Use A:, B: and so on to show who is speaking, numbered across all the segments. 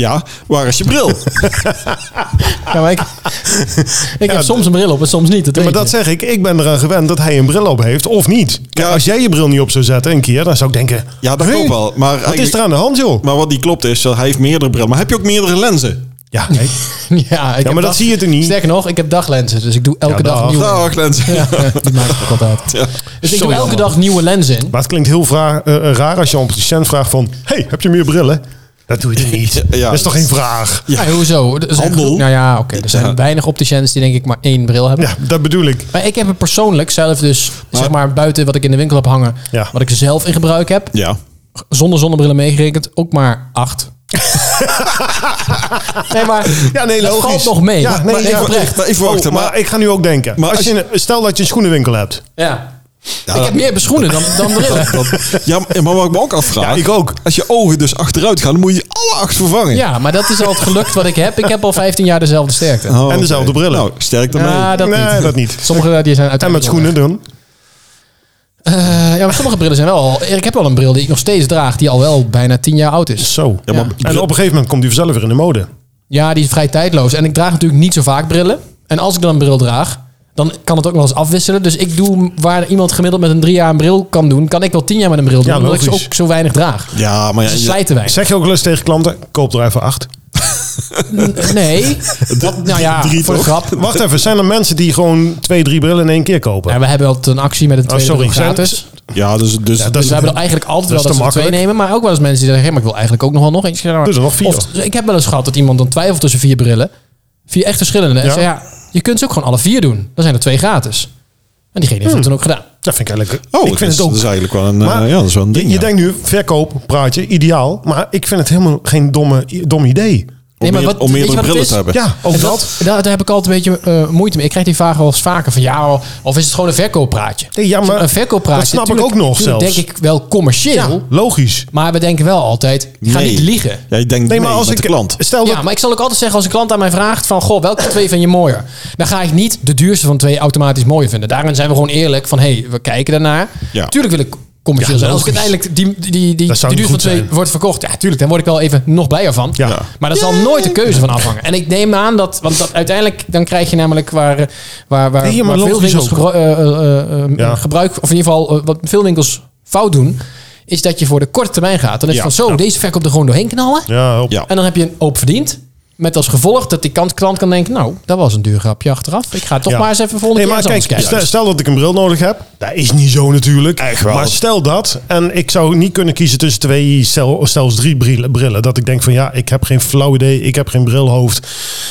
A: Ja, waar is je bril?
B: Ja, maar ik ik heb soms een bril op en soms niet. Dat
C: Ja, maar
B: weet
C: dat
B: je.
C: zeg ik. Ik ben eraan gewend dat hij een bril op heeft of niet. Kijk,
A: Ja.
C: als jij je bril niet op zou zetten een keer, dan zou ik denken...
A: Ja, dat
C: hey,
A: klopt wel. Maar, eh,
C: Wat is
A: eigenlijk-
C: er aan de hand, joh?
A: maar wat die klopt is, eh, hij heeft meerdere brillen. Maar heb je ook meerdere lenzen?
C: Ja, nee.
B: Ja, ik heb
C: maar dat zie je toch niet?
B: Sterker nog, ik heb daglenzen, dus ik doe elke
C: Ja,
B: dag,
C: dag.
B: nieuwe.
A: Dag, lenzen. Ja.
B: Die maak ik ook altijd. Dus ik doe elke dag nieuwe lenzen in.
C: maar het klinkt heel vra- eh, eh, raar als je aan een patiënt vraagt van... hey, heb je meer brillen? Dat doe je toch niet?
A: Ja.
C: dat is toch geen vraag?
B: Ja. hoezo? Er is een
A: Handel.
B: groep- Nou ja, oké. er zijn
A: Ja.
B: weinig opticians die denk ik maar één bril hebben.
C: Ja, dat bedoel ik.
B: Maar ik heb er persoonlijk zelf dus, zeg maar, buiten wat ik in de winkel heb hangen,
C: Ja.
B: wat ik zelf in gebruik heb,
A: ja.
B: zonder zonnebrillen meegerekend, ook maar acht. nee, maar
C: Ja, nee,
B: dat
C: logisch.
B: valt nog mee.
C: Ja,
B: maar,
C: nee,
B: maar
C: ja.
B: even oprecht.
A: Maar even wachten.
C: Oh, maar,
A: maar,
C: ik ga nu ook denken.
A: Maar
C: als
A: als
C: je, een- stel dat je een schoenenwinkel hebt.
B: Ja. Ik heb meer beschoenen dan, dan brillen.
A: ja, maar wat ik me ook afvraag.
C: Ja, ik ook.
A: Als je ogen dus achteruit gaan, dan moet je alle acht vervangen.
B: Ja, maar dat is al het gelukt wat ik heb. Ik heb al 15 jaar dezelfde sterkte.
A: Oh,
C: En dezelfde
A: oké.
C: brillen.
A: Nou, sterk daarmee.
B: Ja, dat
C: nee,
B: niet.
C: Ah, dat niet.
B: Sommige eh, die zijn
C: En met
B: uiteindelijk
C: schoenen doen.
B: wel weg. Eh, ja, maar sommige brillen zijn wel al... Ik heb wel een bril die ik nog steeds draag, die al wel bijna 10 jaar oud is.
C: Zo.
A: Ja, maar-
C: En op een gegeven moment komt die vanzelf weer in de mode.
B: Ja, die is vrij tijdloos. En ik draag natuurlijk niet zo vaak brillen. En als ik dan een bril draag, dan kan het ook wel eens afwisselen. Dus ik doe waar iemand gemiddeld met een drie jaar een bril kan doen, kan ik wel 10 jaar met een bril doen,
C: Ja,
B: omdat ik ze
C: logisch.
B: ook zo weinig draag.
A: Ja, maar ja,
B: Ze
A: je-
B: slijten weinig.
C: Zeg je ook wel eens tegen klanten, koop er even acht.
B: Nee. Dat- nou ja,
A: drie
B: voor de
A: toch?
B: grap.
C: Wacht even, zijn er mensen die gewoon twee, drie brillen in één keer kopen?
B: Ja, we hebben altijd een actie met een tweede
C: Oh, sorry.
B: bril gratis.
A: ja, dus, dus
C: Ja, dat
B: Dus
C: is-
B: we hebben er eigenlijk altijd
C: dat
B: wel dat
C: is te
B: ze er twee
C: makkelijk.
B: nemen. Maar ook wel eens mensen die zeggen, hé, maar ik wil eigenlijk ook nog wel nog eentje. Ja, maar-
C: Dus er nog vier.
B: Of, ik heb wel eens gehad dat iemand dan twijfelt tussen vier brillen. Vier echt verschillende. En
C: Ja.
B: zei, ja, je kunt ze ook gewoon alle vier doen. Dan zijn er twee gratis. En diegene
C: Hmm.
B: heeft dat toen ook gedaan.
C: Dat vind ik eigenlijk...
A: Oh,
C: ik vind
A: dat is,
C: het ook...
A: dat is eigenlijk wel een,
C: Maar
A: eh, ja, dat is wel een
C: je
A: ding. ja.
C: denkt nu, verkoop, praatje, ideaal. Maar ik vind het helemaal geen domme, dom idee.
A: om,
B: Nee, maar
A: meer-
B: wat-
A: om
B: weet je
A: meerdere
B: wat het
A: brillen
B: is?
A: te hebben.
C: Ja, ook
B: En
C: dat.
B: dat, daar, daar heb ik altijd een beetje eh, moeite mee. Ik krijg die vraag wel eens vaker van ja, of is het gewoon een verkooppraatje?
C: Nee, ja, maar
B: een verkooppraatje.
C: dat snap ik
B: tuurlijk-
C: ook nog
B: tuurlijk
C: zelfs.
B: denk ik wel commercieel.
C: Ja, logisch.
B: Maar we denken wel altijd, ga
A: Nee.
B: niet liegen.
A: Ja, ik denk
C: Nee, maar als
A: met
C: ik...
A: de klant.
C: Stel dat...
B: Ja, maar ik zal ook altijd zeggen als een klant aan mij vraagt van... Goh, welke twee vind je mooier? Dan ga ik niet de duurste van twee automatisch mooier vinden. Daarin zijn we gewoon eerlijk van... hé, hey, we kijken daarnaar.
A: Ja.
B: Tuurlijk wil ik commercieel
C: Ja,
B: zijn. Als ik
C: logisch.
B: uiteindelijk die, die, die, die,
C: Dat zou
B: die duurste van
C: niet goed
B: twee
C: zijn.
B: wordt verkocht... ja, tuurlijk, dan word ik wel even nog blijer van.
C: Ja.
B: Maar daar zal nooit de keuze van afhangen. En ik neem aan dat... want dat, uiteindelijk dan krijg je namelijk waar, eh, waar, waar,
C: Nee, maar
B: waar veel
C: logisch
B: winkels
C: ook.
B: gebru- eh, eh, eh, eh,
C: Ja.
B: gebruik... of in ieder geval eh, wat veel winkels fout doen... is dat je voor de korte termijn gaat. Dan is het
A: Ja.
B: van zo, deze verkoop er gewoon doorheen knallen...
C: Ja, op.
A: Ja.
B: En dan heb je een hoop verdiend. Met als gevolg dat die kant- klant kan denken... nou, dat was een duur grapje achteraf. Ik ga toch
C: Ja.
B: maar eens even volgende
C: Nee, maar
B: keer
C: kijk,
B: eens anders
C: stel,
B: kijken.
C: stel dat ik een bril nodig heb. Dat is niet zo natuurlijk.
A: Echt wel.
C: Maar stel dat. En ik zou niet kunnen kiezen tussen twee, stel, zelfs drie brillen, brillen. Dat ik denk van ja, ik heb geen flauw idee. Ik heb geen brilhoofd.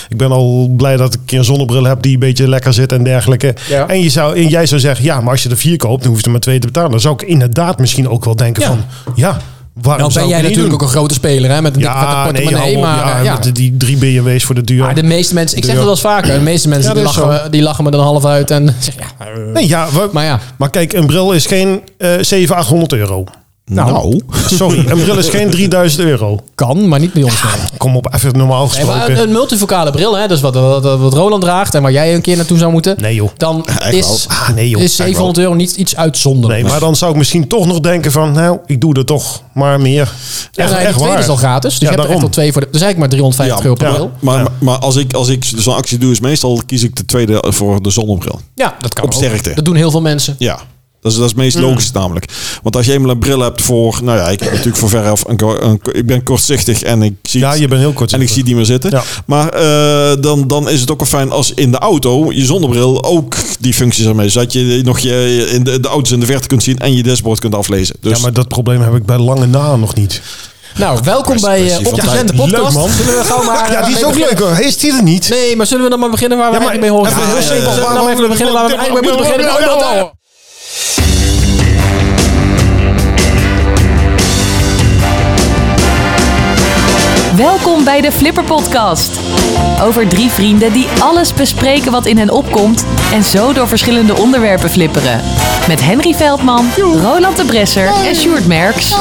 C: Ik ben al blij dat ik een zonnebril heb die een beetje lekker zit en dergelijke.
B: Ja.
C: En, je zou, en jij zou zeggen, ja, maar als je er vier koopt, dan hoef je er maar twee te betalen. Dan zou ik inderdaad misschien ook wel denken
B: Ja.
C: van ja, waarom
B: Nou ben
C: zou
B: jij
C: ik het niet
B: natuurlijk ook
C: doen?
B: een grote speler, hè? Met een dikke vette
C: ja, nee,
B: portemonnee,
C: hou op.
B: maar...
C: ja,
B: eh, ja.
C: met Die drie BMW's voor de duur.
B: Maar de meeste mensen... Ik zeg
C: Ja.
B: dat wel eens vaker. De meeste mensen
C: Ja,
B: die,
C: dat is
B: lachen me, die lachen me dan half uit en zeggen... Ja, eh,
C: nee, ja, we-
B: maar ja,
C: maar kijk, een bril is geen eh 700, 800 euro.
A: Nou,
C: Sorry, een bril is geen 3000 euro.
B: kan, maar niet bij ons. nee.
C: Kom op, even normaal
B: Nee, maar eh,
C: gesproken.
B: een, een multifocale bril, hè? Dus wat, wat, wat Roland draagt en waar jij een keer naartoe zou moeten...
C: Nee joh.
B: Dan
A: echt
B: is,
A: wel.
C: Ah, nee joh.
B: is 700 euro niet iets uitzonderlijks.
C: Nee, maar dan zou ik misschien toch nog denken van, nou, ik doe er toch maar meer.
B: En
C: Echt,
B: dan heb je
C: echt
B: nou, de tweede
C: waar.
B: is al gratis. Dus
C: Ja,
B: je hebt er echt
C: daarom.
B: al twee voor de... Dus eigenlijk maar 350 euro per
C: ja.
B: bril.
A: Maar, maar als ik, als ik zo'n actie doe, is meestal kies ik de tweede voor de zonnebril.
B: Ja, dat kan
A: Op
B: ook.
A: sterkte.
B: Dat doen heel veel mensen.
A: Ja. Dat is, dat is het meest logisch namelijk. Want als je eenmaal een bril hebt voor... Nou ja, ik heb natuurlijk voor veraf... Een, ko- een ko- ik ben kortzichtig en ik zie...
C: Ja, je bent heel kort.
A: en ik zie die meer zitten.
C: Ja.
A: Maar eh, dan, dan is het ook wel fijn als in de auto je zonnebril ook die functies ermee. Zodat je nog je, in de, de auto's in de verte kunt zien en je dashboard kunt aflezen. Dus
C: Ja, maar dat probleem heb ik bij lange na nog niet.
B: Nou, welkom
A: kwestie-
B: bij
A: kwestie
B: eh
A: van
B: Op de
A: tijd.
B: Zende podcast.
C: Leuk, man.
B: Zullen we gauw Ah, maar...
C: Ja, die is
B: mee
C: ook
B: beginnen?
C: leuk hoor. Hey, Is die er niet?
B: Nee, maar zullen we dan maar beginnen waar we
C: Ja, maar
B: eigenlijk mee horen?
C: even heel
B: Ja,
C: simpel.
B: eh,
C: Waar
B: Laten we
C: moeten
B: even
C: we
B: beginnen. Laten we eigenlijk
C: beginnen?
B: mee moeten beginnen. Nou, dat, eh,
D: Welkom bij de Flipper Podcast. Over drie vrienden die alles bespreken wat in hen opkomt en zo door verschillende onderwerpen flipperen. Met Henry Veldman, Roland de Bresser en Sjoerd Merks.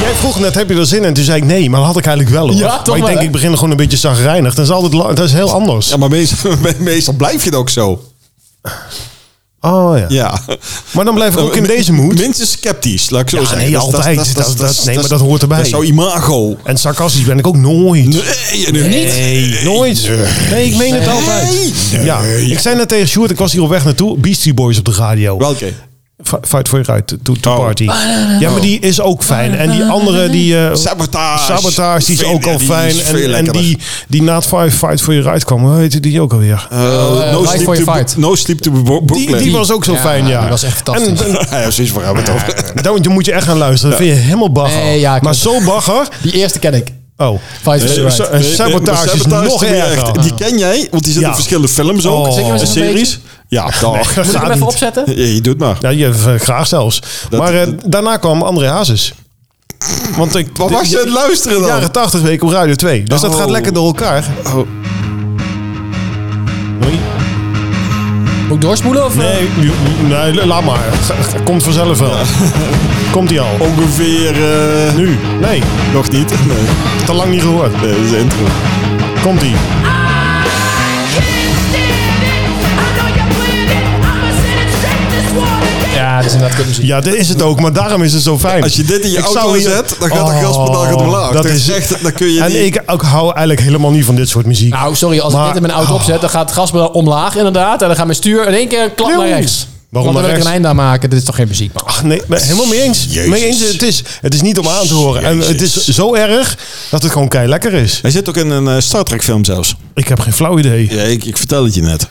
C: Jij vroeg net, heb je er zin in? Toen zei ik nee, maar dat had ik eigenlijk wel hoor.
B: Ja, toch
C: maar ik
B: wel,
C: denk,
B: hè?
C: ik begin gewoon een beetje zagrijnig. Dat is altijd la- dat is heel anders.
A: Ja, maar meestal, meestal blijf je het ook zo.
C: Oh ja.
A: Ja.
C: Maar dan
B: Eh,
C: blijf ik ook in deze mood.
A: Minstens sceptisch, laat ik zo
C: Ja,
A: zeggen.
C: nee,
A: Dat- dat-
C: altijd.
A: dat-
C: Dat- dat- nee, maar dat hoort erbij.
A: Dat zou imago.
C: En sarcastisch ben ik ook nooit.
A: Nee, nee,
C: Nee, nooit. Nee, ik meen het altijd. Ja,
A: Eh,
C: ik zei net tegen Sjoerd, ik was hier op weg naartoe. Beastie Boys op de radio.
A: Welke?
C: F- Fight for your right to, to
A: Oh.
C: party.
B: Ah,
C: Ja, maar die is ook fijn. En die andere, die... eh,
A: Sabotage.
C: Sabotage, die is
A: Veel-
C: ook al
A: die is
C: fijn.
A: veel
C: En, en
A: lekkerder.
C: die, die na het Five Fight for Your Right kwam, hoe heette die ook alweer?
A: Eh, no,
B: Fight
A: sleep
B: for
A: to,
B: Your Fight.
A: no Sleep to Bo-
C: die,
A: Brooklyn.
C: die was ook zo
B: Ja,
C: fijn, ja.
B: die was echt fantastisch.
C: En,
A: Ja, precies, waar hebben we het over?
C: en, dan moet je echt gaan luisteren. Dat vind je helemaal bagger.
B: Nee, ja,
C: maar
B: klopt.
C: zo bagger...
B: Die eerste ken ik.
C: Oh.
B: Fight for
C: Nee,
B: the right.
C: zo- En sabotage is nog
A: die
C: erger.
A: echt- Die ken jij, want die zit
C: Ja.
A: in verschillende films ook.
C: Oh. Zingen we
B: eens
A: en
B: een
A: series. Ja, dag.
C: Gaat
B: Moet ik hem
C: niet.
B: even opzetten?
A: Ja, je doet maar.
C: Ja, je, eh, graag zelfs. maar eh, daarna kwam André Hazes. Want ik,
A: Wat was je aan het luisteren dan?
C: Jaren 80 week op Radio 2. Dus dat
A: Oh.
C: gaat lekker door elkaar.
B: Moet ik doorspoelen? Of, eh?
C: Nee, nu- nee, laat maar. Komt vanzelf wel. Komt hij al.
A: Ongeveer... eh,
C: Nu. Nee,
A: nog niet. Nee,
C: te lang niet gehoord.
A: nee, dat is de intro.
C: Komt hij.
B: Ja, dat is inderdaad kutmuziek.
C: Ja, dat is het ook, maar daarom is het zo fijn.
A: Als je dit in je
C: Ik
A: auto
C: zou hier-
A: zet, dan gaat de
C: Oh,
A: gaspedaal gaat omlaag.
C: Dat
A: Dan
C: is
A: zegt het, dan kun je
C: En
A: niet-
C: ik ook hou eigenlijk helemaal niet van dit soort muziek.
B: Nou, sorry, als
C: Maar- Oh.
B: ik dit in mijn auto opzet, dan gaat het gaspedaal omlaag inderdaad. En dan gaat mijn stuur in één keer klap naar
C: Joe.
B: rechts. Want
C: Waarom
B: dan
C: naar
B: wil ik
C: rechts?
B: een einde aan maken. Dit is toch geen muziek, man.
C: Ach, nee, ben helemaal mee eens.
A: Jezus.
C: Mee eens. Het is, het is niet om aan te horen. En het is
A: Jezus.
C: zo erg dat het gewoon kei lekker is.
A: Hij zit ook in een eh, Star Trek film zelfs.
C: Ik heb geen flauw idee.
A: Ja, ik, ik vertel het je net.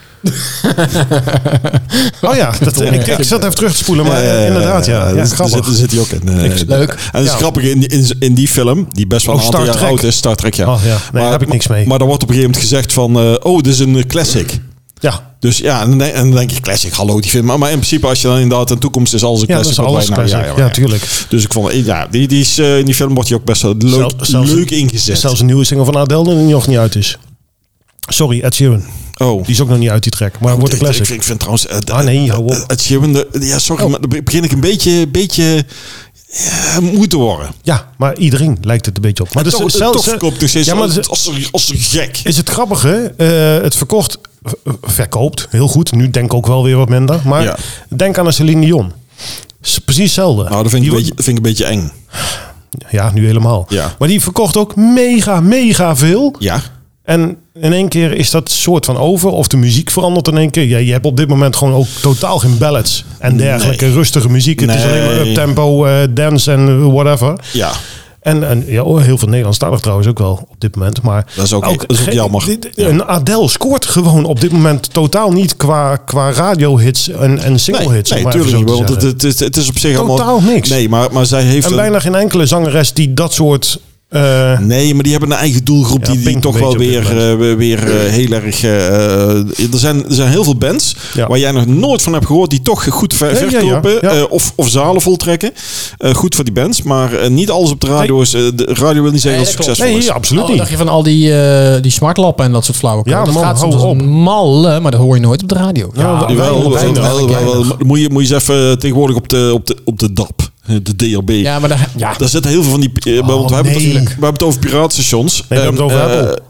C: Oh ja, dat, ik, ik zat even terug te spoelen, maar eh, inderdaad, ja. ja,
A: dat is-
C: grappig.
A: Daar zit, zit hij ook in. eh,
B: Ik- leuk.
A: En het is
C: Ja.
A: grappig, in, die- in, in die film, die best wel
C: Oh,
A: een aantal
C: Star
A: jaar
C: Trek.
A: oud is, Star Trek, ja.
C: Oh, ja. Nee, daar heb ik niks mee.
A: Maar dan wordt op een gegeven moment gezegd van, eh, oh, dit is een eh, classic.
C: ja,
A: Dus ja, en dan denk- en dan denk je, classic, hallo, die film. Maar, maar in principe, als je dan inderdaad in de toekomst is, alles een
C: ja dat
A: classic.
C: is
A: wat
C: alles
A: wij
C: classic.
A: nou-
C: ja, tuurlijk.
A: Dus ik vond, eh, ja, die, die is, eh, in die film wordt hij ook best wel leuk,
C: Zel- zelfs-
A: leuk ingezet.
C: Zelfs een nieuwe single van Adele die nog niet uit is. Sorry, Ed Sheeran.
A: oh.
C: Die is ook nog niet uit, die track. Maar wordt een
A: Ik,
C: classic.
A: vind- ik vind trouwens... eh,
C: Ah, nee, hou op.
A: eh, Ed Sheeran, de- ja, sorry,
C: Oh.
A: maar dan begin ik een beetje, beetje eh, moe te worden.
C: Ja, maar iedereen lijkt het een beetje op. Maar
A: Maar
C: dus
A: toch,
C: zelfs,
A: toch verkoopt nog steeds
C: ja, maar
A: als,
C: dus-
A: als, een- als een gek.
C: is het grappige, eh, het verkocht, eh, verkoopt, heel goed. Nu denk ik ook wel weer wat minder. Maar
A: Ja.
C: denk aan een Celine Dion. Is Precies hetzelfde.
A: Nou, dat vind ik,
C: Die
A: een
C: wordt-
A: beetje, vind ik een beetje eng.
C: Ja, nu helemaal.
A: Ja.
C: Maar die verkocht ook mega, mega veel.
A: Ja.
C: En in één keer is dat soort van over. Of de muziek verandert in één keer. Ja, je hebt op dit moment gewoon ook totaal geen ballads en dergelijke.
A: Nee.
C: Rustige muziek. Het is
A: Nee.
C: alleen maar up-tempo, eh, dance en whatever.
A: Ja.
C: En, en ja, oh, heel veel Nederlandstalig trouwens ook wel op dit moment. Maar
A: Dat is ook- dat is ook
C: ge-
A: jammer.
C: dit-
A: Ja.
C: Een Adele scoort gewoon op dit moment totaal niet qua, qua radiohits en, en
A: Nee,
C: singlehits.
A: nee
C: om maar even
A: tuurlijk
C: zo
A: niet.
C: te
A: Want het,
C: zeggen.
A: het, het, het is op zich allemaal...
C: Totaal niks.
A: Nee, maar, maar zij heeft...
C: en
A: een-
C: bijna geen enkele zangeres die dat soort... eh,
A: Nee, maar die hebben een eigen doelgroep
C: Ja,
A: die, die
C: Pink
A: toch
C: een
A: wel
C: beetje
A: weer,
C: op dit
A: eh, weer eh, heel erg... eh, er, zijn, er zijn heel veel bands
C: Ja.
A: waar jij nog nooit van hebt gehoord... die toch goed ver-
C: Ja, ja, ja.
A: verkopen
C: Ja.
A: eh, of, of zalen voltrekken. Eh, goed voor die bands, maar eh, niet alles op de radio is... eh, de radio wil niet zeggen
B: Nee,
A: dat het
B: dat
A: succesvol
C: nee,
A: is.
C: absoluut
B: Oh,
C: niet.
B: dacht je van al die, eh die smartlappen en dat soort flauwekul.
C: Ja,
B: dat
C: man,
B: gaat soms
C: hou
B: als
C: op.
B: een malle, maar dat hoor je nooit op de radio.
C: Ja,
A: Jawel,
C: weinig,
A: wel,
C: weinig,
A: wel, wel,
C: weinig.
A: wel. Moet je, moet je eens even eh, tegenwoordig op de, op de, op de DAP, de DAB.
B: Ja, maar daar, ja.
A: Daar zitten heel veel van die... eh, want we, hebben het,
C: Oh, nee.
A: we hebben het over piraatstations.
C: Nee, we hebben het
A: En,
C: over
A: eh,
C: Apple.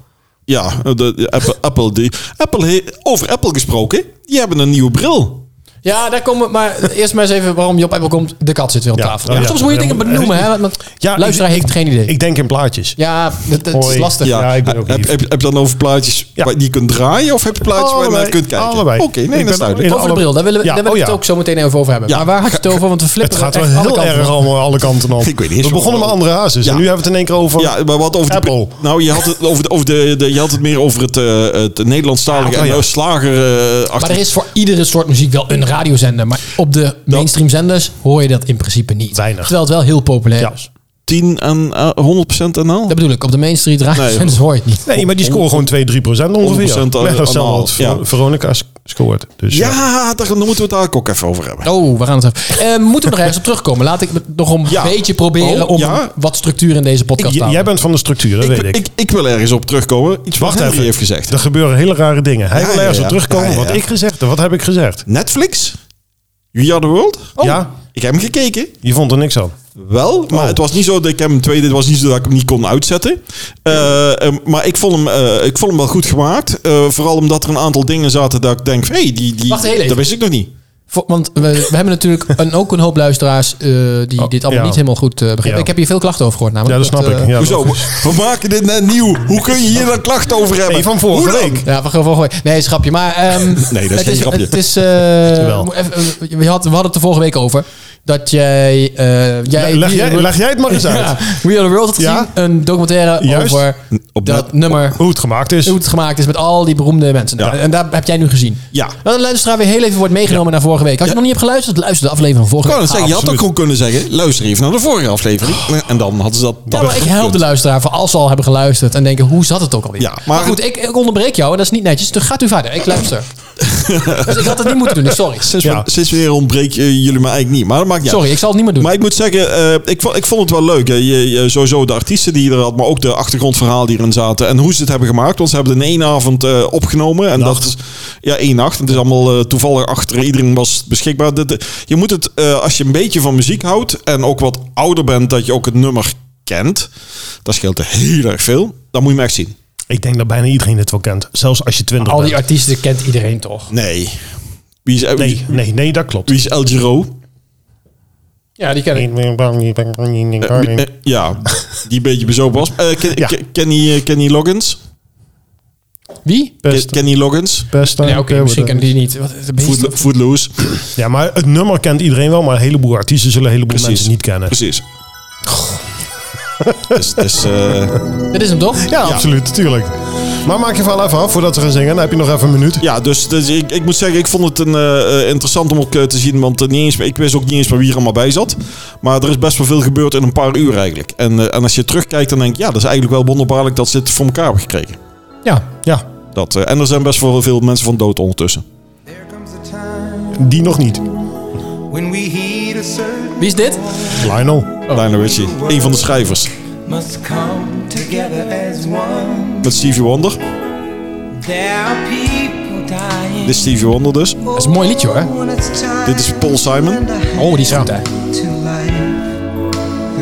A: Ja, de, de Apple. Apple, die, Apple he- over Apple gesproken. Die hebben een nieuwe bril.
B: ja, daar komen we. Maar eerst maar eens even waarom je op Apple komt. De kat zit weer op
C: Ja.
B: tafel.
C: Oh,
B: Ja,
C: ja.
B: Soms moet je dingen
C: Ja, maar-
B: benoemen, hè? Want
C: Ja,
B: luisteraar
C: ik-
B: heeft geen idee.
C: Ik denk in plaatjes.
B: ja, dat, dat is
C: Hoi.
B: lastig.
C: Ja, ik ben ook
A: heb,
C: lief.
A: heb, heb je dan over plaatjes
C: Ja.
A: waar- die je kunt draaien? Of heb je plaatjes waar je naar
C: Allebei,
A: kunt kijken?
C: allebei.
A: Oké,
C: Ik
A: nee, dat
C: ben
A: is duidelijk.
C: in-
B: Over de bril, daar willen we,
C: Ja,
B: daar willen
C: oh
B: we
C: ja.
B: het ook zo meteen even over hebben.
A: Ja.
B: Maar waar had je het over? Want we
C: Het
B: flippen
C: gaat wel
B: echt alle
C: heel
B: kanten
C: erg
B: op.
C: allemaal alle kanten op.
A: Ik weet niet eens
C: We begonnen met
A: waarom.
C: andere hazes.
A: Ja.
C: En nu hebben we het in één keer over...
A: Ja, maar wat over
C: Apple.
A: De, nou, je had het, over de, over de, de- je had het meer over het, eh het Nederlandstalige
C: Ja, oh ja.
A: en eh, slager eh,
B: Maar
A: achter-
B: er is voor iedere soort muziek wel een radiozender. Maar op de mainstream zenders hoor je dat in principe niet.
C: Weinig.
B: Terwijl het wel heel populair
C: Ja.
B: is.
A: 10 en eh, 100% NL?
B: Dat bedoel ik, op de mainstream radiozenders hoor je het niet.
C: Nee, maar die scoren gewoon 2, 3 procent ongeveer.
A: 100%
C: Net als
A: eh, allemaal,
C: wat Ver-
A: ja.
C: Veronica s- scoort. Dus,
A: Ja, daar daar moeten we het daar ook even over hebben.
B: Oh, we gaan het even. Eh, moeten we nog ergens op terugkomen? Laat ik het nog een
A: Ja.
B: beetje proberen
A: Oh,
B: om
A: ja.
B: wat structuur in deze podcast
C: J-
B: te houden.
C: jij bent van de structuur, dat weet
A: ik,
C: ik.
A: ik, ik wil ergens op terugkomen. Iets wat
C: Wacht
A: Henry
C: even.
A: heeft gezegd.
C: Er gebeuren hele rare dingen. Hij
A: Ja,
C: wil
A: ja,
C: ergens
A: ja.
C: op terugkomen.
A: Ja, ja, ja.
C: Wat ik gezegd heb. Wat heb ik gezegd?
A: Netflix? We Are The World?
B: Oh.
C: Ja,
A: Ik heb hem gekeken.
C: je vond er niks aan.
A: Wel, maar
C: Oh.
A: het was niet zo dat ik hem tweede, het was niet zo dat ik hem niet kon uitzetten. Eh, eh, maar ik vond, hem, eh, ik vond hem wel goed gemaakt. Eh, vooral omdat er een aantal dingen zaten dat ik denk, van, hey, die, die,
B: Wacht heel even.
A: dat wist ik nog niet.
B: Voor- want we, we hebben natuurlijk een, ook een hoop luisteraars eh, die dit allemaal
C: Oh, ja.
B: niet helemaal goed eh, begrijpen.
C: Ja.
B: Ik heb hier veel klachten over gehoord
C: Ja,
B: namelijk.
C: dat snap
B: eh,
C: ik. Ja,
A: Hoezo?
C: dat-
A: We maken dit net nieuw. Hoe kun je hier dan klachten over hebben?
C: Nee, van vorige
A: Hoe dan?
C: week.
B: Ja, van gewoon gooien. Nee, is een grapje. Maar ehm,
A: Nee, dat is
B: het
A: geen
B: is,
A: grapje.
B: Het is, eh,
C: Jawel.
B: moet even, eh, we, had, we hadden het er vorige week over. Dat jij... eh, jij
C: Leg
B: We Are
C: jij,
B: the-
C: leg jij het maar eens uit.
B: Ja, We Are The World had gezien.
C: Ja.
B: Een documentaire
C: Juist.
B: over
A: Op
B: dat
A: net-
B: nummer.
C: Hoe het gemaakt is.
B: Hoe het gemaakt is met al die beroemde mensen.
A: Ja.
B: En daar heb jij nu gezien.
A: Ja.
B: Dat de luisteraar weer heel even wordt meegenomen naar vorige week. Als je nog niet hebt geluisterd, luister de aflevering van vorige
A: Ik
B: week. Ah,
A: wou net zeggen, je had ook
C: absoluut. Oh.
A: gewoon kunnen zeggen, luister even naar de vorige aflevering. En dan hadden ze dat...
B: Ja, maar ik help de
A: Ja,
B: luisteraar voor als ze al hebben geluisterd en denken, hoe zat het ook alweer?
A: Ja,
B: maar,
A: maar-
B: goed, ik, ik onderbreek jou en dat is niet netjes. Dus gaat u verder, ik luister. dus ik had het niet moeten doen, dus sorry.
A: Sinds,
C: Ja.
A: we- sinds weer ontbreek je jullie me eigenlijk niet. Maar dat maakt niet uit.
B: Sorry, ik zal het niet meer doen.
A: Maar ik moet zeggen, eh, ik, vo- ik vond het wel leuk. hè. Je, je- sowieso de artiesten die je er had, maar ook de achtergrondverhaal die erin zaten. En hoe ze het hebben gemaakt. Want ze hebben het in één avond eh, opgenomen. En dat is, ja, één nacht. Het is allemaal eh, toevallig achter iedereen was beschikbaar. Dit- dit- je moet het, eh, als je een beetje van muziek houdt en ook wat ouder bent, dat je ook het nummer kent. Dat scheelt heel erg veel. Dan moet je me echt zien.
C: Ik denk dat bijna iedereen dit wel kent. Zelfs als je twintig
B: al
C: bent.
B: die artiesten kent iedereen toch?
A: Nee. Wie is,
C: Nee, nee, nee, dat klopt.
A: Wie is El Giro?
B: Ja, die ken ik.
A: Eh, eh, ja, die een beetje bezopen was. Eh, Ken-
C: Ja.
A: Ken- Kenny, eh, Kenny Loggins?
B: Wie?
A: Ken- Kenny Loggins?
C: Best
B: Ja, oké, misschien kennen die niet. Wat, de meeste-
A: Foot, footloose.
C: Ja, maar het nummer kent iedereen wel, maar een heleboel artiesten zullen een heleboel
A: Precies.
C: mensen niet kennen.
A: Precies. dus, dus, eh,
B: Dit is hem toch?
C: Ja, absoluut, natuurlijk. Maar maak je verhaal even af voordat we gaan zingen. Dan heb je nog even een minuut.
A: ja, dus, dus ik, ik moet zeggen, ik vond het een, eh, eh, interessant om ook eh, te zien. Want eh, niet eens, ik wist ook niet eens meer wie er allemaal bij zat. Maar er is best wel veel gebeurd in een paar uur eigenlijk. En, eh, en als je terugkijkt, dan denk je, ja, dat is eigenlijk wel wonderbaarlijk dat ze het voor elkaar hebben gekregen.
B: Ja.
C: Ja,
A: Dat, eh, en er zijn best wel veel mensen van dood ondertussen.
E: There comes a time
C: die nog niet.
E: when we heed a certain
B: Wie is dit?
C: Lionel.
A: Lionel Richie, een van de schrijvers.
E: must come together as one.
A: Met Stevie Wonder.
E: There are people dying. Oh,
A: Dit is Stevie Wonder dus.
E: dat
B: is een mooi liedje, hoor.
A: Dit is Paul Simon.
B: Oh, die is goed, hè?
E: The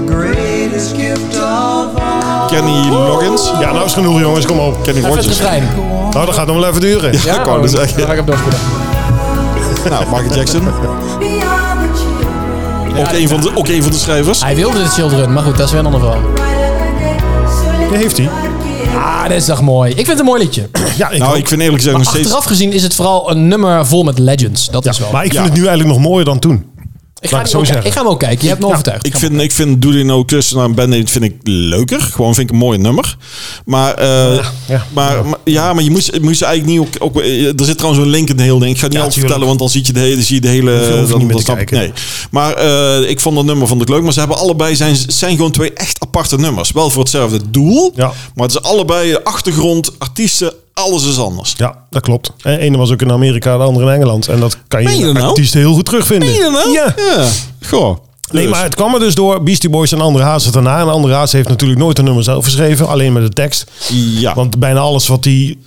E: greatest gift of all.
A: Kenny Loggins.
C: Ja, nou is genoeg jongens, kom op.
A: Kenny
B: Even het
A: Rogers.
B: refrein. Oh,
C: Nou, dat gaat nog wel even duren.
A: Ja, ik wou net
B: dan
A: zeggen.
B: ga ik hem doorvoeren.
A: Nou, Michael Jackson. Ook een van de, ook een van de schrijvers.
B: Hij wilde de Children, maar goed, dat is weer een ander verhaal.
C: Die heeft hij.
B: Ah, dit is toch mooi. Ik vind het een mooi liedje.
C: Ja, ik
A: Nou,
C: ook.
A: ik vind eerlijk gezegd nog steeds...
B: Achteraf gezien is het vooral een nummer vol met legends. Dat is wel.
C: Maar ik vind
A: Ja.
C: het nu eigenlijk nog mooier dan toen.
B: ik,
C: laat
B: ga
C: ik
B: die
C: zo
B: ook-
C: zeggen.
B: ik ga hem ook kijken. Je hebt me overtuigd.
A: Ik vind, ik vind Do They Know Chris naar een band vind ik leuker. Gewoon vind ik een mooi nummer. Maar, eh,
C: ja.
A: maar, maar- ja, maar je moest, je moest eigenlijk niet... Ook, ook, eh, er zit trouwens een link in de hele ding. Ik ga het niet
C: Ja,
A: alles
C: tuurlijk.
A: vertellen, want dan zie je de hele... Zie je de hele
C: hoef je
A: dan-
C: niet
A: dan
C: meer te
A: snap ik-
C: kijken.
A: Nee. Maar eh, ik vond dat nummer vond ik leuk. Maar ze hebben allebei zijn, zijn gewoon twee echt aparte nummers. Wel voor hetzelfde doel.
C: Ja.
A: Maar het is allebei de achtergrond, artiesten, alles is anders.
C: Ja, dat klopt. De ene was ook in Amerika, de andere in Engeland. En dat kan je,
A: Meen je
C: in
A: nou?
C: artiesten heel goed terugvinden.
A: Zie je dat nou?
C: Ja.
A: ja. Goh.
C: Nee,
A: Dus.
C: maar het kwam er dus door Beastie Boys en Andere Haas het daarna. En Andere Haas heeft natuurlijk nooit een nummer zelf geschreven, alleen met de tekst.
A: Ja.
C: Want bijna alles wat hij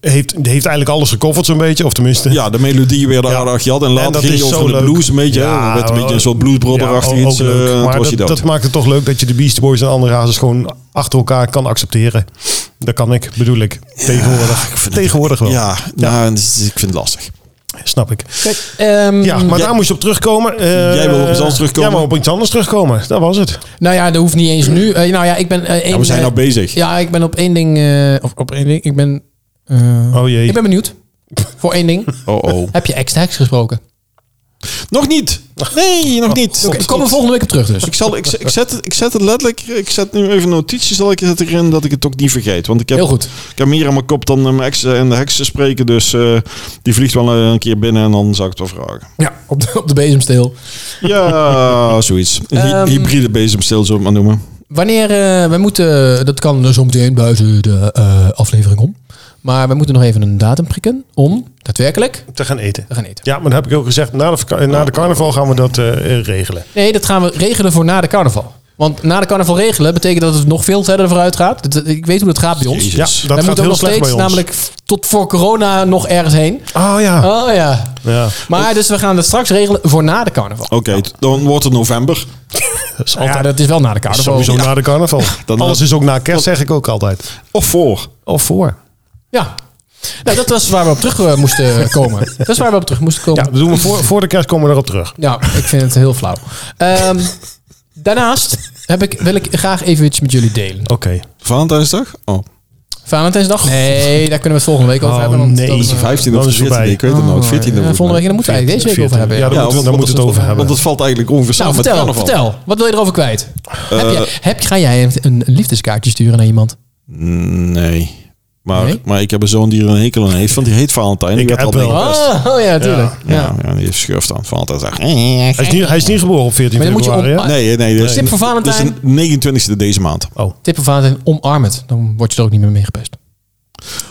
C: heeft, heeft eigenlijk alles gecoverd zo'n beetje. Of tenminste,
A: Ja, de melodie weer de
C: Ja.
A: aardig had. En
C: En
A: later
C: dat
A: ging
C: is
A: je
C: zo
A: over de
C: leuk.
A: blues een beetje.
C: Ja,
A: Ja, werd een
C: wel-
A: beetje een soort blues
C: Ja,
A: brotherachtig
C: ook
A: iets. eh,
C: leuk.
A: en toen
C: maar
A: was hij
C: dat,
A: dood.
C: dat maakt het toch leuk dat je de Beastie Boys en Andere Hazes gewoon achter elkaar kan accepteren. Dat kan ik, bedoel ik. Tegenwoordig. Tegenwoordig wel.
A: ja, nou, dus ik vind het lastig.
C: Snap ik.
B: Kijk, ehm,
C: Ja, maar
A: Jij-
C: daar moest je op terugkomen. Eh,
A: Jij wil op iets anders terugkomen?
C: Ja, maar op iets anders terugkomen. Dat was het.
B: Nou ja, dat hoeft niet eens nu. Eh, nou ja, ik ben. eh, één,
A: we zijn
B: eh,
A: nou bezig.
B: Ja, ik ben op één ding. eh, of op één ding. Ik ben. eh,
C: Oh jee.
B: ik ben benieuwd. Voor één ding.
A: Oh, oh.
B: Heb je extra heks gesproken?
A: Nog niet. Nee,
C: Oh,
A: nog niet.
B: Oké,
A: Tot-
B: ik kom er
A: tot-
B: volgende week op terug dus.
A: Ik, zal, ik, ik, zet het, ik zet het letterlijk, ik zet nu even notities zal ik zet erin dat ik het ook niet vergeet. Want ik heb,
B: Heel goed.
A: Ik heb meer aan mijn kop dan eh, mijn ex en de heksen spreken. Dus eh, die vliegt wel eh, een keer binnen en dan zou ik het wel vragen.
B: Ja, op de, op de bezemsteel.
A: Ja, zoiets. Een hy-
B: Ehm.
A: hybride bezemstil, zullen we het maar noemen.
B: Wanneer eh we moeten, dat kan zo meteen buiten de eh, aflevering om. Maar we moeten nog even een datum prikken om daadwerkelijk
C: Te gaan eten.
B: te gaan eten.
C: Ja, maar dat heb ik ook gezegd. Na de, vaka- na de carnaval gaan we dat eh, regelen.
B: Nee, dat gaan we regelen voor na de carnaval. Want na de carnaval regelen betekent dat het nog veel verder vooruit gaat. Dat- Ik weet hoe dat gaat bij ons.
A: Jezus.
C: Ja, dat
B: Wij
C: gaat
B: moeten
C: heel
B: nog
C: slecht bij
B: steeds
C: ons.
B: namelijk tot voor corona nog ergens heen.
C: Oh ja.
B: Oh ja.
C: ja.
B: Maar dus we gaan dat straks regelen voor na de carnaval.
A: Oké, dan wordt het november.
C: Dat is
B: Ja,
C: altijd
B: dat is wel na de carnaval.
C: Ah, sowieso
B: Ja.
C: na de carnaval.
A: dan-
C: Alles is ook na kerst, zeg ik ook altijd.
A: Of voor.
C: Of voor.
B: Ja. Nou, dat was waar we op terug eh, moesten komen. Dat is waar we op terug moesten komen.
C: Ja, dat doen we voor, voor de kerst komen we daarop terug.
B: Nou, ik vind het heel flauw. Ehm, daarnaast heb ik, wil ik graag even iets met jullie delen.
C: Oké.
A: Valentijnsdag? Oh,
B: Valentijnsdag? Nee, daar kunnen we het volgende week over
C: Oh,
B: hebben.
C: nee.
B: dat, eh,
A: 15 of
C: Dat is
A: 14,
C: voorbij.
A: ik weet het nooit. 14
B: eh,
A: e
B: volgende week, daar moeten we eigenlijk deze week over hebben.
C: Ja,
B: Ja.
C: daar moeten we- daar moeten we het over hebben.
A: Want het valt eigenlijk ongeveer
B: Nou,
A: samen met
B: vertel,
A: carnaval.
B: vertel. Wat wil je erover kwijt? heb
A: Eh,
B: jij, heb, ga jij een, een liefdeskaartje sturen naar iemand?
A: Nee. Maar,
B: Nee?
A: maar ik heb een zoon die er een hekel aan heeft, want die heet Valentijn.
C: Ik
A: Ik, had
C: heb
A: al
C: wel. Ah,
A: meegepest.
B: Oh, oh ja, tuurlijk. Ja.
A: Ja, ja, die heeft schurft aan Valentijnsdag.
C: Hij, is niet, hij is niet geboren op 14
B: Maar dan moet je
C: februari,
B: op-
C: hè?
A: eh, Nee, eh, nee. Dat is,
B: Tip voor
A: dat is
B: Valentijn?
A: de 29e deze maand.
C: Oh,
B: Tip van Valentijn, omarm het. Dan word je er ook niet meer mee gepest.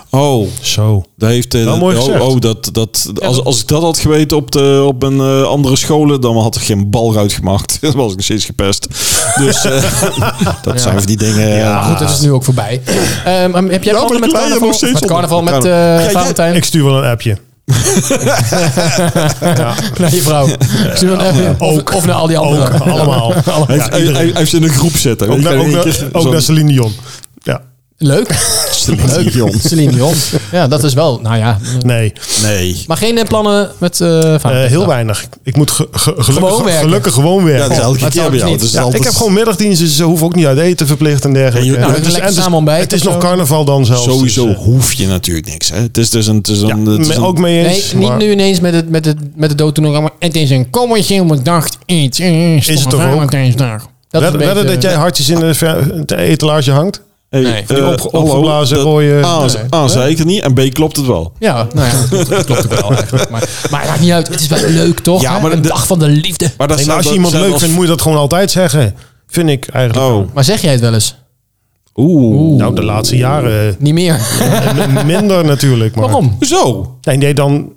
A: Oh,
C: zo.
A: dat heeft... eh,
C: Wel Nou, mooi
A: oh,
C: gezegd.
A: oh, dat, dat, als, als ik dat had geweten op, de, op een eh, andere scholen, dan had ik geen bal eruit gemaakt. Dan was ik nog steeds gepest. Dus eh, dat zijn van die dingen... eh,
B: Maar
A: Ja,
B: goed, dat is nu ook voorbij. Ehm, heb
A: Ah.
B: jij
A: Ja,
B: nog
A: maar
B: met
A: ik lei hem
B: carnaval?
A: nog steeds
B: Met
A: onder.
B: carnaval, met eh,
A: Ja, jij-
B: Valentijn?
C: Ik stuur wel een appje.
B: Naar je vrouw. Ik stuur hem even-
C: Ook.
B: of, of naar al die
C: Ook,
B: anderen.
C: allemaal.
A: Hij
C: Ja,
A: heeft, hij- hij
C: iedereen.
A: heeft ze in een groep zetten.
C: Ook
A: Weet
C: naar-
A: je,
C: Ook
A: in één
C: naar-
A: keer
C: ook
A: zo'n-
C: naar Celine Dion. Ja,
B: Leuk. Leuk. Celine Dion. Ja, dat is wel. Nou ja.
C: nee.
A: Nee.
B: Maar geen eh, plannen met eh
C: Eh,
B: Valentijn?
C: heel weinig. Ik moet ge- ge- gelukkig,
B: Gewoon werken.
C: gelukkig gewoon
A: Ja,
C: werken.
A: dat is elke
B: maar
A: keer bij
B: trouwens
A: jou.
B: niet.
A: Dus het is
C: Ja,
A: altijd-
C: ik heb gewoon middagdiensten, dus ze hoeven ook niet uit eten verplicht en dergelijke.
A: Ja, je-
B: Nou,
C: Het
B: lekker
C: en het
B: samen ontbijten
C: Het is
B: of
C: nog
B: zo.
C: carnaval dan zelfs.
A: Sowieso
C: dus, eh,
A: hoef je natuurlijk niks. Hè. Het is dus een... Het is
C: ja,
A: een, het is
C: me-
A: een-
C: ook mee
B: Nee,
C: eens.
B: niet
C: maar
B: nu ineens met het, met het, met het dood toen nog. Maar het is een commercieel bedacht iets. Eh, stomme
C: het toch ook?
B: Valentijnsdag. Dat is
C: Wedden
B: een
C: wedden
B: beetje-
C: dat jij hartjes in de, ver- de etalage hangt?
A: Hey,
B: Nee.
A: eh,
C: Op-
A: hallo,
C: opgeblazen
A: dat-
C: rode-
A: A,
C: Nee.
A: A zei ik het niet en B klopt het wel.
B: Ja, nou ja, dat klopt, dat klopt ook wel eigenlijk. Maar, maar het maakt niet uit. Het is wel leuk, toch?
A: Ja,
B: Ja,
A: maar
B: een
A: de-
B: dag van de liefde.
A: Maar dat
C: Nee, maar als je iemand leuk vindt, moet je dat gewoon altijd zeggen. Vind ik eigenlijk.
A: Oh,
B: Maar zeg jij het wel eens?
A: oeh.
C: Nou, de laatste jaren
B: Niet meer.
C: eh, m- minder natuurlijk. Maar.
B: Waarom?
A: Zo.
C: Nee, nee, dan...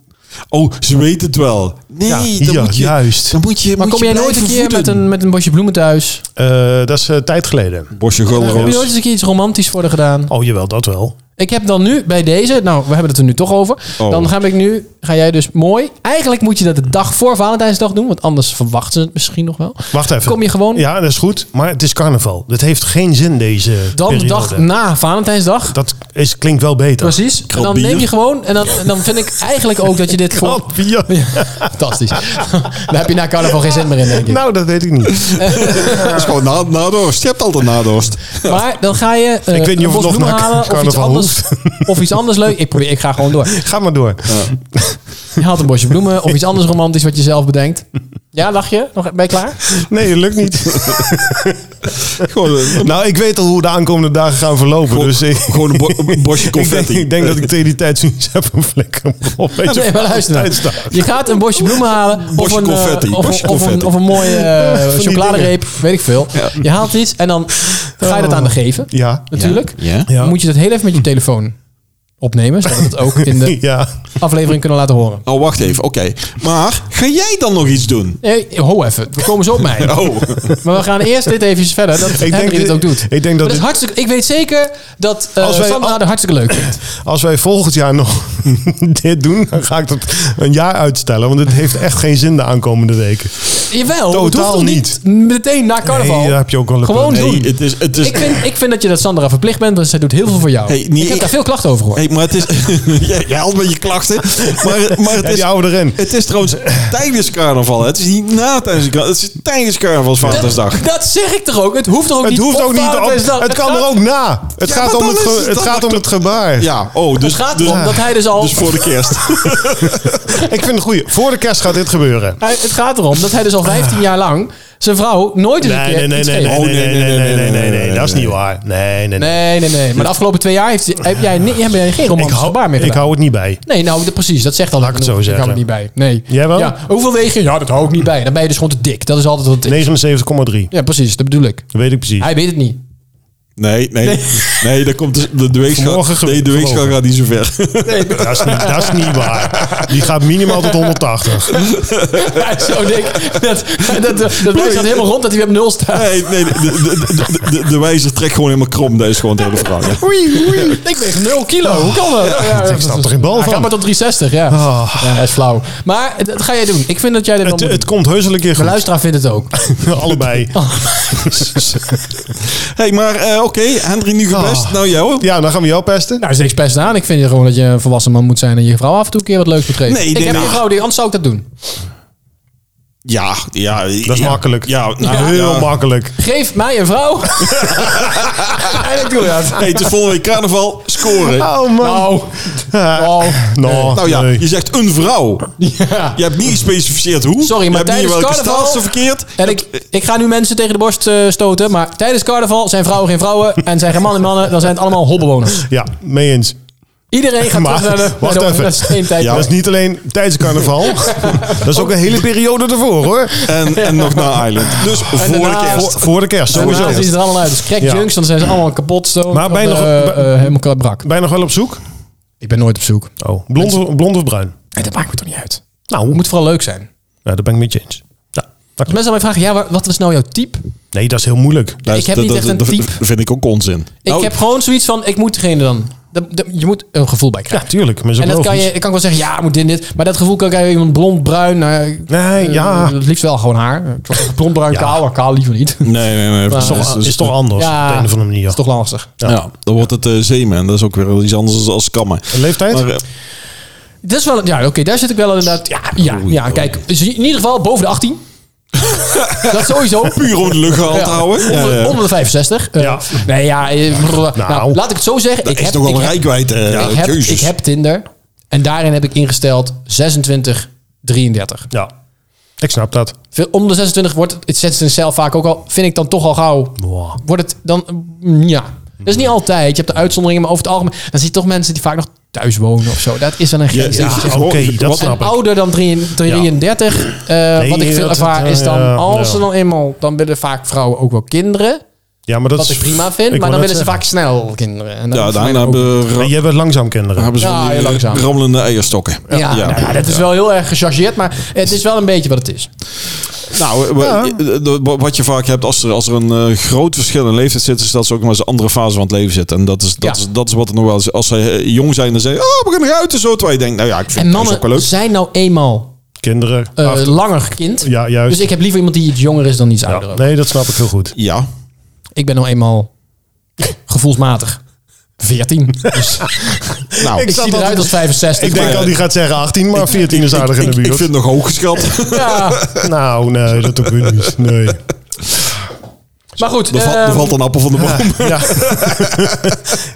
A: Oh, ze weten het wel. Nee,
C: Ja,
A: dan
C: hier,
A: moet je...
C: juist.
A: Dan moet je
B: Maar
A: moet
B: kom
A: je
B: jij nooit een
A: blijven
B: keer met
A: voeden.
B: een, met een bosje bloemen thuis?
C: eh, dat is eh, tijd geleden.
A: Bosje
B: Heb je nooit
A: gulroos.
B: eens een keer iets romantisch voor haar gedaan?
C: Oh, jawel, dat wel.
B: Ik heb dan nu bij deze, nou, we hebben het er nu toch over.
A: Oh.
B: Dan ga ik nu, ga jij dus mooi. Eigenlijk moet je dat de dag voor Valentijnsdag doen, want anders verwachten ze het misschien nog wel.
C: Wacht even.
B: Kom je gewoon
C: Ja, dat is goed. Maar het is carnaval. Dat heeft geen zin deze
B: dan de
C: periode.
B: dag na Valentijnsdag.
C: Dat is, klinkt wel beter.
B: Precies. En dan
A: bier.
B: neem je gewoon, en dan, en dan vind ik eigenlijk ook dat je dit voor.
C: Oh, ja.
B: Fantastisch. Daar heb je na carnaval geen zin meer in, denk ik.
C: Nou, dat weet ik niet.
A: Dat is gewoon na, nadorst. Je hebt altijd nadorst.
B: Maar dan ga je eh,
C: Ik weet
B: een
C: niet of
B: bos
C: het nog
B: bloemen
C: naar
B: halen of iets,
C: carnaval
B: anders, of iets anders leuk. Ik, probeer, ik ga gewoon door.
C: Ga maar door.
B: Je haalt een bosje bloemen of iets anders romantisch wat je zelf bedenkt. Ja, lach je? Nog, ben je klaar?
C: Nee, dat lukt niet.
A: Gewoon een,
C: nou, ik weet al hoe de aankomende dagen gaan verlopen. dus ik,
A: gewoon een, bo- een bosje
C: ik, denk,
A: confetti.
C: ik denk dat ik tegen die tijd zoiets heb een flikker me op. Weet je,
B: Nee, maar luister. nou.
C: tijdsdag.
B: Je gaat een bosje bloemen halen. Of
A: Bosje
B: een, eh,
A: confetti,
B: of,
A: bosje
B: of een,
A: confetti.
B: of een mooie eh,
C: Van die
B: chocoladereep. Weet ik veel. Je haalt iets en dan ga je dat aan de geven.
C: Ja.
B: Natuurlijk.
A: Ja.
C: Ja.
B: Dan moet je dat heel even met je telefoon opnemen. Zodat we dat ook in de
C: Ja.
B: aflevering kunnen laten horen.
A: Oh, wacht even. Oké. Maar ga jij dan nog iets doen?
B: Nee, ho even. We komen zo op mij.
A: Oh.
B: Maar we gaan eerst dit even verder. Dat ik
C: denk
B: Henry dit
C: dit-
B: ook doet.
C: ik denk dat
B: Maar is
C: dit-
B: hartstikke, ik weet zeker dat eh
C: Als wij
B: Sandra
C: al-
B: het hartstikke leuk vindt.
C: Als wij volgend jaar nog dit doen, dan ga ik dat een jaar uitstellen. Want het heeft echt geen zin de aankomende weken.
B: Jawel, het hoeft
C: Totaal
B: toch niet meteen na carnaval.
C: Nee, daar heb je ook wel een
B: Gewoon
C: punt.
B: doen.
A: Nee, het is... Het is
B: ik, vind, ik vind dat je dat Sandra verplicht bent, want zij doet heel veel voor jou.
A: Hey, niet-
B: ik heb daar veel klachten over gehoord.
A: Hey, maar het is. jij jij haalt met je klachten. Maar, maar het,
C: Ja,
A: is,
C: die oude erin.
A: het is trouwens tijdens carnaval. hè. Het is niet na tijdens carnaval. Het is tijdens carnavalsvadersdag.
B: dat, dat zeg ik toch ook? Het hoeft toch ook
C: Het
B: niet
C: hoeft
B: op
C: ook niet op.
B: Valentijnsdag?
C: Het kan
B: gaat-
C: er ook na. Het
A: Ja,
C: gaat
A: maar
C: om
A: dan
C: het,
A: is
C: ge-
A: het
C: het,
A: dan
C: gaat
A: nog
C: om het gebaar.
A: Ja, oh, dus,
B: Het gaat
A: dus,
B: erom dat hij dus al...
A: dus voor de kerst.
C: Ik vind het goed. Voor de kerst gaat dit gebeuren.
B: hij- het gaat erom dat hij dus al 15 jaar lang zijn vrouw nooit eens een keer iets geeft.
A: Oh, nee, nee, nee, nee, nee, nee, nee,
C: Dat is
A: nee.
C: niet waar. Nee, nee, nee.
B: Nee, nee, nee. Maar de afgelopen twee jaar heeft, heb, jij, ni- heb jij geen
C: Ik
B: romantisch gebaar
C: hou,
B: meer
C: ik
B: gedaan.
C: hou het niet bij.
B: Nee, nou de- precies. Dat zegt al
C: Laat ik het
B: genoeg.
C: zo
B: Daar gaan we niet
C: zeggen.
B: bij. Nee.
C: Jij wel?
B: Ja. Hoeveel wegen? Ja, dat hou ik niet bij. Dan ben je dus gewoon te dik. Dat is altijd wat het is.
C: 79,3.
B: Ja, precies. Dat bedoel ik.
C: Dat weet ik precies.
B: Hij weet het niet.
A: Nee, nee. Nee, daar komt de, de, de weegschaal.
C: Vanmorgen ge-
A: Nee, de weegschaal
C: gelogen.
A: gaat niet zo ver.
C: Dat is, niet, dat is niet waar. Die gaat minimaal tot 180.
B: Hij is zo dik. Dat, dat, dat, dat lijst gaat helemaal rond dat hij weer op nul staat.
A: Nee, nee. De, de, de, de, de wijzer trekt gewoon helemaal krom. Dat is gewoon de hele vraag. hè.
B: Oei, oei. Ik weeg 0 kilo. Hoe kan dat? Ja, ja,
C: Ik snap er geen bal
B: Hij gaat
C: van.
B: maar tot 360, ja.
C: Ah.
B: Ja, dat is flauw. Maar dat ga jij doen. Ik vind dat jij dit
C: Het,
B: allemaal
C: het
B: doet.
C: komt heus wel een keer
B: De
C: goed.
B: luisteraar vindt het ook.
C: Allebei.
A: hey, maar eh, oké. oké, Henry nu gepest.
C: Ah.
A: Nou, jou?
C: Ja, dan gaan we jou pesten.
B: Nou, is niks best aan. Ik vind gewoon dat je een volwassen man moet zijn en je vrouw af en toe een keer wat leuks betreft.
A: Nee, ik
B: ik
A: denk
B: heb
A: niet.
B: geen vrouw die, anders zou ik dat doen.
A: Ja, ja.
C: Dat is makkelijk.
A: Ja, nou,
C: Heel
A: ja.
C: makkelijk.
B: Geef mij een vrouw. en ik doe dat.
A: Hey, het is volgende week carnaval, scoren.
C: Oh man.
B: Nou, nou.
C: Nou,
A: nou ja,
C: nee.
A: je zegt een vrouw.
B: Ja.
A: Je hebt niet gespecificeerd hoe.
B: Sorry,
A: je
B: maar
A: hebt niet
B: tijdens
A: welke
B: carnaval-
A: staat ze verkeerd.
B: En ik, ik ga nu mensen tegen de borst eh, stoten, maar tijdens carnaval zijn vrouwen geen vrouwen en zijn geen mannen mannen, dan zijn het allemaal holbewoners.
C: Ja, mee eens.
B: Iedereen gaat
C: Maar,
B: terug naar de-
C: wacht
B: naar de-
C: even.
B: naar de steentijd.
A: Ja,
C: Dat is niet alleen tijdens carnaval. dat is ook een hele periode ervoor hoor.
A: En, en nog na Island. Dus voor de
B: daarna-
A: kerst.
C: Voor, voor de kerst,
B: Daarna
C: sowieso.
B: zien ze er allemaal uit. Dus crack
C: Ja.
B: junks, dan zijn ze allemaal kapot. Zo,
C: Maar ben je
B: eh,
C: nog-
B: eh, eh, helemaal brak.
C: Ben je nog wel op zoek?
B: Ik ben nooit op zoek.
C: Oh. Blond, of, blond of bruin?
B: Nee, dat maakt me toch niet uit.
C: Nou,
B: Het moet vooral leuk zijn.
C: ja, daar ben ik met je eens. Ja, dat
B: Als
C: klopt.
B: mensen aan mij vragen, ja, wa- wat is nou jouw type?
C: Nee, dat is heel moeilijk.
B: Ik heb
A: dat-
B: niet
A: dat-
B: echt een
A: dat-
B: type.
A: Dat vind ik ook onzin. Oh.
B: Ik
C: Nou,
B: heb gewoon zoiets van, ik moet degene dan. Dat- dat- je moet er een gevoel bij
C: Ja,
B: krijgen.
C: tuurlijk. Maar zo
B: en dat kan je,
C: logisch.
B: ik kan wel zeggen, ja, moet dit, dit. Maar dat gevoel kan ik eigenlijk iemand blond, bruin. eh,
C: Nee,
B: eh,
C: ja.
B: Het liefst wel gewoon haar. Ik was Blond, bruin,
C: Ja.
B: kaal, maar kaal liever niet.
A: Nee, nee, nee.
C: Is toch,
A: Dus-
C: is toch anders
B: Ja.
C: op de een of andere manier.
B: Dat is toch lastig.
A: ja. dan wordt het eh, zeeman. Dat is ook weer iets anders als kammen.
C: Leeftijd?
A: Maar, eh,
B: Dat is wel, een- ja, oké, daar zit ik wel inderdaad. Ja, ja,
A: Oei,
B: ja
A: oei.
B: kijk, dus in ieder geval boven de 18. dat sowieso.
A: puur om de lucht gehaald te
B: Ja.
A: houden. Ja,
B: Onder,
A: ja.
B: onder de 65. Eh,
C: Ja.
B: Nee, ja. eh, brr, nou,
C: Nou,
B: laat ik het zo zeggen.
A: Dat
B: ik
A: is
B: heb,
A: toch wel
B: ik,
A: een
B: heb,
A: rijkwijd. eh,
B: ik, heb,
A: keuzes.
B: ik heb Tinder. En daarin heb ik ingesteld 26, 33.
C: Ja, ik snap dat.
B: Veel, om de 26 wordt het- het zet in zelf vaak ook al, vind ik dan toch al gauw.
C: Wow.
B: Wordt het dan, mm, ja. Dat is niet altijd. Je hebt de uitzonderingen, maar over het algemeen. Dan zie je toch mensen die vaak nog thuis wonen of zo. Dat is dan een
A: Ja,
B: grens.
A: ja,
B: Dus Ik zeg,
C: Oké, dat snap
B: en
C: ik.
B: ouder dan 33, eh,
C: Nee,
B: wat ik
C: dat-
B: veel ervaar,
C: dat-
B: is dan
C: ja,
B: als
C: ja.
B: ze dan eenmaal, dan willen vaak vrouwen ook wel kinderen.
C: Ja, maar dat
B: Wat
C: is,
B: ik prima vind,
C: ik
B: maar
C: wou
B: dan
C: net
B: willen ze vaak
C: zeggen.
B: snel kinderen. En dan
A: Ja,
B: voor mij
A: daarna
B: ook-
A: hebben, ra-
C: Nee, jij bent langzaam kinderen.
A: hebben ze
B: Ja,
A: van die
B: heel langzaam.
A: eh, rammelende eierstokken.
B: ja, nou ja, dat is wel heel erg gechargeerd, maar het is wel een beetje wat het is.
A: Nou, eh, eh, eh, wat je vaak hebt als er, als er een eh, groot verschil in leeftijd zit, is dat ze ook nog eens een andere fase van het leven zitten. En dat is, dat
B: Ja.
A: is, dat is wat er nog wel is. Als ze eh, jong zijn, dan zeggen ze, oh, we gaan eruit en zo. Terwijl je denkt, nou ja, ik vind
B: En
A: het thuis
B: mannen
A: ook wel leuk.
B: zijn nou eenmaal
C: Kinderen.
B: eh,
C: achter-
B: langer kind.
C: Ja, juist.
B: Dus ik heb liever iemand die iets jonger is dan iets ouder.
C: ja.
B: ook.
C: Nee, dat snap ik heel goed.
A: Ja,
B: Ik ben nou eenmaal gevoelsmatig 14. Dus
A: nou.
B: ik zie eruit als 65.
C: Ik denk
B: maar-
C: al die gaat zeggen 18, maar 14 is aardig in
A: ik,
C: de
A: ik
C: buurt.
A: vind het nog hoog geschat.
B: Ja,
C: Nou, nee, dat ook weer niet. Nee.
B: maar goed.
A: Er, valt- er
B: ehm,
A: valt een appel van de boom.
C: Ja.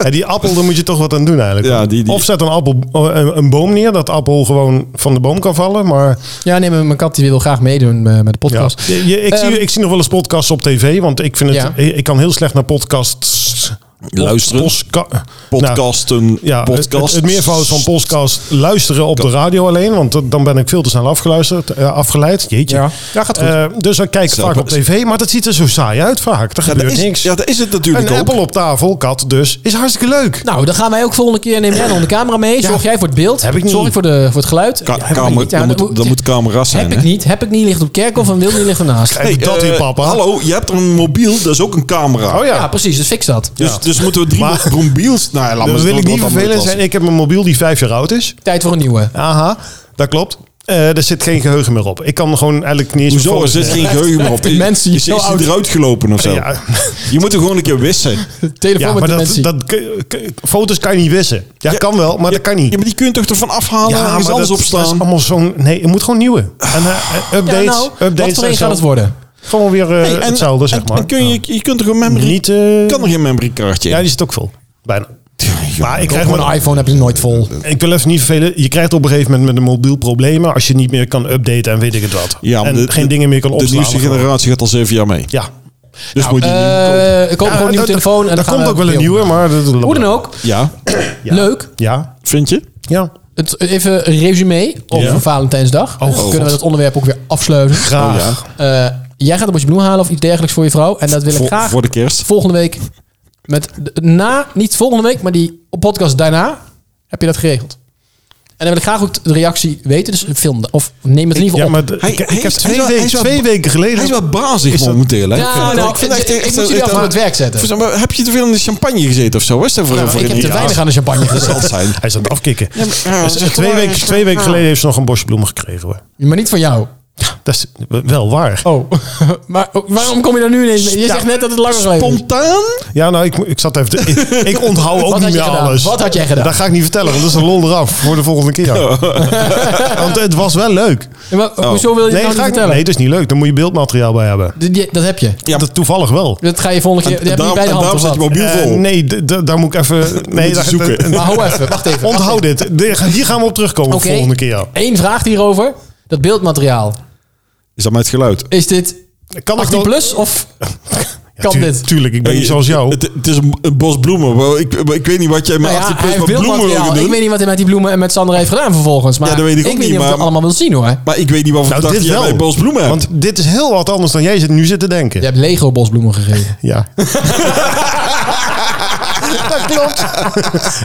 C: Ja, die appel, daar moet je toch wat aan doen eigenlijk.
A: Ja, die- die-
C: Of zet een, appel, eh, een, een boom neer, dat appel gewoon van de boom kan vallen. Maar
B: Ja, nee, maar mijn kat die wil graag meedoen eh, met de
C: ja.
B: podcast.
C: Je- je- ik, zie,
B: Ehm.
C: ik zie nog wel eens podcasts op tv, want ik, vind het,
B: Ja.
C: ik, ik kan heel slecht naar podcasts...
A: Luisteren.
C: Posca- Nou,
A: Podcasten,
C: ja,
A: podcast.
C: Het, het meervoud van podcast luisteren op de radio alleen, want dat- dan ben ik veel te snel afgeluisterd, eh, afgeleid. Jeetje.
B: Ja. Ja, gaat goed.
C: Eh, dus dan kijk ik
A: Zo,
C: vaak op
A: is-
C: tv, maar dat ziet er zo saai uit vaak. Er
A: Ja,
C: gebeurt
A: dat is,
C: niks.
A: ja, dat is het natuurlijk
C: Een
A: ook.
C: appel op tafel, kat dus, is hartstikke leuk.
B: Nou, dan gaan wij ook volgende keer neem jij dan de camera mee. Zorg jij voor het beeld.
C: Heb ik niet.
B: Zorg ik voor, de, voor het geluid.
A: Ka-
B: Ja, heb ik
A: kamer-
B: niet. Ja,
A: dan
B: dat
A: moet-
B: moet-
A: dan moet camera's zijn,
B: Heb ik
A: hè?
B: niet. Heb ik niet. Ligt op Kerkhof en wil niet ligt ernaast.
C: Kijk, dat
A: eh,
C: hier, papa.
A: Hallo, je hebt er een mobiel, dat is ook een camera.
C: Oh ja.
B: Ja, precies. Dus fix dat.
A: Dus, dus moeten we drie
C: Maar-
A: mobiels... Nou, ja, laat
C: Dan
A: maar
C: wil
A: dat
C: ik niet
A: wordt allemaal
C: vervelend
A: lastig.
C: zijn. Ik heb een mobiel die vijf jaar oud is.
B: Tijd voor een nieuwe.
C: Aha, dat klopt. Eh er zit geen geheugen meer op. Ik kan gewoon eigenlijk niet eens meer
A: Hoezo? Er
C: foto's
A: zit
C: nemen.
A: geen geheugen meer op.
B: Die mensen
A: is,
B: zo
A: is
B: oud.
A: die eruit gelopen of zo?
C: Ja,
A: Je moet er gewoon een keer wissen.
B: Telefoon
C: ja
B: met
C: maar dat,
B: dementie.
C: dat, k- k- foto's kan je niet wissen. Ja, kan wel, maar dat kan niet.
A: Ja, maar die kun je toch ervan afhalen en ergens anders
C: dat, dat is
A: opslaan?
C: allemaal zo'n... Nee, het moet gewoon nieuwe. En eh, eh, updates,
B: ja, nou, wat
C: updates
B: voor een
C: en zo.
B: gaat het worden?
C: Gewoon weer eh,
A: Hey, en-
C: hetzelfde,
A: en-
C: zeg maar.
A: En kun je, je kunt er een
C: Ja.
A: memory...
C: Niet... eh,
A: Kan er geen memory kaartje in?
C: ja, die zit ook vol. Bijna. Maar ik krijg
B: Gewoon
C: maar
B: een iPhone heb je nooit vol.
C: Ik wil even niet vervelen. Je krijgt op een gegeven moment met een mobiel problemen als je niet meer kan updaten en weet ik het wat.
A: Ja, maar
C: en
A: de-
C: geen
A: de-
C: dingen meer kan
A: De
C: opslaan.
A: nieuwste generatie gaat al zeven jaar mee.
C: Ja. Nou,
A: Dus moet je niet...
B: Eh, ik koop gewoon een nieuwe
C: dat-
B: telefoon. En
C: dat
B: dan gaan
C: komt
B: we
C: ook wel een
B: beeld.
C: nieuwe, maar... Dat,
B: Hoe dan ook.
A: Ja,
C: Ja.
B: Leuk.
C: Ja.
A: vind je?
C: Ja.
B: Het, even een resume over
C: Ja. Oh,
B: Valentijnsdag. Dan
A: God.
B: kunnen we dat onderwerp ook weer afsluiten.
C: Graag.
B: Eh, jij gaat een bosje bloemen halen of iets dergelijks voor je vrouw. En dat wil ik
A: Voor,
B: graag
A: voor de kerst.
B: volgende week. Met de- na, niet volgende week, maar die podcast daarna. Heb je dat geregeld? En dan wil ik graag ook de reactie weten. Dus film dat. of neem het in ieder
C: Ja,
B: geval op.
C: maar d-
A: Hij-
C: ik, ik
A: hij
C: heb
A: is- hij is
C: twee,
A: wel- hij
C: weken,
A: is wel-
C: twee weken geleden...
A: Hij is wel bazig
C: Is dat-
A: momenteel, hè?
B: Ja,
A: vind
B: nou, ik- ik- ik moet jullie af van het werk zetten.
A: Voor- maar Heb je te veel in de champagne gezeten of zo? Is dat voor,
B: Nou,
A: voor
B: ik
A: een-
B: heb te
A: Ja,
B: weinig aan de champagne
A: Dat zal
B: gezet.
A: het zijn.
C: Hij is aan het afkikken.
A: maar- ja,
C: Dus
A: zeg
C: twee,
A: maar-
C: weken, twee weken geleden heeft ze nog een bosje bloemen gekregen hoor.
B: Maar niet van jou.
C: Dat is wel waar.
B: Oh, maar oh, waarom kom je daar nu ineens mee? Je zegt net dat het langer geleden is.
A: Spontaan?
C: Ja, nou, ik, ik zat even... te- ik, ik onthoud ook
B: Wat
C: niet
B: had je
C: meer
B: gedaan?
C: alles.
B: Wat had jij gedaan?
C: Dat ga ik niet vertellen, want dat is een lol eraf voor de volgende keer.
A: Oh.
C: Want het was wel leuk.
B: Maar Hoezo wil je het nou
C: Oh. Nee, dat ga
B: niet
C: ik,
B: vertellen?
C: nee, dat is niet leuk. Dan moet je beeldmateriaal bij hebben.
B: Die- die- Dat heb je.
A: Ja.
C: Dat toevallig wel.
B: Dat ga je volgende keer... Die heb je niet bij de hand
A: daarom
B: of
A: staat je
B: wat?
A: mobiel
C: Eh,
A: vol.
C: nee, d- d- daar moet ik even... Nee, daar,
A: zoeken.
C: d-
B: Maar hou even, wacht even.
C: Onthoud dit. De- Hier gaan we op terugkomen
B: Oké.
C: de volgende keer.
B: Eén vraag hierover. Dat beeldmateriaal.
A: Is dat met het geluid?
B: Is dit
C: Kan ik
B: 18
C: nog-
B: plus of
C: Ja,
B: kan
C: tu-
B: dit?
C: Tuurlijk, ik ben niet zoals jou.
A: Het, het is een, een bos bloemen. Ik, ik weet niet wat jij met
B: Nou ja,
A: 18
B: hij
A: plus met bloemen
B: heeft
A: wil
B: beeldmateriaal. Ik
A: doen.
B: weet niet wat hij met die bloemen en met Sander heeft gedaan vervolgens. Maar
A: Ja, dat weet ik ook
B: weet
A: niet,
B: niet of ik
A: maar-
B: dat allemaal wil zien hoor.
A: Maar ik weet niet waarvoor
C: Nou,
A: dat
C: dit
A: jij
C: wel.
A: bij een bos bloemen hebt.
C: Want dit is heel wat anders dan jij zit nu zit te denken.
B: Je hebt Lego bosbloemen gegeven.
C: Ja. dat klopt.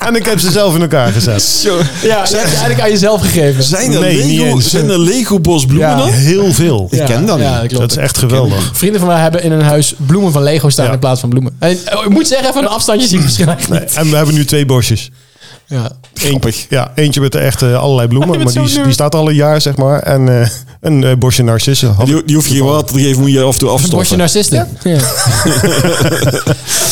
C: en ik heb ze zelf in elkaar gezet.
B: Ja, je hebt het eigenlijk aan jezelf gegeven.
A: zijn, er
C: Nee, niet
A: Lego,
C: eens.
A: zijn er Lego bos bloemen
B: Ja.
A: dan?
C: Heel veel.
A: Ik ken dat
B: ja,
A: niet.
B: klopt.
C: Dat is echt geweldig.
B: Vrienden van mij hebben in hun huis bloemen van Lego staan
C: Ja.
B: in plaats van bloemen. En, oh, ik moet zeggen, van een afstandje zie ik misschien eigenlijk niet.
C: En we hebben nu twee bosjes.
B: Ja.
A: Grappig.
C: Ja, eentje met de echte allerlei bloemen,
B: bent
C: maar
B: zo
C: die,
B: nerd.
A: eh,
C: die staat al een jaar, zeg maar. En eh, een eh, bosje narcissen. Had-
A: Die, die hoef je geen water te geven, moet je af en toe
B: Bosje
A: afstoppen.
B: narcisten. Ja.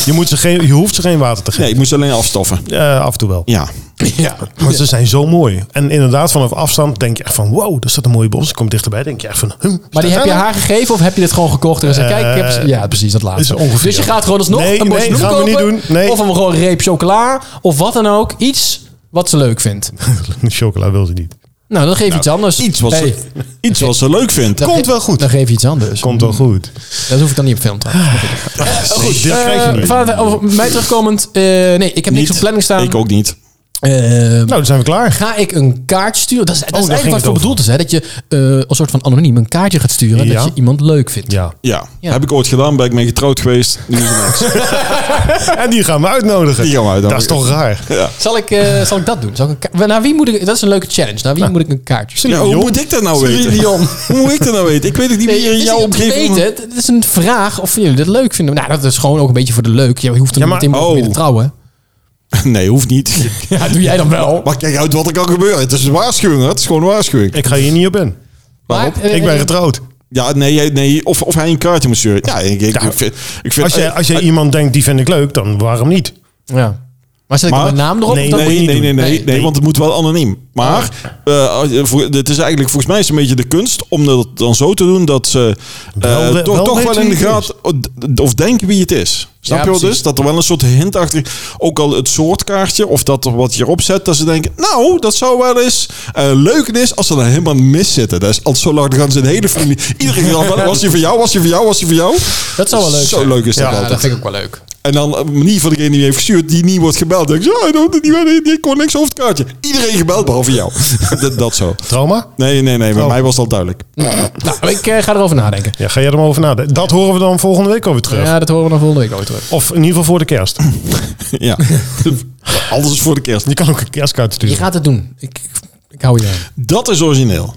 C: Je, moet ze geen, je hoeft ze geen water te geven.
A: Nee, ik moest alleen afstoffen.
C: Eh, af en toe wel.
A: Ja.
B: Ja.
C: Maar ze zijn zo mooi. En inderdaad, vanaf afstand denk je echt van... wow, daar staat een mooie bos. Ik kom dichterbij, denk je echt van... Hm,
B: Maar die heb je
C: haar.
B: haar gegeven of heb je dit gewoon gekocht? En gezegd, kijk, ik heb ze-
C: Eh,
B: ja, precies, dat laatste.
C: is ongeveer.
B: Dus je gaat gewoon alsnog
C: Nee,
B: een bosje
C: nee,
B: bloemen
C: gaan we niet
B: kopen,
C: doen. Nee.
B: Of een gewoon reep chocola. Of wat dan ook. Iets wat ze leuk vindt.
C: Chocola wil ze niet.
B: Nou, dan geef je iets anders.
A: Iets wat,
B: Hey,
A: ze, iets wat ze leuk vindt.
B: dan
C: Komt
B: ge-
C: wel goed.
B: Dan geef je iets anders.
C: Komt wel goed.
B: Dat hoef ik dan niet op film te houden.
C: Goed,
A: Dus
C: dit krijg je
B: Eh,
C: niet.
B: vader, over mij terugkomend. eh, nee, ik heb niks
A: Niet.
B: op planning staan.
A: Ik ook niet.
B: Eh,
C: Nou, dan zijn we klaar.
B: Ga ik een kaartje sturen? Dat is, dat is
C: daar
B: eigenlijk
C: ging
B: wat
C: het
B: voor
C: over.
B: bedoeld is. Hè? Dat je eh, een soort van anoniem een kaartje gaat sturen.
C: Ja.
B: Dat je iemand leuk vindt.
C: Ja.
A: Ja.
B: Ja.
A: Heb ik ooit gedaan, ben ik mee getrouwd geweest. Nu is er niks.
C: En die gaan we uitnodigen.
A: Die gaan we
C: Dat
A: uitnodigen.
C: is toch raar?
B: Zal ik, eh, zal ik dat doen? Zal ik een ka- naar wie moet ik, dat is een leuke challenge. Naar wie moet ik een kaartje sturen?
A: Ja, hoe moet ik dat nou weten?
B: Dion.
A: Hoe moet ik dat nou weten? Ik weet het niet
B: Nee,
A: meer
B: het
A: in
B: is
A: jouw
B: niet om te
A: omgeving.
B: weten. Het is een vraag of jullie dit leuk vinden. Nou, dat is gewoon ook een beetje voor de leuk. Je hoeft er
C: Ja,
B: niet
C: maar-
B: meteen
A: Oh.
B: mee te trouwen.
A: Nee, hoeft niet.
B: Ja, doe jij dan wel.
A: Maar kijk uit wat er kan gebeuren. Het is een waarschuwing. hè. Het is gewoon een waarschuwing.
C: Ik ga hier niet op in.
A: Waarop?
B: Maar, eh,
C: Ik ben getrouwd.
A: Ja, nee, jij- nee of, of hij een kaartje moet sturen. Ja, ik, ik, ik vind... Ik vind
C: Als je, als je iemand denkt, die vind ik leuk, dan waarom niet?
B: Ja. Maar zet ik dan
A: Maar-
B: mijn naam erop?
C: nee,
B: Dat
A: Nee,
B: moet je
A: nee,
B: niet
A: nee,
B: doen.
A: nee, nee,
B: Nee.
A: want het moet wel anoniem. Maar eh, als je- voor- het is eigenlijk volgens mij is een beetje de kunst om dat dan zo te doen dat ze eh,
C: Wel we-
A: toch
C: wel
A: toch
C: weten
A: wel in de
C: wie het
A: gaten of denken wie het is. Snap
B: Ja,
A: je wel
B: precies.
A: dus? Dat er wel een soort hint achter, ook al het soort kaartje of dat er wat je erop zet, dat ze denken, nou, dat zou wel eens eh, leuk is als ze er helemaal mis zitten. Dat is al zo lang, dan gaan ze een hele familie, iedereen gaat, was die voor jou, was die voor jou, was die voor jou.
B: Dat zou wel leuk
A: Zo
B: zijn.
A: leuk is dat
B: Ja,
A: altijd.
B: dat vind ik ook wel leuk.
A: En dan eh, niet van degene die heeft gestuurd, die niet wordt gebeld. Dan denk je, oh, die, die, die, die kon niks over het kaartje. Iedereen gebeld, behalve jou. dat, dat zo.
C: Trauma?
A: Nee, nee,
C: Oh.
A: nee. Bij mij was dat duidelijk.
B: Nou, ik eh, ga erover nadenken.
C: Ja, ga jij er maar over nadenken. Dat horen we dan volgende week alweer terug.
B: Ja, dat horen we dan volgende week ook terug.
C: Of in ieder geval voor de kerst.
A: ja. Alles is voor de kerst.
C: Je kan ook een kerstkaart
B: Je
C: sturen.
B: gaat het doen. Ik, ik, ik hou je aan.
A: Dat is origineel.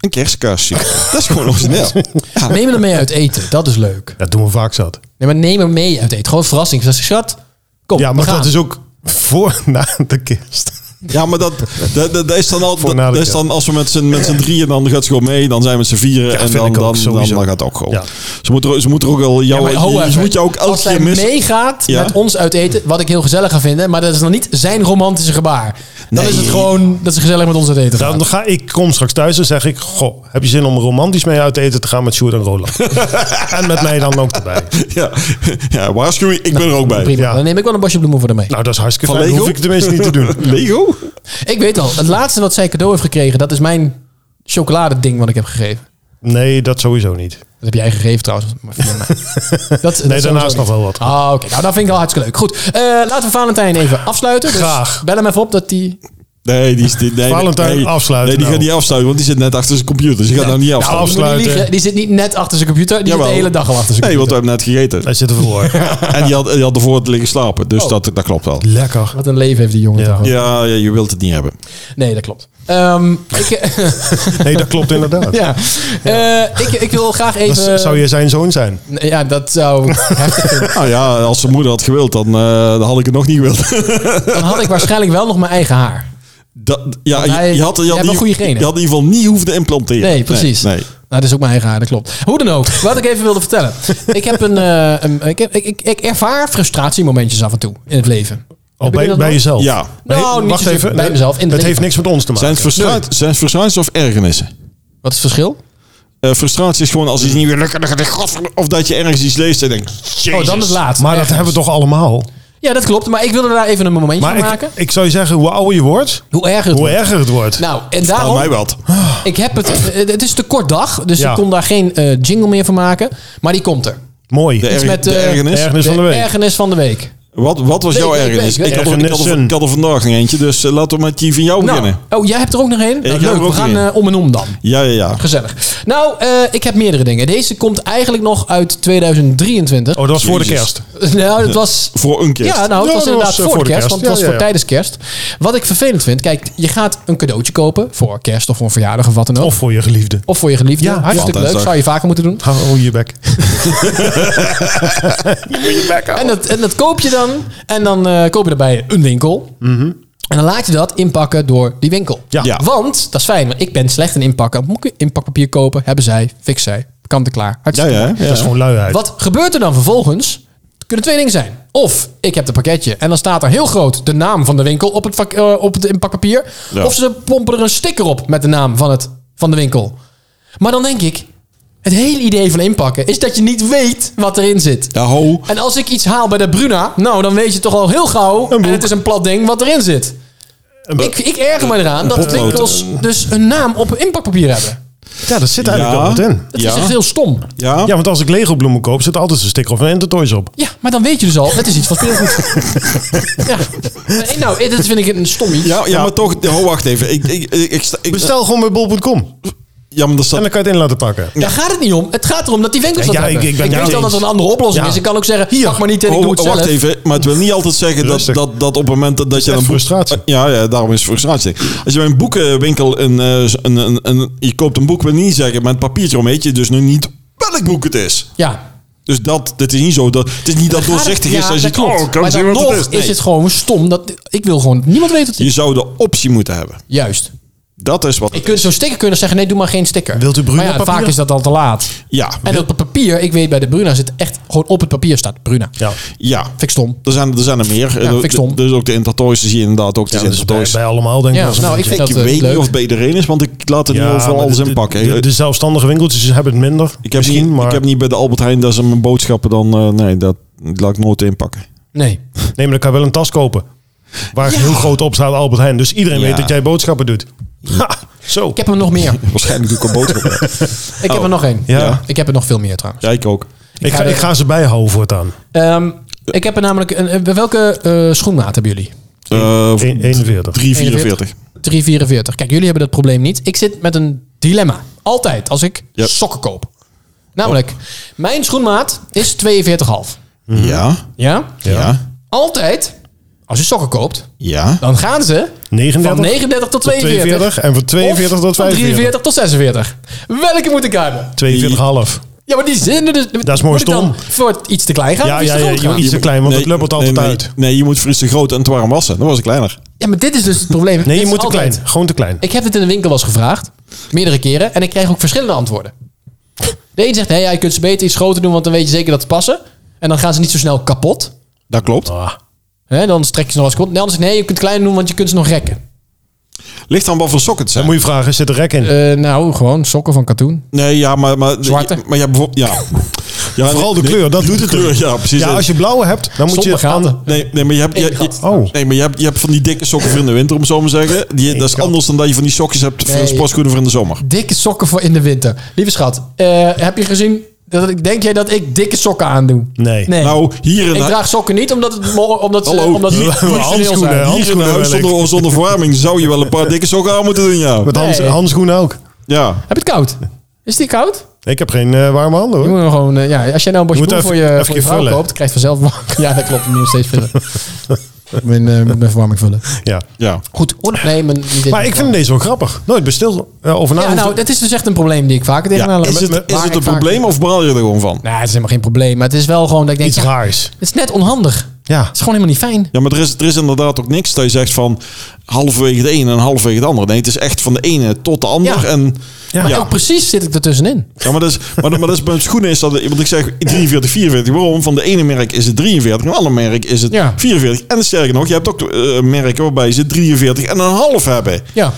A: Een kerstkaarsje. dat is gewoon origineel. Nou.
B: Neem hem mee uit eten. Dat is leuk.
C: Dat doen we vaak zat.
B: Nee, maar neem hem mee uit eten. Gewoon verrassing. Zeg, schat, kom,
C: Ja, maar
B: we gaan.
C: dat is ook voor na de kerst.
A: Ja, maar dat, dat, dat, dat is dan al.
C: Voor
A: Dat,
C: na de
A: dat is
C: kerst.
A: dan als we met z'n, met z'n drieën. dan gaat ze gewoon mee. Dan zijn we met z'n vieren. en
C: vind
A: dan,
C: ik ook
A: dan, dan, dan
C: sowieso.
A: gaat het ook gewoon.
C: Ja.
A: Ze, moet er, ze moet er ook al.
B: Ja,
A: Jou,
B: maar ho
A: je- je,
B: even.
A: dus moet je ook elke
B: Als hij
A: keer missen.
B: meegaat
A: Ja.
B: met ons uit eten, wat ik heel gezellig ga vinden, maar dat is nog niet zijn romantische gebaar. Dan
A: Nee.
B: is het gewoon dat ze gezellig met ons uit eten gaan.
C: Dan ga ik kom straks thuis en zeg ik... Goh, heb je zin om romantisch mee uit eten te gaan met Sjoerd en Roland? en met mij dan ook erbij.
A: Ja. ja, waarschuwing. Ik ben er ook bij.
B: Prima,
C: Ja.
B: dan neem ik wel een bosje bloemen voor haar mee.
C: Nou, dat is hartstikke
A: Van
C: fijn. Dat
A: Lego?
C: hoef ik tenminste niet te doen.
A: Lego?
B: Ik weet al, het laatste wat zij cadeau heeft gekregen, dat is mijn chocoladeding wat ik heb gegeven.
C: Nee, dat sowieso niet.
B: Dat heb jij gegeven trouwens. Maar voor mij. dat, dat
C: Nee,
B: sowieso
C: daarnaast
B: niet.
C: nog wel wat.
B: Ah, oké. Nou, dat vind ik al hartstikke leuk. Goed, eh, laten we Valentijn even afsluiten. Dus
C: Graag.
B: Bel hem even op dat die...
A: Nee, die is die, nee,
C: Valentijn,
A: nee,
C: afsluiten
A: Nee, die
C: nou.
A: gaat niet afsluiten, want die zit net achter zijn computer. Dus die gaat nou niet afsluiten.
C: afsluiten.
B: Moet niet liegen, die zit niet net achter zijn computer, die zit
A: Jawel.
B: de hele dag al achter zijn
A: Nee,
B: computer.
A: want we hebben net gegeten.
C: Hij zit ervoor.
A: En die had, die had ervoor te liggen slapen. Dus
B: Oh.
A: dat, dat klopt wel.
C: Lekker.
B: Wat een leven heeft die jongen
C: Ja.
B: toch. ook.
A: Ja, ja, je wilt het niet hebben.
B: Nee, dat klopt. Ehm, ik, eh,
C: Nee, dat klopt inderdaad.
B: ja. Eh, ik, ik wil graag
C: Dat
B: even...
C: z- zou je zijn zoon zijn.
B: Nee, Ja, dat zou heftig zijn.
A: Nou ja, als zijn moeder had gewild, dan, eh, dan had ik het nog niet gewild.
B: Dan had ik waarschijnlijk wel nog mijn eigen haar.
A: Dat, ja,
B: Want
A: je-
B: hij-
A: je, had, je,
B: jij
A: had
B: hebt
A: in
B: wel goede
A: ieder-
B: genen.
A: je had in ieder geval niet hoeven te implanteren.
B: Nee, precies.
A: Nee, nee.
B: Nou, dat is ook mijn eigen haar, dat klopt. Hoe dan ook, wat ik even wilde vertellen. Ik, heb een, eh, een- ik, heb, ik, ik, ik ervaar frustratiemomentjes af en toe in het leven.
C: Al
B: Heb je
C: bij,
B: dat
C: bij
B: wel?
C: jezelf.
A: Ja.
C: Nee,
B: Nou, niet
C: wacht
B: zozeer
C: even.
B: bij mezelf. In het
C: het heeft
B: leven.
C: niks met ons te maken.
A: Zijn het frustra- zijn het frustraties of ergernissen?
B: Wat is het verschil?
A: Eh, frustratie is gewoon als iets niet weer lukt. en dan gaat het, "Godver-" Of dat je ergens iets leest en denkt...
B: Oh, dan het laatste.
C: Maar dat
B: Ergens.
C: hebben we toch allemaal?
B: Ja, dat klopt. Maar ik wilde daar even een momentje
C: Maar
B: van
C: ik,
B: maken.
C: ik zou je zeggen, hoe ouder je wordt,
B: Hoe erger het
C: hoe
B: wordt.
C: erger het wordt.
B: Nou, en
A: Aan
B: daarom...
A: mij wat.
B: Ik heb het... eh, Het is te kort dag, dus
C: Ja.
B: ik kon daar geen eh, jingle meer van maken. Maar die komt er.
C: Mooi.
A: De, erg-
B: met,
A: de
B: eh,
A: ergernis.
C: ergernis van de week.
B: ergernis van de week.
A: Wat, wat was
B: Week,
A: jouw
B: week,
A: ergernis?
B: week,
A: Ik had, er, ik, had er,
C: Ergernissen.
A: ik had er vandaag nog eentje, dus eh, laten we met die van jou
B: Nou,
A: beginnen.
B: oh, jij hebt er ook nog een? Nou,
A: heb er
B: leuk, we
A: ook
B: gaan
A: een.
B: eh, om en om dan.
A: Ja, ja, ja.
B: Gezellig. Nou, eh, ik heb meerdere dingen. Deze komt eigenlijk nog uit 2023.
C: Oh, dat was voor de
A: Jezus.
C: kerst.
B: Nou, dat was...
A: Voor een keer.
B: Ja, nou, het
C: Ja,
B: was
C: dat
B: inderdaad
C: was, eh,
B: voor, de kerst, want het
C: Ja,
B: was
C: ja,
B: voor
C: ja.
B: tijdens kerst. Wat ik vervelend vind, kijk, je gaat een cadeautje kopen voor kerst of voor een verjaardag of wat dan ook.
C: Of
B: Of,
C: voor je geliefde.
B: voor je geliefde.
C: Ja,
B: hartstikke leuk.
A: Valentijnsdag.
B: Zou je vaker moeten doen.
C: Hou je bek.
B: En dat, en dat koop je dan. En dan eh, koop je daarbij een winkel. En dan laat je dat inpakken door die winkel.
C: Mhm. Ja.
A: Ja.
B: Want, dat is fijn, want ik ben slecht in inpakken. Moet ik inpakpapier kopen? Hebben zij, fix zij. Kant en klaar.
A: Ja,
B: Hartstikke
A: ja,
B: leuk.
A: ja.
C: Dat is gewoon luiheid.
B: Wat gebeurt er dan vervolgens? Het kunnen twee dingen zijn. Of ik heb het pakketje en dan staat er heel groot de naam van de winkel op het, vak- eh, op het inpakpapier.
A: Ja.
B: Of ze pompen er een sticker op met de naam van, het, van de winkel. Maar dan denk ik, het hele idee van inpakken is dat je niet weet wat erin zit.
A: Ja, ho.
B: En als ik iets haal bij de Bruna, nou dan weet je toch al heel gauw. En
C: boek.
B: het is een plat ding wat erin zit. Ik, ik erger me eraan dat
A: potlood.
B: winkels dus een naam op inpakpapier hebben.
C: Ja, dat zit eigenlijk al wat in.
B: Dat
A: ja.
B: is echt heel stom.
A: Ja.
C: Ja, want als ik Lego bloemen koop, zit altijd een sticker of een Entertoys op.
B: Ja, maar dan weet je dus al, het is iets van speelgoed. ja. Nee, Nou, dat vind ik een stom iets.
A: Ja, ja, maar toch, ho, wacht even. Ik, ik, ik, ik, sta- ik-
C: Bestel gewoon bij bol.com.
A: ja, maar dat staat-
C: En dan kan je het in laten pakken.
B: Daar gaat het niet om. Het gaat erom dat die winkels
C: Ja,
B: dat
C: ja,
B: hebben.
C: ik- ik ben jou
B: weet wel
C: eens.
B: dat er een andere oplossing
C: Ja.
B: is. Ik kan ook zeggen,
C: Hier.
B: pak maar niet en ik
A: Oh,
B: doe het zelf.
A: wacht even, maar het wil niet altijd zeggen dat,
C: Rustig.
A: dat, dat op het moment dat, dat je
C: echt
A: een boek-
C: frustratie.
A: Ja, ja, daarom is het frustratie. Als je bij een boekenwinkel een, eh, z- een, een, een- je koopt een boek, wil niet zeggen met papiertje om weet je dus nu niet welk boek het is.
B: Ja.
A: Dus dat, dit is niet zo. Dat, het is niet dat doorzichtig is
B: Ja,
A: als je
B: dat klopt.
A: oh, kan
B: maar
A: zien
B: dan
A: wat
B: nog
A: het is.
B: is
A: Nee.
B: het gewoon stom. Dat, ik wil gewoon, niemand weet het.
A: Je zou de optie moeten hebben.
B: Juist.
A: Dat is wat.
B: Ik kunt zo'n sticker kunnen zeggen, nee, doe maar geen sticker.
C: Wilt u Bruna
B: Maar ja,
C: papier?
B: vaak is dat al te laat.
A: Ja,
B: En op het papier, ik weet bij de Bruna zit echt gewoon op het papier staat Bruna.
C: Ja.
A: ja.
B: Vind ik stom.
A: Er zijn, er zijn er meer. Eh,
B: vind ik stom.
A: dus ook de Intertoys zie je inderdaad ook. Die
C: Dat is bij,
A: Intertoys.
C: bij allemaal denk ik.
B: Ja,
C: wel zo'n
B: nou, ik
C: beetje.
B: vind
A: Ik
B: dat eh,
A: weet niet
B: leuk.
A: of het iedereen is, want ik laat er nu
C: Ja,
A: overal
C: maar
A: alles
C: de-
A: in pakken.
C: De, de zelfstandige winkeltjes hebben het minder.
A: Ik heb,
C: misschien,
A: niet,
C: maar...
A: ik heb niet bij de Albert Heijn dat ze mijn boodschappen dan... eh, nee, dat laat ik nooit inpakken.
B: Nee.
C: Nee, maar dan kan je wel een tas kopen. Waar heel groot op staat Albert Heijn. Dus iedereen
A: Ja.
C: weet dat jij boodschappen doet. Ha, zo.
B: Ik heb er nog meer.
A: Waarschijnlijk doe ik een boodschappen.
B: Ik heb er nog één.
C: Ja.
B: Ik heb er nog veel meer trouwens.
A: ja, ik ook.
C: Ik ga,
B: ga-
C: ik ga ze bijhouden voortaan.
B: Ehm, ik heb er namelijk... Een, een- welke eh, schoenmaat hebben jullie?
A: Eh,
C: E- 41.
A: 3,44.
B: 3,44. Kijk, jullie hebben dat probleem niet. Ik zit met een dilemma. Altijd als ik
A: Ja.
B: sokken koop. Namelijk, mijn schoenmaat is 42,5.
C: Mhm.
A: Ja,
B: Ja?
A: ja,
B: Altijd, als je sokken koopt,
C: Nou,
A: ja.
B: dan gaan ze van
C: 39
B: 39 tot 42.
C: en van 42
B: Of
C: tot
B: van
C: 45.
B: 43 tot 46. Welke moet ik hebben?
C: 42,5.
B: Ja, maar die zinnen dus... Dat
C: is mooi
B: Dan
C: stom.
B: voor iets te klein gaan
C: Ja,
B: of iets
C: ja,
B: te
C: ja,
B: groot
C: je
B: gaan?
C: moet iets te klein, want
A: Nee,
C: het lubbelt
A: nee,
C: altijd
A: nee,
C: uit.
A: Nee, je moet fris te groot en te warm wassen. Dan was ik kleiner.
B: Ja, maar dit is dus het probleem.
C: Nee,
B: Dit
C: je
B: is
C: moet te
B: altijd-
C: klein. Gewoon te klein.
B: Ik heb dit in de winkel wel eens gevraagd. Meerdere keren. En ik kreeg ook verschillende antwoorden. De een zegt, nee, ja, je kunt ze beter iets groter doen, want dan weet je zeker dat ze passen. En dan gaan ze niet zo snel kapot.
A: Dat klopt.
C: Ah,
B: Hè, dan strek je ze nog eens kapot. De ander zegt, nee, je kunt het kleiner doen, want je kunt ze nog rekken.
A: Ligt aan wat voor sokken het
C: dan
A: zijn.
C: moet je vragen, zit er rek in?
B: Eh, nou, gewoon sokken van katoen.
A: Nee, ja, maar... maar
B: Zwarte.
A: Maar ja, bijvoorbeeld... Ja. ja
C: Vooral de
A: nee,
C: kleur, dat
A: nee,
C: doet het
A: de kleur. Ja, precies.
C: Ja, als je blauwe hebt, dan moet je
B: Zonder gaten.
C: aan...
A: Nee, nee, maar je hebt, je, je-
C: Oh.
A: nee, maar je hebt, je hebt van die dikke sokken voor in de winter, om het zo maar te zeggen. Die, dat is
C: gat.
A: anders dan dat je van die sokjes hebt voor
B: Nee.
A: sportschoenen voor in de zomer.
B: Dikke sokken voor in de winter. Lieve schat, eh, heb je gezien... Dat ik, denk jij dat ik dikke sokken aandoe?
C: Nee.
A: Nou, hier in
B: Ik
A: de,
B: draag sokken niet omdat het mo- omdat ze,
A: Hallo,
B: omdat ze
A: hier-
B: functioneel zijn.
C: handschoenen, hè?
A: Hier in
C: Handschoenen
A: huis
C: wel,
A: zonder, zonder verwarming zou je wel een paar dikke sokken aan moeten doen, ja.
C: Met hands,
B: Nee.
C: handschoenen ook.
A: Ja.
B: Heb je het koud? Is die koud?
C: Ik heb geen eh, warme handen
B: Je
C: hoor.
B: moet hem gewoon, eh, ja, als jij nou een bosje
C: Je moet
B: bloem
C: even-
B: voor je,
C: even
B: voor je vrouw
C: vullen.
B: koopt, krijg je vanzelf warm. Ja, dat klopt. Ik moet nog steeds vullen. Ik ben, eh, moet mijn verwarming vullen.
C: Ja.
A: Ja.
B: Goed. Oh, nee, mijn, niet dit.
C: Maar ik vind deze wel grappig. Nooit bestil eh, over na.
B: Ja, nou, dat is dus echt een probleem die ik vaker
A: ja.
B: tegenaan loop.
A: Is
B: Waar
A: het, is
B: ik
A: het een
B: vaak- Nou,
A: probleem of braal je er gewoon van?
B: Nee, het is helemaal geen probleem. Maar het is wel gewoon dat ik denk,
C: Iets
B: ja,
C: raars.
B: het is net onhandig.
C: Ja.
B: is gewoon helemaal niet fijn.
A: Ja, maar er is, er is inderdaad ook niks dat je zegt van halverwege de ene en halverwege de andere. Nee, het is echt van de ene tot de ander.
B: Ja.
A: En,
C: Ja.
B: Maar ook precies zit ik ertussenin.
A: Ja, maar, dat is, maar, dat- maar dat is bij schoenen is dat... Want ik zeg 43, 44. Waarom? Van de ene merk is het 43, van het andere merk is het
B: Ja.
A: 44. En sterker nog, je hebt ook eh, merken waarbij ze 43 en een half hebben.
B: Ja.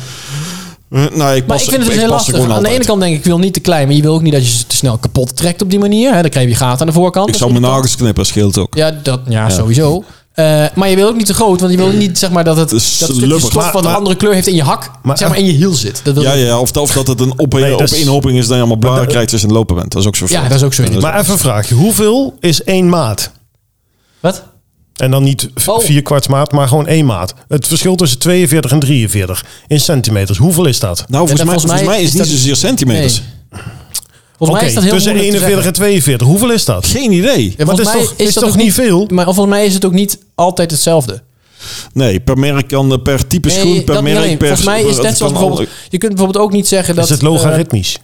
A: Eh, nou, ik
B: Maar
A: pas,
B: ik vind het dus
A: ik
B: heel
A: pas er
B: lastig.
A: gewoon
B: Aan de
A: altijd.
B: ene kant denk ik, ik wil niet te klein. Maar je wil ook niet dat je ze te snel kapot trekt op die manier. Hè? Dan krijg je gaten aan de voorkant.
A: Ik
B: Dat
A: zou
B: is
A: mijn
B: irritant.
A: nagels knippen, scheelt ook.
B: Ja, dat, ja, sowieso. Eh, maar je wil ook niet te groot, want je wil niet zeg maar, dat het dat
A: Eh, is
B: stukje
A: lubber.
B: stof
A: Maar-
B: wat een
C: maar-
B: andere kleur heeft in je hak,
C: Maar-
B: zeg maar in je hiel zit. Dat wil
A: Ja,
B: ik-
A: ja, of, dat- of dat het een op,
C: Nee, dat is-
A: opeenhoping is dat je allemaal blaren krijgt als je aan het lopen bent. Dat is ook zo
B: dat is ook zo
C: Maar even een vraagje. Hoeveel is één maat?
A: Oh,
B: Wat? Eh,
C: En dan niet v-
B: Oh.
C: vier kwarts maat, maar gewoon één maat. Het verschil tussen 42 en 43 in centimeters. Hoeveel is dat?
A: Nou, volgens
B: Ja,
A: mij,
B: dat-
A: volgens mij is het niet
B: dat- dus-
A: zozeer centimeters.
B: Nee. Volgens mij
C: Oké,
B: is dat heel
C: tussen
B: moeilijk te
C: 41 en
B: zeggen.
C: 42. Hoeveel is dat?
A: Geen idee.
B: Ja,
C: Want
B: volgens
C: is
B: mij
C: toch- is
B: dat
C: toch
B: ook
C: niet veel?
B: Maar volgens mij is het ook niet altijd hetzelfde.
A: Nee, per merk kan, eh, per type
B: Nee,
A: schoen, Dus per
B: dat niet
A: merk,
B: alleen.
A: per...
B: volgens mij is
A: het
B: net
A: kan
B: zoals bijvoorbeeld... Je kunt bijvoorbeeld ook niet zeggen dat...
C: is het
B: eh,
C: logaritmisch?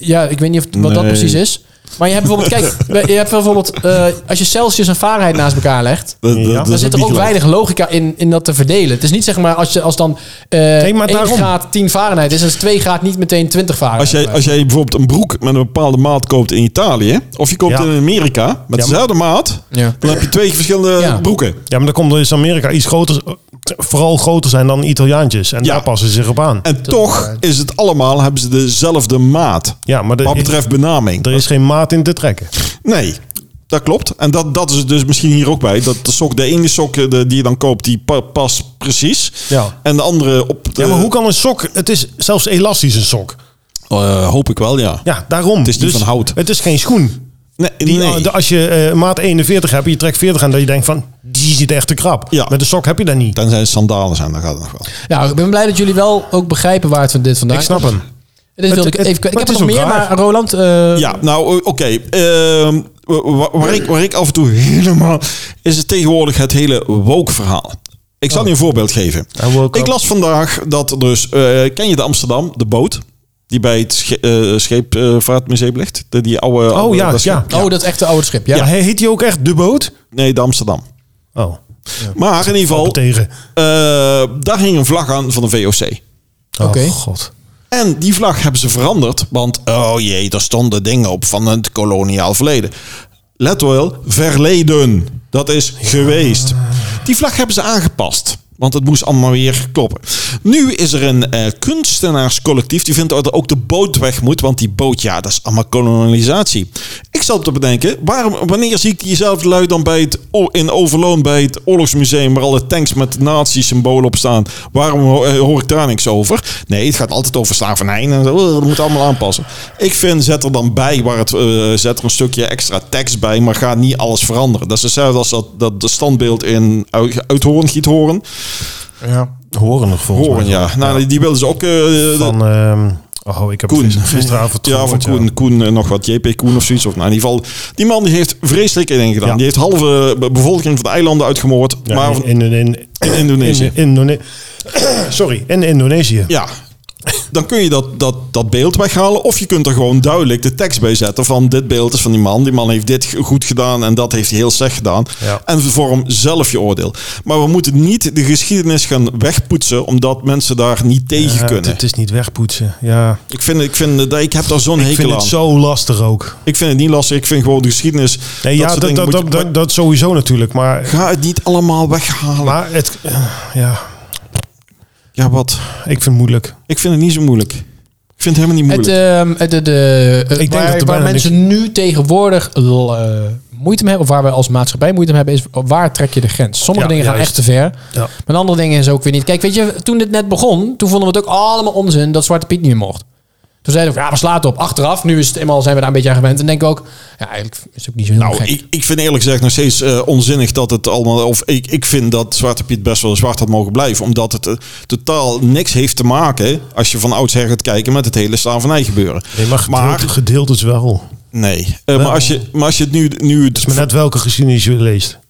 B: Ja, ik weet niet of, wat dat
A: Nee.
B: precies is. Maar je hebt bijvoorbeeld, kijk, je hebt bijvoorbeeld, eh, als je Celsius en Fahrenheit naast elkaar legt,
A: Dat- dat-
C: Ja.
A: dat
C: Dan
B: dan
A: is
B: zit er
A: niet
B: ook
A: gelijk.
B: weinig logica in, in dat te verdelen. Het is niet zeg maar als, je, als dan eh
C: maar
B: 1
C: daarom.
B: graad 10 Fahrenheit is, dan is 2 graad niet meteen 20
A: Als
B: Fahrenheit.
A: jij, als jij bijvoorbeeld een broek met een bepaalde maat koopt in Italië, of je koopt
C: Ja.
A: in Amerika met
C: Ja,
A: dezelfde maat,
B: Ja.
A: dan heb je twee verschillende
B: Ja.
A: broeken.
C: Ja, maar dan komt dus Amerika iets groter, vooral groter zijn dan Italiaantjes. En
A: Ja.
C: daar passen ze zich op aan.
A: En toch is het allemaal, hebben ze dezelfde maat.
C: Ja, maar de-
A: wat betreft benaming.
C: Er is geen maat in te trekken.
A: Nee, dat klopt. En dat, dat is het dus misschien hier ook bij. Dat de, sok, de ene sok eh, de- die je dan koopt, die pa- past precies.
C: Ja.
A: En de andere op de...
B: Eh.
C: Ja, maar hoe kan een sok... Het is zelfs elastisch een sok.
A: Eh, hoop ik wel, ja.
C: Ja, daarom. Het
A: is niet van hout.
C: Het is geen schoen.
A: Nee,
C: Die,
A: nee.
C: eh, de- Als je eh, maat 41 hebt en je trekt 40 aan, dat je denkt van, die zit echt te krap.
A: Ja.
C: Met een sok heb je dat niet.
A: Tenzij het sandalen zijn, dan gaat het nog wel.
B: Nou, ik ben blij dat jullie wel ook begrijpen waar het van dit vandaan
C: Ik snap hem.
B: Dit wilde
C: Het-
B: ik, even,
C: het-
B: ik heb er nog
C: maar het is
B: meer,
C: ook raar.
B: maar Roland... eh,
A: Ja, nou oké. Ehm, wa- waar, ik, waar ik af en toe helemaal... is het tegenwoordig het hele woke-verhaal. Ik zal je een voorbeeld geven.
C: En Oh. woke
A: Ik
C: up.
A: las vandaag dat er dus... eh, ken je de Amsterdam, de boot? Die bij het sche- eh, scheepvaartmuseum ligt? De, die oude... oude-
C: ja,
A: dat schip.
C: ja.
B: Oh, dat echte oude schip, ja.
C: Ja, heet die ook echt de boot?
A: Nee, de Amsterdam.
C: Oh,
A: Maar in ieder
C: al
A: geval,
C: tegen.
A: eh, daar hing een vlag aan van de VOC.
C: Oh,
B: Oké.
C: god.
A: En die vlag hebben ze veranderd, want oh jee, daar stonden dingen op van het koloniaal verleden. Let wel, verleden. Dat is geweest. Die vlag hebben ze aangepast. Want het moest allemaal weer kloppen. Nu is er een eh, kunstenaarscollectief. Die vindt dat er ook de boot weg moet. Want die boot, ja, dat is allemaal kolonisatie. Ik zat te bedenken. Waarom, wanneer zie ik jezelf lui dan bij het, o- in Overloon bij het Oorlogsmuseum. Waar alle tanks met nazi-symbolen op staan. Waarom ho- eh, hoor ik daar niks over? Nee, het gaat altijd over slavernij. En zo, eh, dat moet allemaal aanpassen. Ik vind, zet er dan bij. Waar het, eh, zet er een stukje extra tekst bij. Maar ga niet alles veranderen. Dat is hetzelfde als dat, dat de standbeeld in Uit- Uithoorn, Giethoorn.
C: Ja. Horen nog volgens
A: Hoorn,
C: mij.
A: ja. Nou, die- die wilden ze ook... eh, de-
C: Van, ehm, oh, ik heb
A: Koen.
C: gister- gisteravond
A: Ja, van
C: gehoord,
A: Koen, Koen eh, nog wat, JP Koen of zoiets. Of, nou, in ieder geval, die man die heeft vreselijk dingen gedaan.
C: Ja.
A: Die heeft halve be- bevolking van de eilanden uitgemoord.
C: Ja,
A: maar
C: in, in, in,
A: in Indonesië.
C: in- Indone- Sorry, in Indonesië.
A: ja, dan kun je dat, dat, dat beeld weghalen. Of je kunt er gewoon duidelijk de tekst bij zetten van dit beeld is van die man. Die man heeft dit ge- goed gedaan en dat heeft hij heel slecht gedaan.
C: Ja.
A: En vorm zelf je oordeel. Maar we moeten niet de geschiedenis gaan wegpoetsen omdat mensen daar niet tegen
C: Ja,
A: kunnen.
C: Het is niet wegpoetsen. Ja.
A: Ik vind, ik vind dat ik heb daar zo'n
C: Ik vind
A: hekel
C: het
A: aan.
C: zo lastig ook.
A: Ik vind het niet lastig. Ik vind gewoon de geschiedenis.
C: Nee, ja,
A: soort
C: dat,
A: dingen
C: dat,
A: moet
C: dat,
A: je-
C: dat, dat sowieso natuurlijk. Maar,
A: Ga het niet allemaal weghalen.
C: maar het, ja,
A: ja, wat?
C: ik vind het moeilijk.
A: Ik vind het niet zo moeilijk. Ik vind het helemaal niet
B: Het,
A: moeilijk.
B: ehm, het, de, de,
C: denk
B: waar,
C: dat er
B: waar
C: bijna
B: mensen nu tegenwoordig l- eh, moeite mee hebben, of waar we als maatschappij moeite mee hebben, is waar trek je de grens? Sommige
C: Ja,
B: dingen gaan
C: juist.
B: echt te ver,
C: Ja.
B: maar andere dingen is ook weer niet. Kijk, weet je, toen dit net begon, toen vonden we het ook allemaal onzin dat Zwarte Piet niet meer mocht. Toen zeiden we, ja, we slaan het op. Achteraf, nu is het eenmaal, zijn we daar een beetje aan gewend. En denken we ook, ja, eigenlijk is het ook niet zo heel
A: nou,
B: gek.
A: ik, ik vind eerlijk gezegd nog steeds eh, onzinnig dat het allemaal. Of ik, ik vind dat Zwarte Piet best wel zwart had mogen blijven. Omdat het eh, totaal niks heeft te maken. Als je van oudsher gaat kijken met het hele slavernij gebeuren.
C: Nee, maar
A: maar
C: gedeeld, gedeeld is wel. Dus
A: nee. Eh, maar, als je, maar als je het nu. nu het
C: Maar net welke geschiedenis je leest.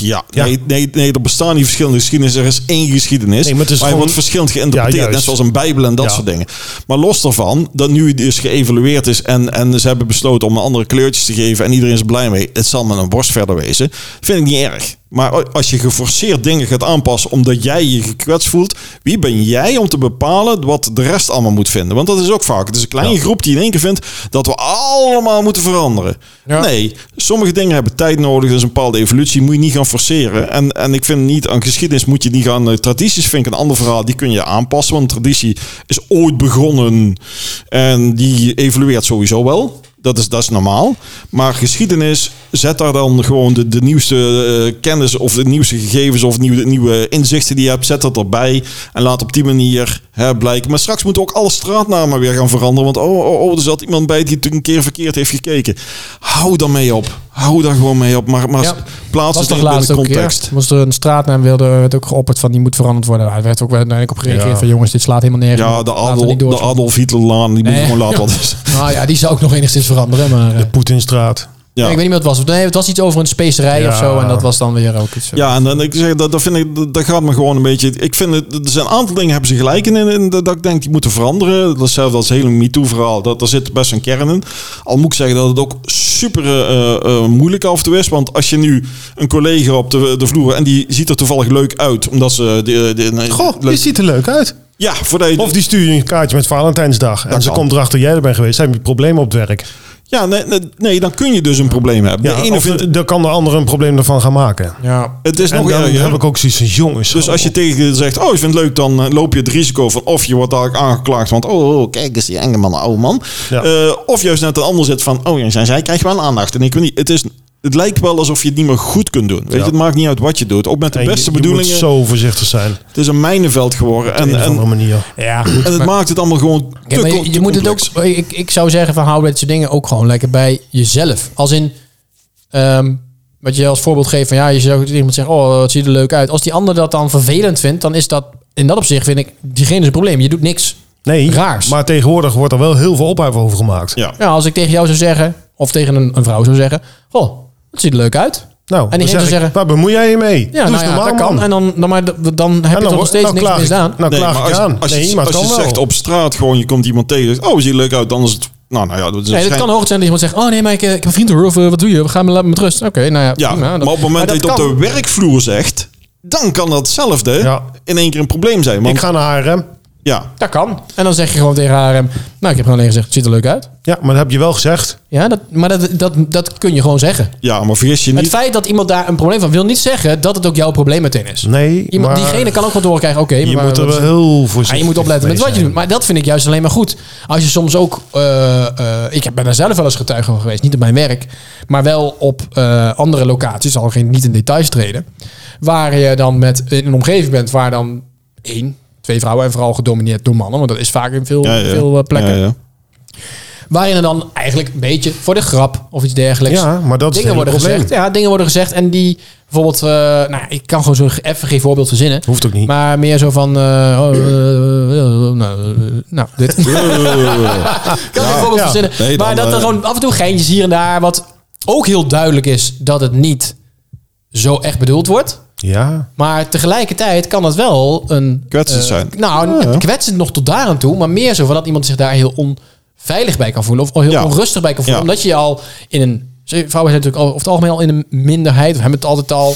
A: Ja,
C: Ja.
A: Nee, nee, nee, er bestaan niet verschillende geschiedenissen. Er is één geschiedenis.
C: Nee, maar het is
A: je
C: gewoon-
A: wordt verschillend geïnterpreteerd.
C: Ja, juist.
A: net zoals een Bijbel en dat
C: Ja.
A: soort dingen. Maar los daarvan, dat nu dus geëvalueerd is en, en ze hebben besloten om andere kleurtjes te geven en iedereen is blij mee. Het zal met een borst verder wezen. Vind ik niet erg. Maar als je geforceerd dingen gaat aanpassen omdat jij je gekwetst voelt, wie ben jij om te bepalen wat de rest allemaal moet vinden? Want dat is ook vaak. Het is een kleine groep die in één keer vindt dat we allemaal moeten veranderen.
B: Ja.
A: Nee, Nee, sommige dingen hebben tijd nodig. Dus een bepaalde evolutie moet je niet gaan forceren. En, en ik vind niet aan geschiedenis moet je niet gaan. eh, tradities vind ik een ander verhaal. Die kun je aanpassen. Want traditie is ooit begonnen. En die evolueert sowieso wel. Dat is, dat is normaal. Maar geschiedenis, zet daar dan gewoon de, de nieuwste eh, kennis of de nieuwste gegevens of nieuwe, nieuwe inzichten die je hebt, zet dat erbij. En laat op die manier hè, blijken. Maar straks moeten ook alle straatnamen weer gaan veranderen. Want oh, oh, oh, er zat iemand bij die het een keer verkeerd heeft gekeken. Hou daar mee op. Hou daar gewoon mee op. Maar, maar
B: Ja.
A: plaats
B: was
A: het
B: toch
A: in de
B: laatst ook
A: context.
B: context. Was er een straatnaam wilde, werd ook geopperd van die moet veranderd worden. Daar werd ook wel uiteindelijk op gereageerd
C: Ja.
B: van jongens, dit slaat helemaal nergens.
A: Ja,
B: op.
A: de,
B: Laten we
A: Adol,
B: niet
A: de
B: doorslaan.
A: Adolf Hitlerlaan, die moet
B: Nee.
A: je gewoon laten.
B: Ja.
A: wat is.
B: Nou ja, die zou ook nog enigszins veranderen, maar... eh,
C: Poetinstraat.
A: Ja.
B: Ik weet niet wat het was. Nee, het was iets over een specerij
C: Ja.
B: of zo. En dat was dan weer ook iets. eh.
A: Ja, en dan ik zeg, dat, dat vind ik, dat, dat gaat me gewoon een beetje. Ik vind het, er zijn een aantal dingen hebben ze gelijk in, in, in dat, dat ik denk die moeten veranderen. Dat is hetzelfde als het hele MeToo-verhaal. Dat er zit best een kern in. Al moet ik zeggen dat het ook super eh, eh, moeilijk af en toe is. Want als je nu een collega op de, de vloer en die ziet er toevallig leuk uit, omdat ze de, de, de-
C: Goh, die
A: leuk-
C: ziet er leuk uit.
A: ja, voor de,
C: Of die stuur je een kaartje met Valentijnsdag. En
A: Dat
C: ze
A: kan.
C: komt erachter, jij er bent geweest. Zijn problemen op het werk?
A: ja nee, nee, nee, dan kun je dus een probleem hebben.
C: Ja,
A: de ene
C: of
A: vindt,
C: de- dan kan de ander een probleem ervan gaan maken.
B: ja.
A: het is
C: en
A: nog
C: dan
A: erger.
C: heb ik ook zoiets van, jongens.
A: Dus als je tegen je zegt, oh, ik vind het leuk, dan eh, loop je het risico van of je wordt dadelijk aangeklaagd, want oh, oh, kijk eens die enge man, oh man.
C: Ja.
A: Eh, of juist net een ander zit van, oh, en zij krijgt wel aandacht en ik weet niet. Het, is, het lijkt wel alsof je het niet meer goed kunt doen. Weet je,
C: Ja.
A: het maakt niet uit wat je doet. Ook met de
C: En je-
A: beste
C: je
A: bedoelingen.
C: moet zo voorzichtig zijn. Op
A: Het is een mijnenveld geworden en,
C: een of
A: en,
C: andere manier.
B: Ja, goed.
A: en het maakt het allemaal gewoon te,
B: Ja, maar
A: co-
B: je,
A: te
B: je moet het ook.
A: complex.
B: Ik, ik zou zeggen van hou dat soort dingen ook gewoon lekker bij jezelf. Als in. ehm, wat je als voorbeeld geeft van ja, je zou tegen iemand zeggen, oh, het ziet er leuk uit. Als die ander dat dan vervelend vindt, dan is dat in dat opzicht vind ik diegene is een probleem. Je doet niks.
C: Nee,
B: Raars.
C: maar tegenwoordig wordt er wel heel veel ophef over gemaakt.
A: Ja.
B: Ja, als ik tegen jou zou zeggen, of tegen een, een vrouw zou zeggen, oh, het ziet er leuk uit.
C: Nou,
B: En
C: dan
B: die
C: zeg
B: ene
C: ik,
B: zeggen-
C: waar bemoei jij je mee?
B: Ja,
C: Doe
B: nou
C: eens
B: ja,
C: normaal,
B: dat kan.
C: man.
B: En dan, dan, maar, dan, heb
C: En
B: je
C: dan
B: toch nog
C: wordt-
B: steeds
C: dan
B: niks
C: klaag ik-
B: misdaan.
C: Nou,
A: Nee,
C: klaag
A: maar
C: ik
A: als,
C: aan.
A: als je,
C: nee, maar het
A: als je
C: kan wel.
A: zegt op straat gewoon, je komt iemand tegen, zegt, oh, ziet er leuk uit, dan is het, nou, nou ja, dat is
B: Nee, dat
A: waarschijn-
B: kan hoog zijn dat iemand zegt: Oh nee, maar ik, eh, ik heb een vriend hoor. Of eh, wat doe je? We gaan me laten met rust. Oké, nou ja.
A: Ja,
B: prima.
A: maar op het moment dat je het
B: kan.
A: op de werkvloer zegt, dan kan datzelfde
C: Ja.
A: in één keer een probleem zijn. Want,
C: Ik ga naar HRM.
A: ja,
B: Dat kan. En dan zeg je gewoon tegen haar: ehm, Nou, ik heb gewoon alleen gezegd: het Ziet er leuk uit.
C: Ja, maar dat heb je wel gezegd.
B: Ja, dat, maar dat, dat, dat kun je gewoon zeggen.
A: ja, maar vergis je
B: Het
A: niet.
B: feit dat iemand daar een probleem van wil niet zeggen dat het ook jouw probleem meteen is.
C: Nee,
B: Iemand,
C: maar
B: diegene kan ook wel doorkrijgen: Oké,
C: je
B: maar
C: moet er
B: wat
C: wel
B: is-
C: heel voorzichtig
B: Ja, je moet opletten met wat
C: mee
B: je
C: zijn.
B: doet. Maar dat vind ik juist alleen maar goed. Als je soms ook... eh, eh, ik heb- ben daar zelf wel eens getuige van geweest. Niet op mijn werk. Maar wel op eh, andere locaties. Al geen, niet in details treden. Waar je dan met in een omgeving bent waar dan één, twee vrouwen... en vooral gedomineerd door mannen. Want dat is vaak in veel,
A: Ja, ja.
B: veel eh, plekken.
A: Ja, ja.
B: Waarin er dan eigenlijk een beetje voor de grap of iets dergelijks...
C: Ja, maar dat is
B: dingen
C: het
B: worden
C: hele probleem.
B: gezegd. Ja, dingen worden gezegd. En die bijvoorbeeld... eh, nou, ik kan gewoon zo even geen voorbeeld verzinnen.
C: Hoeft ook niet.
B: Maar meer zo van. eh, oh, eh, eh, eh, nou, eh, nou, dit. Ik kan geen voorbeeld
C: ja.
B: verzinnen.
A: Nee, dan,
B: maar dat er
A: eh,
B: gewoon af en toe geintjes hier en daar. Wat ook heel duidelijk is dat het niet zo echt bedoeld wordt.
C: Ja,
B: Maar tegelijkertijd kan het wel een.
A: Kwetsend
B: eh,
A: zijn.
B: Nou,
A: Ja, ja.
B: kwetsend nog tot daar aan toe. Maar meer zo van dat iemand zich daar heel onveilig bij kan voelen. Of heel
A: Ja.
B: onrustig bij kan voelen.
A: Ja.
B: Omdat je al in een. Vrouwen zijn natuurlijk al, over het algemeen al in een minderheid. We hebben het altijd al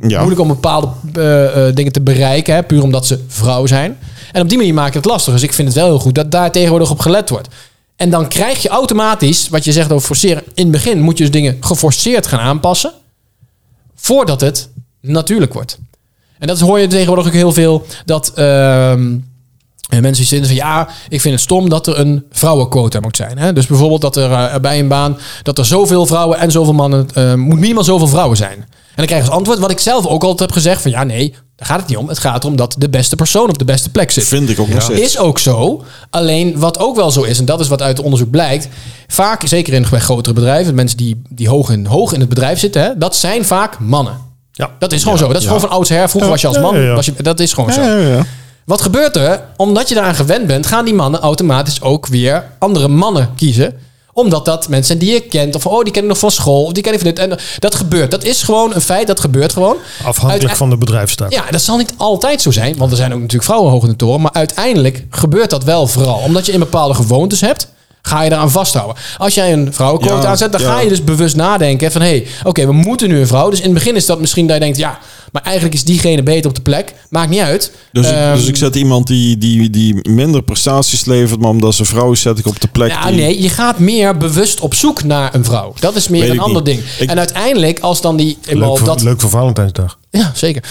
A: Ja.
B: moeilijk om bepaalde eh, eh, dingen te bereiken. Hè, puur omdat ze vrouw zijn. En op die manier maak je het lastig. Dus ik vind het wel heel goed dat daar tegenwoordig op gelet wordt. En dan krijg je automatisch, wat je zegt over forceren. In het begin moet je dus dingen geforceerd gaan aanpassen. Voordat het natuurlijk wordt. En dat hoor je tegenwoordig ook heel veel. Dat ehm, en mensen die vinden van ja, ik vind het stom dat er een vrouwenquota moet zijn. Hè? Dus bijvoorbeeld dat er eh, bij een baan dat er zoveel vrouwen en zoveel mannen eh, moet minimaal zoveel vrouwen zijn. En dan krijg je als antwoord wat ik zelf ook altijd heb gezegd van ja, nee, daar gaat het niet om. Het gaat erom dat de beste persoon op de beste plek zit.
A: Vind ik ook nog steeds.
B: Is ook zo. Alleen wat ook wel zo is, en dat is wat uit het onderzoek blijkt. Vaak, zeker in bij grotere bedrijven, mensen die, die hoog, in, hoog in het bedrijf zitten, hè, dat zijn vaak mannen.
C: Ja.
B: Dat is gewoon zo. Dat is
A: ja.
B: gewoon van oudsher. Vroeger
C: Ja,
B: was je als
C: ja,
B: man.
C: ja, ja.
B: Was je, dat is gewoon zo.
A: Ja, ja, ja.
B: Wat gebeurt er? Omdat je daaraan gewend bent, gaan die mannen automatisch ook weer andere mannen kiezen. Omdat dat mensen zijn die je kent. Of oh, die ken ik nog van school. Of die ken ik van dit. En dat gebeurt. Dat is gewoon een feit. Dat gebeurt gewoon.
C: Afhankelijk
B: Uite-
C: van de bedrijfstak.
B: Ja, dat zal niet altijd zo zijn. Want er zijn ook natuurlijk vrouwen hoog in de toren. Maar uiteindelijk gebeurt dat wel vooral. Omdat je in bepaalde gewoontes hebt, ga je eraan vasthouden. Als jij een vrouwenquota
A: Ja,
B: aanzet, dan
A: ja.
B: ga je dus bewust nadenken van... hé, hey, oké, we moeten nu een vrouw. Dus in het begin is dat misschien dat je denkt... ja, maar eigenlijk is diegene beter op de plek. Maakt niet uit.
A: Dus,
B: Ehm,
A: ik, dus ik zet iemand die, die, die minder prestaties levert, maar omdat ze vrouw is, zet ik op de plek.
B: Ja,
A: die-
B: nee, je gaat meer bewust op zoek naar een vrouw. Dat is meer
A: Weet
B: een
A: ik
B: ander
A: niet.
B: ding.
A: Ik-
B: En uiteindelijk, als dan die...
C: Leuk,
B: eenmaal
C: voor,
B: dat,
C: leuk voor Valentijnsdag.
B: Ja, zeker.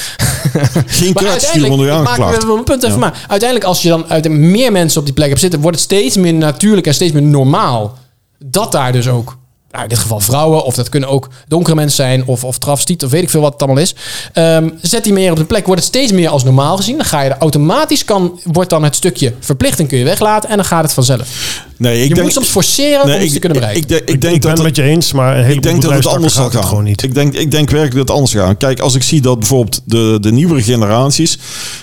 A: Geen
B: Maar
A: kaart sturen, want dan
B: uiteindelijk,
A: weer
B: ik maak
A: aangeklaagd.
B: er wel een punt even maar. Uiteindelijk, als je dan uit meer mensen op die plek hebt zitten, wordt het steeds meer natuurlijk en steeds meer normaal. Dat daar dus ook, nou, in dit geval vrouwen, of dat kunnen ook donkere mensen zijn, of, of travestiet, of weet ik veel wat het allemaal is. Ehm, zet die meer op de plek, wordt het steeds meer als normaal gezien. Dan ga je er automatisch, kan, wordt dan het stukje verplichting kun je weglaten en dan gaat het vanzelf.
A: Nee, ik
B: je
A: denk,
B: moet soms forceren
A: nee,
B: om iets
A: ik-
B: te kunnen
A: ik-
B: bereiken.
A: Ik, denk- ik
C: Ik,
A: denk
C: ik ben
A: dat
C: het met je eens, maar een
A: Ik
C: heleboel
A: denk dat het
C: bedrijfstakken
A: anders zal
C: gaat
A: gaan.
C: het gewoon niet.
A: Ik denk, ik denk werkelijk dat het anders gaat. Kijk, als ik zie dat bijvoorbeeld de, de nieuwere generaties...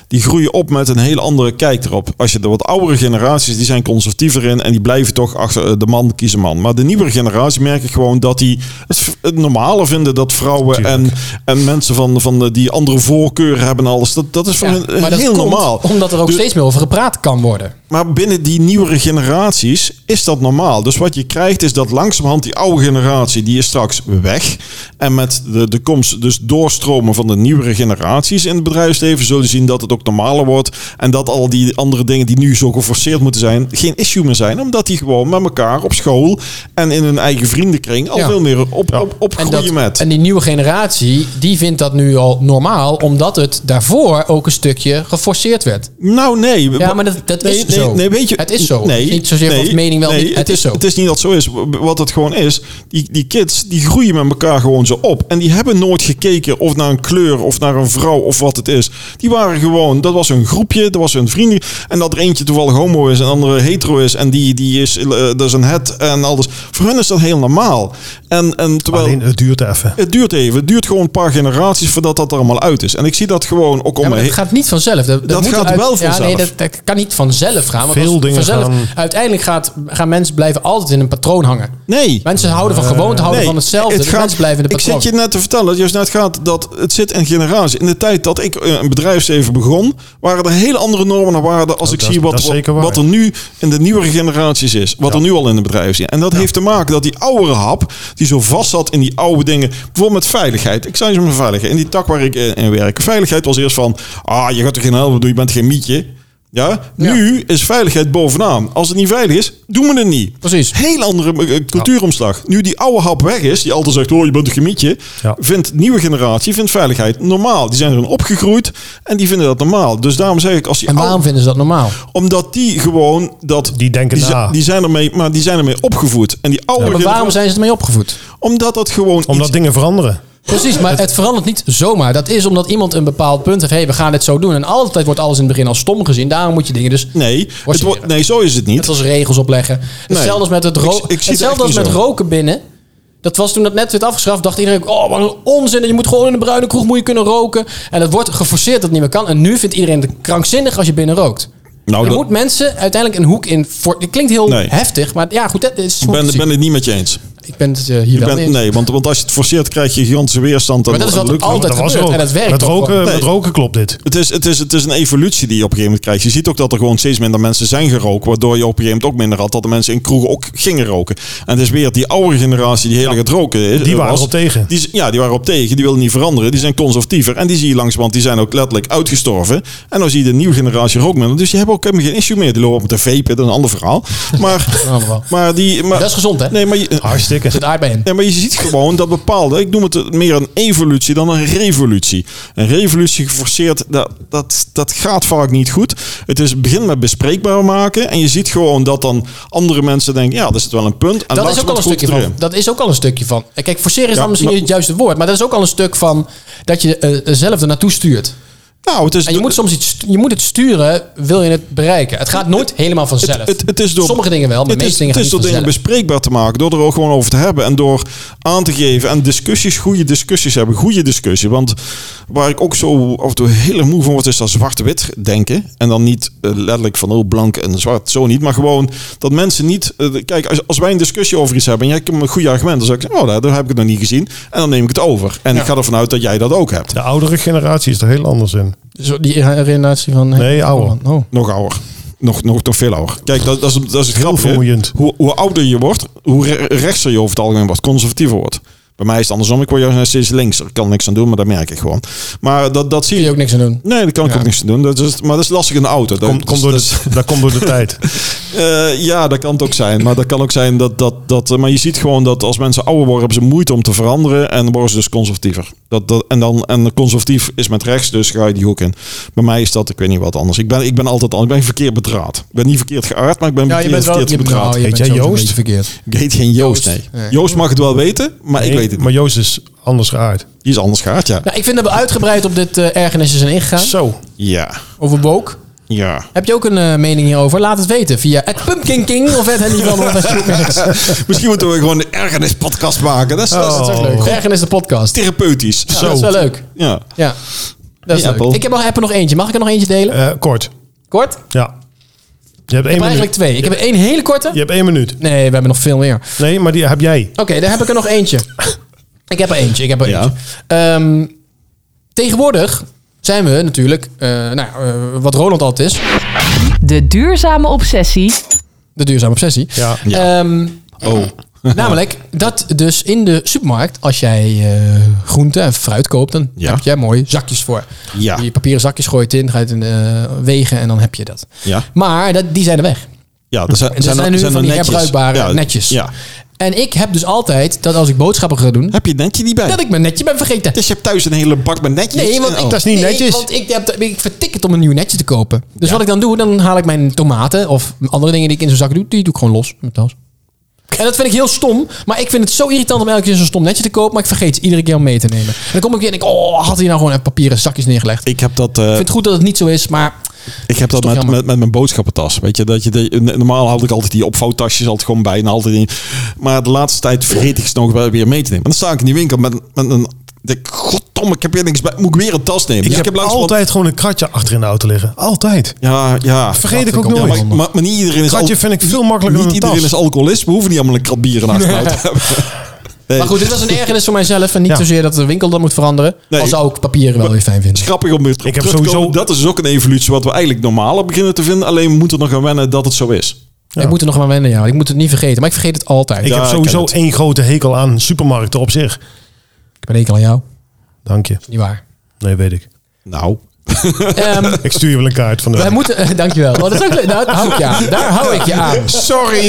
A: die groeien op met een hele andere kijk erop. Als je de wat oudere generaties, die zijn conservatiever in... en die blijven toch achter eh, de man kiezen man. Maar de nieuwere generatie merk ik gewoon dat die het, v- het normale vinden... dat vrouwen en, en mensen van, van de, die andere voorkeuren hebben en alles. Dat, dat is voor
B: Ja,
A: hen
B: maar dat
A: heel
B: komt
A: normaal.
B: omdat er ook
A: Dus-
B: steeds meer over gepraat kan worden.
A: maar binnen die nieuwere generaties is dat normaal. Dus wat je krijgt is dat langzamerhand die oude generatie, die is straks weg. En met de, de komst, dus doorstromen van de nieuwere generaties in het bedrijfsleven, zullen zien dat het ook normaler wordt. En dat al die andere dingen die nu zo geforceerd moeten zijn, geen issue meer zijn. Omdat die gewoon met elkaar op school en in hun eigen vriendenkring al
B: Ja.
A: veel meer op,
C: Ja.
A: op,
B: En,
A: opgroeien
B: dat,
A: met.
B: en die nieuwe generatie, die vindt dat nu al normaal, omdat het daarvoor ook een stukje geforceerd werd.
A: Nou, nee.
B: Ja, maar dat- dat
A: nee,
B: is
A: nee,
B: zo.
A: Nee, weet je,
B: Het is zo. Het is niet zozeer van mening wel, niet. Het is zo.
A: Het is niet dat het zo is. Wat het gewoon is, die, die kids die groeien met elkaar gewoon zo op. En die hebben nooit gekeken of naar een kleur of naar een vrouw of wat het is. Die waren gewoon, dat was hun groepje, dat was hun vrienden. En dat er eentje toevallig homo is en de andere hetero is. En die, die is, eh, dat is een het en alles. Voor hun is dat heel normaal. En, en terwijl...
C: Alleen het duurt even.
A: Het duurt even. Het duurt gewoon een paar generaties voordat dat er allemaal uit is. En ik zie dat gewoon ook om me
B: Ja, maar dat
A: heen.
B: gaat niet vanzelf. Dat,
A: Dat
B: moet
A: gaat
B: uit-
A: wel
B: Ja,
A: vanzelf.
B: nee, dat, dat kan niet vanzelf gaan. Want
C: Veel
B: als het
C: dingen
B: vanzelf,
C: gaan-
B: Uiteindelijk gaat, gaan mensen blijven altijd in een patroon hangen.
A: Nee.
B: Mensen houden van gewoonte, houden van hetzelfde.
A: Eh, het
B: dus mensen blijven in de
A: ik
B: patroon.
A: zit je net te vertellen dat juist net gaat dat het zit in generaties. In de tijd dat ik eh, een bedrijfsleven begon, waren er hele andere normen dan waarden als
C: Oh,
A: ik
C: dat-
A: zie
C: dat is
A: wat,
C: zeker waar.
A: wat er nu in de nieuwere generaties is. Wat er nu al in de bedrijven zit. En dat heeft te maken dat die oudere hap, die zo vast zat in die oude dingen, bijvoorbeeld met veiligheid. Ik zei eens met veiligheid. In die tak waar ik eh, in, in werk. Veiligheid was eerst van, ah, je gaat er geen helpen doen, je bent geen mietje. Ja, nu is veiligheid bovenaan. Als het niet veilig is, doen we het niet.
B: Precies.
A: Heel andere eh, cultuuromslag. Nu die oude hap weg is, die altijd zegt, oh, je bent een gemietje.
C: Ja.
A: Vindt nieuwe generatie, vindt veiligheid normaal. Die zijn erin opgegroeid en die vinden dat normaal. Dus daarom zeg ik, als die
B: en waarom
A: oude-
B: vinden ze dat
A: Oh,
B: normaal?
A: omdat die gewoon dat...
C: Die denken
A: die,
C: na.
A: zi- die zijn ermee, maar die zijn ermee opgevoed. En die oude
B: Maar waarom
A: generatie-
B: zijn ze ermee opgevoed?
A: Omdat dat gewoon
C: Omdat
A: iets-
C: dingen veranderen.
B: Precies, maar het verandert niet zomaar. Dat is omdat iemand een bepaald punt heeft. hey, we gaan dit zo doen. En altijd wordt alles in het begin als stom gezien. Daarom moet je dingen dus
A: Nee, het
B: Forceren.
A: wordt, nee, zo is het niet.
B: Net als regels opleggen. Hetzelfde als met het
A: Ik- ik
B: roken.
A: zie het
B: Hetzelfde
A: echt
B: als
A: niet
B: met
A: zo.
B: roken binnen. Dat was toen dat net werd afgeschaft. Dacht iedereen, oh wat een onzin. En je moet gewoon in de bruine kroeg moet je kunnen roken. En dat wordt geforceerd dat het niet meer kan. En nu vindt iedereen het krankzinnig als je binnen rookt.
A: Nou,
B: je
A: dat
B: moet mensen uiteindelijk een hoek in... Voor, dit klinkt heel
A: Nee.
B: heftig, maar ja goed, dat is
A: ik
B: gewoon
A: ben,
B: fysiek.
A: ben het niet met je eens.
B: Ik ben het eh, hier
A: Ik
B: wel
A: ben-
B: mee eens.
A: nee, want, want als je het forceert, krijg je gigantische weerstand. en-
B: Maar dat is
A: en
B: wat
A: lukt-
B: altijd
C: Dat was er
B: gebeurt.
C: ook.
B: En dat werkt
C: met,
B: toch
C: roken,
B: gewoon.
A: Nee.
C: met roken klopt dit.
A: Het is, het, is, het is een evolutie die je op een gegeven moment krijgt. Je ziet ook dat er gewoon steeds minder mensen zijn gerookt. Waardoor je op een gegeven moment ook minder had dat de mensen in kroegen ook gingen roken. En het is weer die oude generatie die heel erg het roken is.
C: Die waren
A: was.
C: erop tegen.
A: Die, z- ja, die waren op tegen. Die wilden niet veranderen. Die zijn conservatiever. En die zie je langs, want die zijn ook letterlijk uitgestorven. En dan zie je de nieuwe generatie rookmiddelen. Dus die hebben ook helemaal geen issue meer. Die lopen met de vapen, dat is een ander verhaal. Maar,
B: Allemaal.
A: maar die... Maar,
B: Dat is gezond, hè?
A: Nee, maar je,
C: Hartstikke.
B: Zit aardbei in.
A: Nee, maar je ziet gewoon dat bepaalde, ik noem het meer een evolutie dan een revolutie. Een revolutie geforceerd, dat, dat, dat gaat vaak niet goed. Het is begin met bespreekbaar maken en je ziet gewoon dat dan andere mensen denken, ja, dat is wel een punt. En
B: dat is ook al
A: langzamerhand
B: een
A: groeit
B: stukje
A: het
B: van.
A: erin.
B: Dat is ook al een stukje van. En Kijk, forceren is
A: Ja,
B: dan misschien
A: maar-
B: niet het juiste woord, maar dat is ook al een stuk van dat je eh, zelf er naartoe stuurt.
A: Nou, het is,
B: En je moet soms iets, stu- je moet het sturen, wil je het bereiken. Het gaat nooit helemaal vanzelf.
A: Het, het is door,
B: Sommige dingen wel, maar
A: het is,
B: de meeste dingen
A: het
B: gaan
A: is door
B: niet
A: dingen
B: vanzelf.
A: bespreekbaar te maken, door er ook gewoon over te hebben en door aan te geven en discussies, goede discussies hebben, goede discussie. Want waar ik ook zo af en toe heel erg moe van word, is dat zwart-wit denken. En dan niet eh, letterlijk van oh blank en zwart, zo niet, maar gewoon dat mensen niet. eh, kijk, als, als wij een discussie over iets hebben en jij hebt een goed argument, dan zeg ik, oh daar, daar heb ik het nog niet gezien. En dan neem ik het over. En ik ga ervan uit dat jij dat ook hebt.
C: De oudere generatie is er heel anders in.
B: Zo, die herinneratie van...
C: Nee, ouder.
B: Oh, man. Oh.
A: Nog ouder. Nog, nog, nog veel ouder. Kijk, dat, dat is, dat is het grappige. hè.
C: vermoeiend.
A: Hoe, hoe ouder je wordt, hoe re- rechtser je over het algemeen wordt, conservatiever wordt. Bij mij is het andersom. Ik word juist steeds linkser. Ik kan er niks aan doen, maar dat merk ik gewoon. Maar dat, dat zie
B: Kun je
A: je.
B: ook niks aan doen.
A: Nee, daar kan ik ook niks aan doen. Dat is, maar dat is lastig in de auto. Dat,
C: Komt komt door
A: dus dat-
C: de- Dat komt door de tijd.
A: eh, ja, dat kan het ook zijn. Maar dat kan ook zijn dat, dat, dat... eh, Maar je ziet gewoon dat als mensen ouder worden... hebben ze moeite om te veranderen. En dan worden ze dus conservatiever. Dat, dat, en, dan, en conservatief is met rechts, dus ga je die hoek in. Bij mij is dat, ik weet niet wat anders. Ik ben, ik ben altijd anders. Ik ben verkeerd bedraad. Ik ben niet verkeerd geaard, maar ik ben
B: Ja, je
A: verkeerd,
B: bent wel... Je,
A: verkeerd
B: bent-
A: bedraad.
B: nou, je
C: Heet
B: bent
C: jij
B: sowieso een
C: Joost?
B: beetje verkeerd.
A: Ik heet geen Joost,
B: Joost.
A: nee.
B: Nee.
A: Joost mag het wel weten, maar ik
C: Nee,
A: weet het
C: Maar
A: niet.
C: Joost is anders geaard.
A: Die is anders geaard, ja.
B: Nou, ik vind dat we uitgebreid op dit eh ergernissen zijn ingegaan.
C: Zo.
A: Ja,
B: Over woke.
A: ja.
B: Heb je ook een eh, mening hierover? Laat het weten via het Pumpkin King of het Henny van Dat
A: Misschien moeten we gewoon een ergernispodcast maken. Dat is, dat is- dat is
B: is
A: ook
B: ook leuk. Ergernis de podcast.
A: therapeutisch.
B: Oh. Ja,
A: Zo.
B: Dat is wel leuk.
A: Ja.
B: Ja. Dat is
A: Hey,
B: leuk.
A: Apple.
B: Ik heb, al, heb er nog eentje. Mag ik er nog eentje delen?
C: Eh, kort.
B: Kort? Ik
C: Ja. Je hebt één
B: heb
C: minuut.
B: eigenlijk twee. Ik heb één hele korte.
C: Je hebt één minuut.
B: Nee, we hebben nog veel meer.
C: Nee, maar die heb jij.
B: Oké, daar heb ik er nog eentje. Ik heb er eentje, ik heb er
A: Ja.
B: eentje. Ehm, tegenwoordig zijn we natuurlijk, eh, nou, ja, eh, wat Roland altijd is,
D: De duurzame obsessie.
B: de duurzame obsessie.
C: Ja.
B: Ehm,
A: Oh.
B: namelijk dat dus in de supermarkt, als jij groenten groente en fruit koopt, dan
A: Ja.
B: heb jij mooie zakjes voor.
A: Ja.
B: Die papieren zakjes gooi je het in, ga je het in eh, wegen en dan heb je dat.
A: Ja.
B: Maar dat, die zijn er weg.
A: Ja, er zijn,
B: En zijn,
A: er-
B: zijn nu
A: zijn er
B: van die
A: netjes.
B: herbruikbare
A: Ja,
B: netjes.
A: Ja.
B: En ik heb dus altijd dat als ik boodschappen ga doen,
A: Heb je het netje niet bij?
B: dat ik mijn netje ben vergeten.
A: Dus je hebt thuis een hele bak met netjes?
B: Nee, want ik,
A: Oh.
C: dat is niet
B: nee,
C: netjes.
B: Want ik, heb, ik vertik het om een nieuw netje te kopen. Dus wat ik dan doe, dan haal ik mijn tomaten of andere dingen die ik in zo'n zak doe, die doe ik gewoon los met mijn tas. En dat vind ik heel stom, maar ik vind het zo irritant om elke keer zo'n stom netje te kopen, maar ik vergeet ze iedere keer om mee te nemen. En dan kom ik weer en denk, oh, had hij nou gewoon een papieren zakjes neergelegd. Ik
A: Ik heb dat, eh,
B: vind het goed dat het niet zo is, maar
A: ik heb dat
B: toch
A: met,
B: jammer.
A: met, met mijn boodschappentas. Weet je, dat je de, normaal had ik altijd die opvouwtasjes altijd gewoon bij. En altijd in, maar de laatste tijd vergeet ik ze nog wel weer mee te nemen. En dan sta ik in die winkel met, met een... Denk, Goddomme, ik heb hier niks bij. Moet ik weer een tas nemen?
C: Ik
A: Dus
C: heb,
A: laatst wat-
C: altijd gewoon een kratje achter in de auto liggen. Altijd.
A: Ja, ja.
C: Vergeet ik ook
A: Ja,
C: nooit.
A: maar, maar, maar niet iedereen is...
C: Kratje vind ik veel makkelijker
A: Niet
C: dan een
A: iedereen
C: tas.
A: is alcoholist. We hoeven niet allemaal een krat bier in achteruit te hebben. Nee.
B: Maar goed, dit was een ergernis voor mijzelf en niet
C: Ja.
B: zozeer dat de winkel dat moet veranderen.
A: Nee.
B: Al zou ik papieren wel weer fijn vinden.
A: Het is grappig om weer
C: Ik
A: ik
C: heb
A: heb sowieso...
C: sowieso-
A: Dat is ook een evolutie wat we eigenlijk normaler beginnen te vinden. Alleen we moeten er nog aan wennen dat het zo is.
B: Ik moet er nog aan wennen, ja. Ik moet het niet vergeten, maar ik vergeet het altijd.
C: Ik
A: Ja,
C: heb
A: ik ken
C: sowieso
A: het.
C: één grote hekel aan supermarkten op zich.
B: Ik ben enkel aan jou.
C: Dank je.
B: Niet waar.
C: Nee, weet ik.
A: Nou,
B: Ehm,
C: Ik stuur je wel een kaart van de...
B: Wij moeten, eh, dankjewel. Oh, dat is ook leuk. Nou, daar hou ik je aan. Daar hou ik je aan.
A: sorry.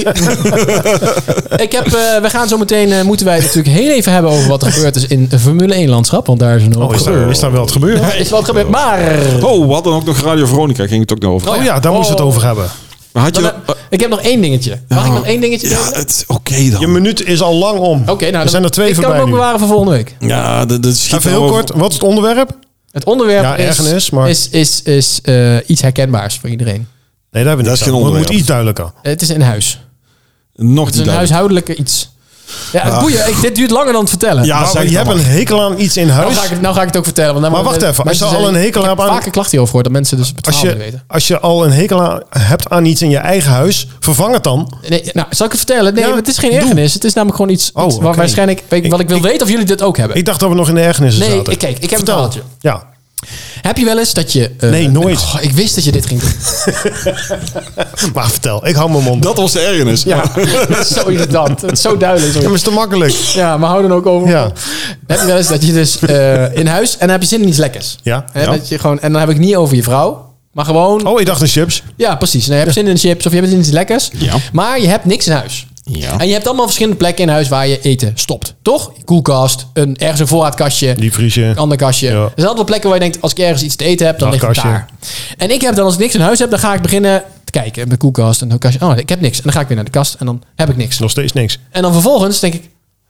B: Ik heb, eh, we gaan zo meteen, eh, moeten wij het natuurlijk heel even hebben over wat er gebeurd is in Formule 1 landschap. Want daar is een hoop
C: Oh, is daar,
B: gebeurd.
C: is daar wel het gebeurd?
B: Er is wat gebeurd, maar...
A: Oh, we hadden ook nog Radio Veronica. Ging het ook nog over.
C: Oh ja, daar moest het over hebben.
A: Maar had je...
B: Dan, eh, ik heb nog één dingetje. Mag ik nog één dingetje
A: ja,
B: delen?
A: het is oké dan.
C: Je minuut is al lang om.
B: Oké, nou,
C: er
B: dan-
C: zijn er twee
B: ik kan
C: voorbij
B: hem ook
C: nu.
B: bewaren voor volgende week.
A: Ja, dat, dat schiet
C: Even
A: er
C: heel
A: over.
C: kort, wat is het onderwerp?
B: Het onderwerp
C: Ja,
B: is,
C: ergernis, maar-
B: is, is, is eh, iets herkenbaars voor iedereen. Eh,
C: Nee, daar hebben we niet
A: Dat is geen
C: aan. Maar Het
A: onderwerp. Ah,
C: moet iets duidelijker.
B: Het is in huis.
A: Nog
B: Het is
A: niet
B: een
A: duidelijk.
B: huishoudelijke iets. Ja,
C: Ah.
B: het boeien. Ik, dit duurt langer dan het vertellen.
A: Ja,
C: maar
A: zeg het
C: je
A: dan
C: hebt een hekel aan iets in
B: Nou
C: huis.
B: ga, ik, het- nou ga ik het ook vertellen. Want dan
C: Maar wacht
B: eh,
C: even, als
B: mensen
C: je al
B: zeggen-
C: een hekel
B: ik heb
C: hebt aan-
B: Vaker klacht hierover gehoord dat mensen dus het
C: Als
B: verhaal niet
C: je,
B: weten.
C: als je al een hekel aan, hebt aan iets in je eigen huis, vervang het dan.
B: Nee, nou, zal ik het vertellen? Nee,
C: Ja,
B: het is geen
C: doe.
B: ergernis. Het is namelijk gewoon iets,
C: Oh,
B: iets waar
C: oké.
B: waarschijnlijk... Weet, ik- wat ik wil
C: Ik-
B: weten of jullie dit ook hebben.
C: Ik dacht dat we nog in de ergernissen
B: nee,
C: zaten.
B: ik, kijk, ik heb
C: Vertel.
B: een verhaaltje.
C: Ja,
B: Heb je wel eens dat je... eh,
C: Nee, nooit.
B: oh, ik wist dat je dit ging doen.
C: maar vertel. Ik hou mijn mond.
A: Dat was de ergernis.
B: Ja, dat is zo irritant. Het is zo duidelijk.
C: Ja,
B: Zo.
C: maar is te makkelijk.
B: Ja, maar hou dan ook over.
C: Ja.
B: Heb je wel eens dat je dus eh, in huis... En dan heb je zin in iets lekkers.
C: Ja.
B: Hè,
A: Ja.
B: Dat je gewoon, en dan heb ik niet over je vrouw. Maar gewoon...
C: Oh, ik dacht een chips.
B: Ja, precies. Nou, je hebt zin in chips of je hebt zin in iets lekkers.
A: Ja.
B: Maar je hebt niks in huis.
A: Ja.
B: En je hebt allemaal verschillende plekken in huis waar je eten stopt. Toch? Koelkast, een, ergens een voorraadkastje.
C: Die
B: Een
C: vriesje.
B: ander kastje.
C: Ja.
B: Er zijn altijd wel plekken waar je denkt, als ik ergens iets te eten heb, dan ligt het daar.
C: Nachtkastje.
B: En ik heb dan, als ik niks in huis heb, dan ga ik beginnen te kijken. Mijn koelkast en een kastje. Oh, ik heb niks. En dan ga ik weer naar de kast en dan heb ik niks.
C: Nog steeds niks.
B: En dan vervolgens denk ik,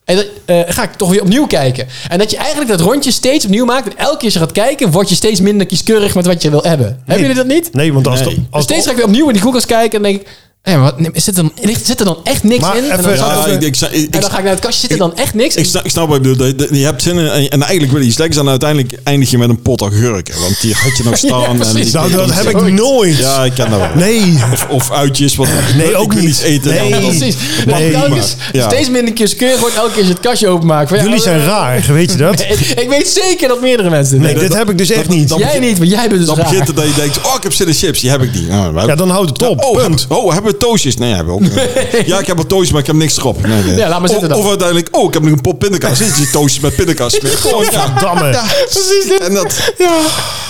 B: En dat, eh, ga ik toch weer opnieuw kijken. En dat je eigenlijk dat rondje steeds opnieuw maakt. En elke keer als je gaat kijken, word je steeds minder kieskeurig met wat je wil hebben. Hebben jullie dat niet? Dus
C: Nee, want als,
A: Nee.
C: de- als
B: steeds
C: de-
B: ga ik weer opnieuw in die koelkast kijken en denk ik... Hé, maar wat, nee, zit, er dan, ligt- zit er dan echt niks
C: Maar
B: in? en, dan
C: even-
B: ga ik
A: Ja,
B: over-
A: ik- ik- ik-
B: en dan ga ik naar het kastje, zit er dan echt niks?
A: Ik snap, ik snap wat ik bedoel. Dat- dat- Je hebt zin in en, en eigenlijk wil je iets lekkers en uiteindelijk eindig je met een pot agurken. Want die had je nog staan. en
B: precies.
A: die-
C: Nou, dat
A: die-
C: heb
A: die-
C: ik nooit.
A: Ja, ik ken dat wel.
C: Nee.
A: Of, of uitjes. Wat,
C: Nee,
A: ik
C: ook
A: wil
C: niet.
A: iets eten.
C: Nee.
A: dan- dan-
B: Precies.
C: Nee,
B: Maar telkens
A: maar- ja.
B: Steeds minder kieskeurig wordt elke keer als je het kastje openmaakt. Van, ja,
C: Jullie zijn
B: eh,
C: raar, weet je dat?
B: Ik, ik weet zeker dat meerdere mensen dit
C: Nee, dit heb ik dus echt niet.
B: doen. Jij niet, want jij bent dus
A: Dan
B: raar.
A: begint het dat je denkt, oh, ik heb zin in chips. Die heb ik niet. Nou, we
C: Ja,
A: hebben-
C: dan houdt het op.
A: Oh,
C: Punt.
A: hebben- oh, hebben we toosjes? Nee, hebben we ook niet. Ja, ik heb wel toosjes, maar ik heb niks erop. Nee, nee.
B: Ja, laat maar zitten
A: of,
B: dan.
A: of uiteindelijk, oh, ik heb nog een pot pindakaas. Zit je toosjes met pindakaas? weer? Gewoon, ja.
C: Damme.
A: Precies. En, dat,
B: Ja,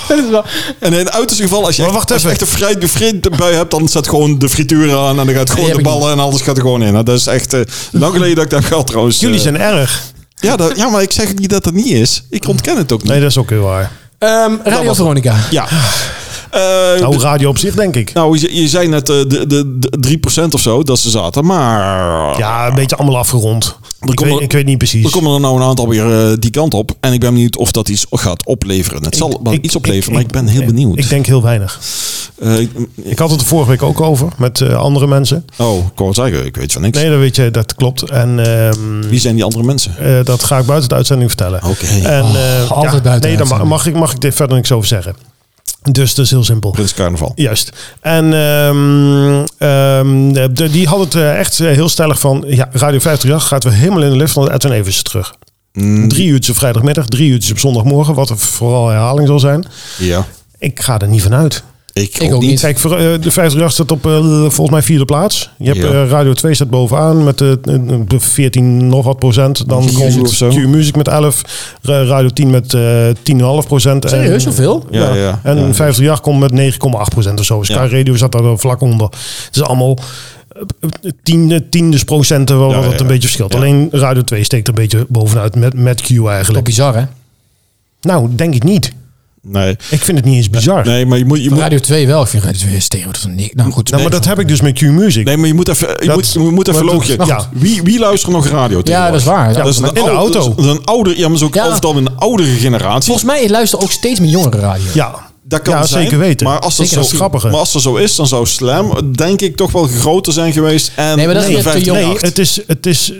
B: dat is wel...
A: en in het uiterste geval, als je,
C: Maar
A: echt,
C: wacht
A: als je echt
C: even.
A: een vrij bevriend bui hebt, dan zet gewoon de frituur aan en dan gaat gewoon
B: heb
A: de
B: ik
A: ballen en alles gaat er gewoon in. Nou, Dat is echt eh, lang geleden dat ik dat heb gehad trouwens.
C: Jullie
A: Eh,
C: zijn erg.
A: ja, dat, ja, maar ik zeg ook niet dat dat niet is. Ik ontken het ook niet.
C: Nee, dat is ook heel waar.
B: Ehm, Radio
A: was-
B: Veronica.
A: Ja. Eh,
C: Nou, radio op zich, denk ik.
A: nou, je, je zei net eh, de, de, de 3% of zo dat ze zaten, maar...
C: Ja, een beetje allemaal afgerond. Ik
A: komen-
C: weet, ik weet niet
A: Er
C: precies.
A: komen er nou een aantal weer eh, die kant op. En ik ben benieuwd of dat iets gaat opleveren. Het zal wel iets opleveren, maar ik ben heel benieuwd.
C: Ik denk heel weinig.
A: Eh, ik-
C: Ik had het er vorige week ook over met eh, andere mensen.
A: oh, ik wou het zeggen, ik weet van niks.
C: Nee, dat weet je, dat klopt. En ehm,
A: Wie zijn die andere mensen?
C: eh, dat ga ik buiten de uitzending vertellen.
A: Oké.
C: En, eh,
B: Oh, altijd buiten de
C: Nee, dan mag,
B: uitzending.
C: mag ik, mag ik dit verder niks over zeggen. Dus dat is heel simpel.
A: Prins Carnaval.
C: Juist. En ehm, ehm, de- die had het eh, echt eh, heel stellig van... Ja, Radio 538 gaat weer helemaal in de lift van Edwin Evers terug.
B: Mm.
C: Drie uurtjes op vrijdagmiddag, drie uurtjes op zondagmorgen. Wat er vooral herhaling zal zijn.
A: Ja,
C: Ik ga er niet van uit.
A: ik,
B: Ik
A: ook
B: ook
A: niet.
B: niet.
C: Kijk, voor, eh, de 538 staat op eh, volgens mij vierde plaats. Je hebt
A: Ja.
C: eh, Radio 2 staat bovenaan met eh, eh, 14 nog wat procent. Dan
A: Q-Music
C: komt
A: of zo.
C: Q-Music met 11. Ra- Radio 10 met eh 10,5 procent.
B: Serieus, zoveel?
A: Ja, ja, ja.
C: En
A: Ja.
C: 538 komt met 9,8 procent of zo. Sky
A: Ja.
C: Radio zat daar dan vlak onder. Het is allemaal eh, tiende, tiendes procenten wel
A: Ja,
C: wat het
A: ja,
C: een
A: ja.
C: beetje verschilt.
A: Ja.
C: Alleen Radio 2 steekt er een beetje bovenuit met, met Q
B: Toch
C: eigenlijk.
B: bizar, hè?
C: Nou, denk ik niet.
A: Nee.
C: Ik vind het niet eens bizar.
A: nee, maar je moet... Je moet
B: Radio 2 wel. Ik vind Radio 2 stereo. Dat is een niet- Nou goed,
C: Nou, maar dat heb ik dus met Q-Music.
A: Nee, maar je moet even, je
C: Dat-
A: moet, je moet even
C: maar dat-
A: logen.
C: ja.
A: Wie, wie luistert nog radio tegenwoordig?
B: dat is waar. Ja,
A: dat is een
C: in de
A: oude-
C: auto.
A: Dat is een ouder, ja, maar dat is ook
B: Ja.
A: of dan een oudere generatie.
B: Volgens mij luisteren ook steeds meer jongeren radio.
C: Ja,
A: Dat kan
C: ja,
A: zijn,
C: zeker weten.
A: Maar als, dat
C: zeker,
A: zo,
C: dat is grappiger.
A: maar als dat zo is, dan zou Slam denk ik toch wel groter zijn geweest. En
B: Nee, maar dat is
A: de
B: weer te
A: 15
B: jong.
A: jaar.
C: nee, het is, het is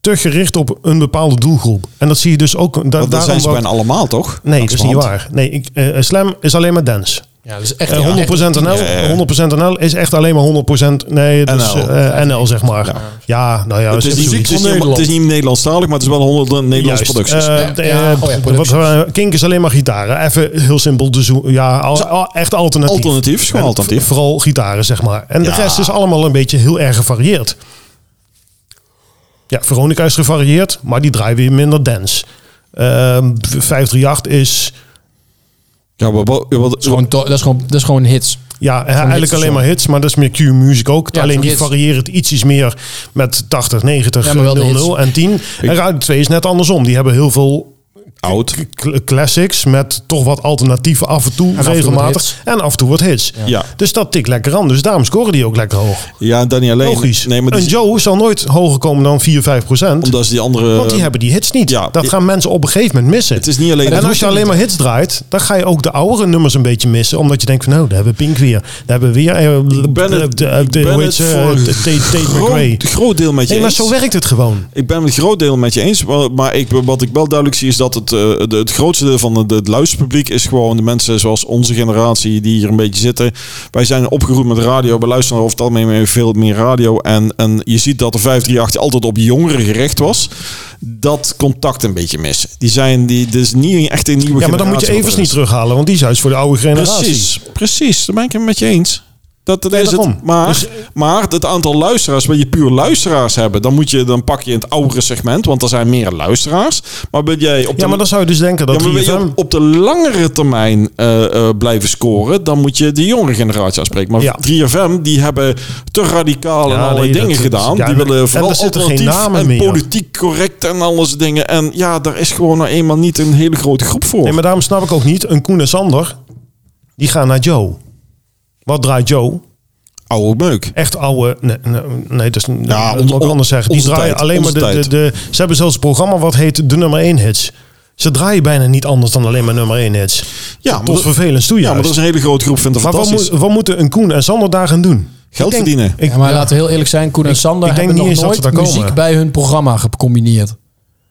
C: te gericht op een bepaalde doelgroep. En dat zie je dus ook. Da,
A: Want dat
C: daarom
A: zijn ze
C: wordt-
A: bijna allemaal, toch?
C: Nee, dat is niet
A: Langzamerhand.
C: waar. Nee, ik, eh, slam is alleen maar dance.
B: Ja, dus echt,
C: Eh,
B: ja,
C: 100% NL,
A: Ja, ja.
C: 100% NL is echt alleen maar 100% nee, dat is,
A: NL.
C: eh, NL zeg maar. Ja, nou ja,
A: Het is, niet, het,
C: zoiets.
A: is niet,
B: Nederland.
A: het is niet Nederlandstalig, maar het is wel 100 Nederlandse
C: Juist.
A: producties.
C: Eh,
B: Ja,
C: de-
B: ja,
C: eh,
B: oh ja,
C: wat-
B: producties.
C: eh, Kink is alleen maar gitaren. Even heel simpel te zoeken. Ja, al- al- echt alternatief.
A: Alternatief, is gewoon
C: En
A: alternatief.
C: v- Vooral gitaren, zeg maar. En
A: Ja.
C: de rest is allemaal een beetje heel erg gevarieerd. Ja, Veronica is gevarieerd, maar die draait weer minder dance. Ehm 538 is
A: ja, maar wat, wat-
B: Dat is gewoon, to- dat, is gewoon, dat is gewoon hits.
C: ja, eigenlijk
B: hits of
C: alleen
B: zo.
C: maar hits, maar dat is meer Q-music ook.
B: Ja,
C: alleen
B: van
C: die
B: hits.
C: varieert ietsjes meer met 80, 90,
B: Ja, maar wel de
C: 00 en 10. En Radio 2 is net andersom. Die hebben heel veel
A: oud.
C: Cl- classics met toch wat alternatieven af en toe
B: af en toe
C: regelmatig
B: wat hits.
C: en af en toe wat hits.
A: Ja.
C: Dus dat tikt lekker aan. Dus daarom scoren die ook lekker hoog.
A: Ja, en dan niet alleen.
C: Logisch.
A: Nee, maar
C: een
A: die,
C: Joe zal nooit hoger komen dan 4, 5 procent.
A: omdat ze die andere... eh,
C: Want die hebben die hits niet.
A: ja,
C: dat
A: ik-
C: gaan mensen op een gegeven moment missen.
A: Het is niet alleen...
C: en als je alleen maar hits draait, dan ga je ook de oudere nummers een beetje missen. Omdat je denkt van nou, daar hebben we Pink weer. Daar hebben we weer... eh,
A: ben
C: eh,
A: het-
C: de- eh,
A: ik
C: de-
A: ben
C: hoe heet
A: het
C: ze?
A: voor
C: De- Tate- Tate McRae.
A: Groot, groot deel met je
C: Nee, maar
A: eens.
C: zo werkt het gewoon.
A: Ik ben het groot deel met je eens. wa- Maar ik, wat ik wel duidelijk zie is dat het, eh, de- het grootste deel van het, het luisterpubliek is gewoon de mensen zoals onze generatie die hier een beetje zitten. Wij zijn opgeroepen met radio. We luisteren over het algemeen meer- veel meer radio. En, en je ziet dat de 538 altijd op jongeren gericht was. Dat contact een beetje missen. Die zijn, die, dus niet echt een nieuwe
C: Ja, maar dan moet je
A: generatie
C: Evers
A: wat er
C: niet
A: is.
C: terughalen, want die is juist voor de oude generatie.
A: Precies, precies. Daar ben ik het met je eens. Dat, dat
C: Nee,
A: is
C: daarom.
A: het. Maar,
C: Dus-
A: maar het aantal luisteraars, wil je puur luisteraars hebben, dan, moet je, dan pak je het oudere segment, want er zijn meer luisteraars. Maar wil jij op de,
C: Ja, maar dan zou je dus denken
A: ja,
C: dat
A: maar wil
C: 3FM...
A: je op, op de langere termijn eh, eh, blijven scoren, dan moet je de jongere generatie aanspreken. Maar
C: Ja.
A: 3FM, die hebben te radicaal en
C: Ja,
A: allerlei
C: nee, dat-
A: dingen
C: dat-
A: gedaan.
C: ja,
A: die
C: en-
A: willen
C: en
A: vooral
C: er zitten geen
A: alternatief
C: namen
A: en
C: meer.
A: politiek correct en alles dingen. En ja, daar is gewoon nou eenmaal niet een hele grote groep voor.
C: Nee, maar daarom snap ik ook niet. Een Koen en Sander, die gaan naar Joe. Wat draait Joe?
A: oude meuk.
C: Echt oude. Nee, nee, nee dat is
A: Ja,
C: dat
A: on-
C: moet ik
A: on-
C: anders zeggen. Die
A: onze
C: draaien
A: tijd,
C: alleen maar
A: onze
C: de, de,
A: tijd.
C: de. Ze hebben zelfs een programma wat heet de nummer 1 hits. Ze draaien bijna niet anders dan alleen maar nummer 1 hits.
A: Ja, maar
C: Tot
A: dat-
C: vervelend toe.
A: ja, maar dat is
C: juist.
A: een hele grote groep. Vindt dat
C: Maar wat,
A: fantastisch.
C: moet, wat moeten een Koen en Sander daar gaan doen?
A: Geld
C: Ik denk-
A: verdienen.
C: Ik,
B: Ja, maar laten we heel eerlijk zijn, Koen en Sander
C: ik denk
B: hebben
C: niet
B: nog
C: eens dat ze
B: nooit
C: daar
B: muziek
C: komen.
B: bij hun programma gecombineerd.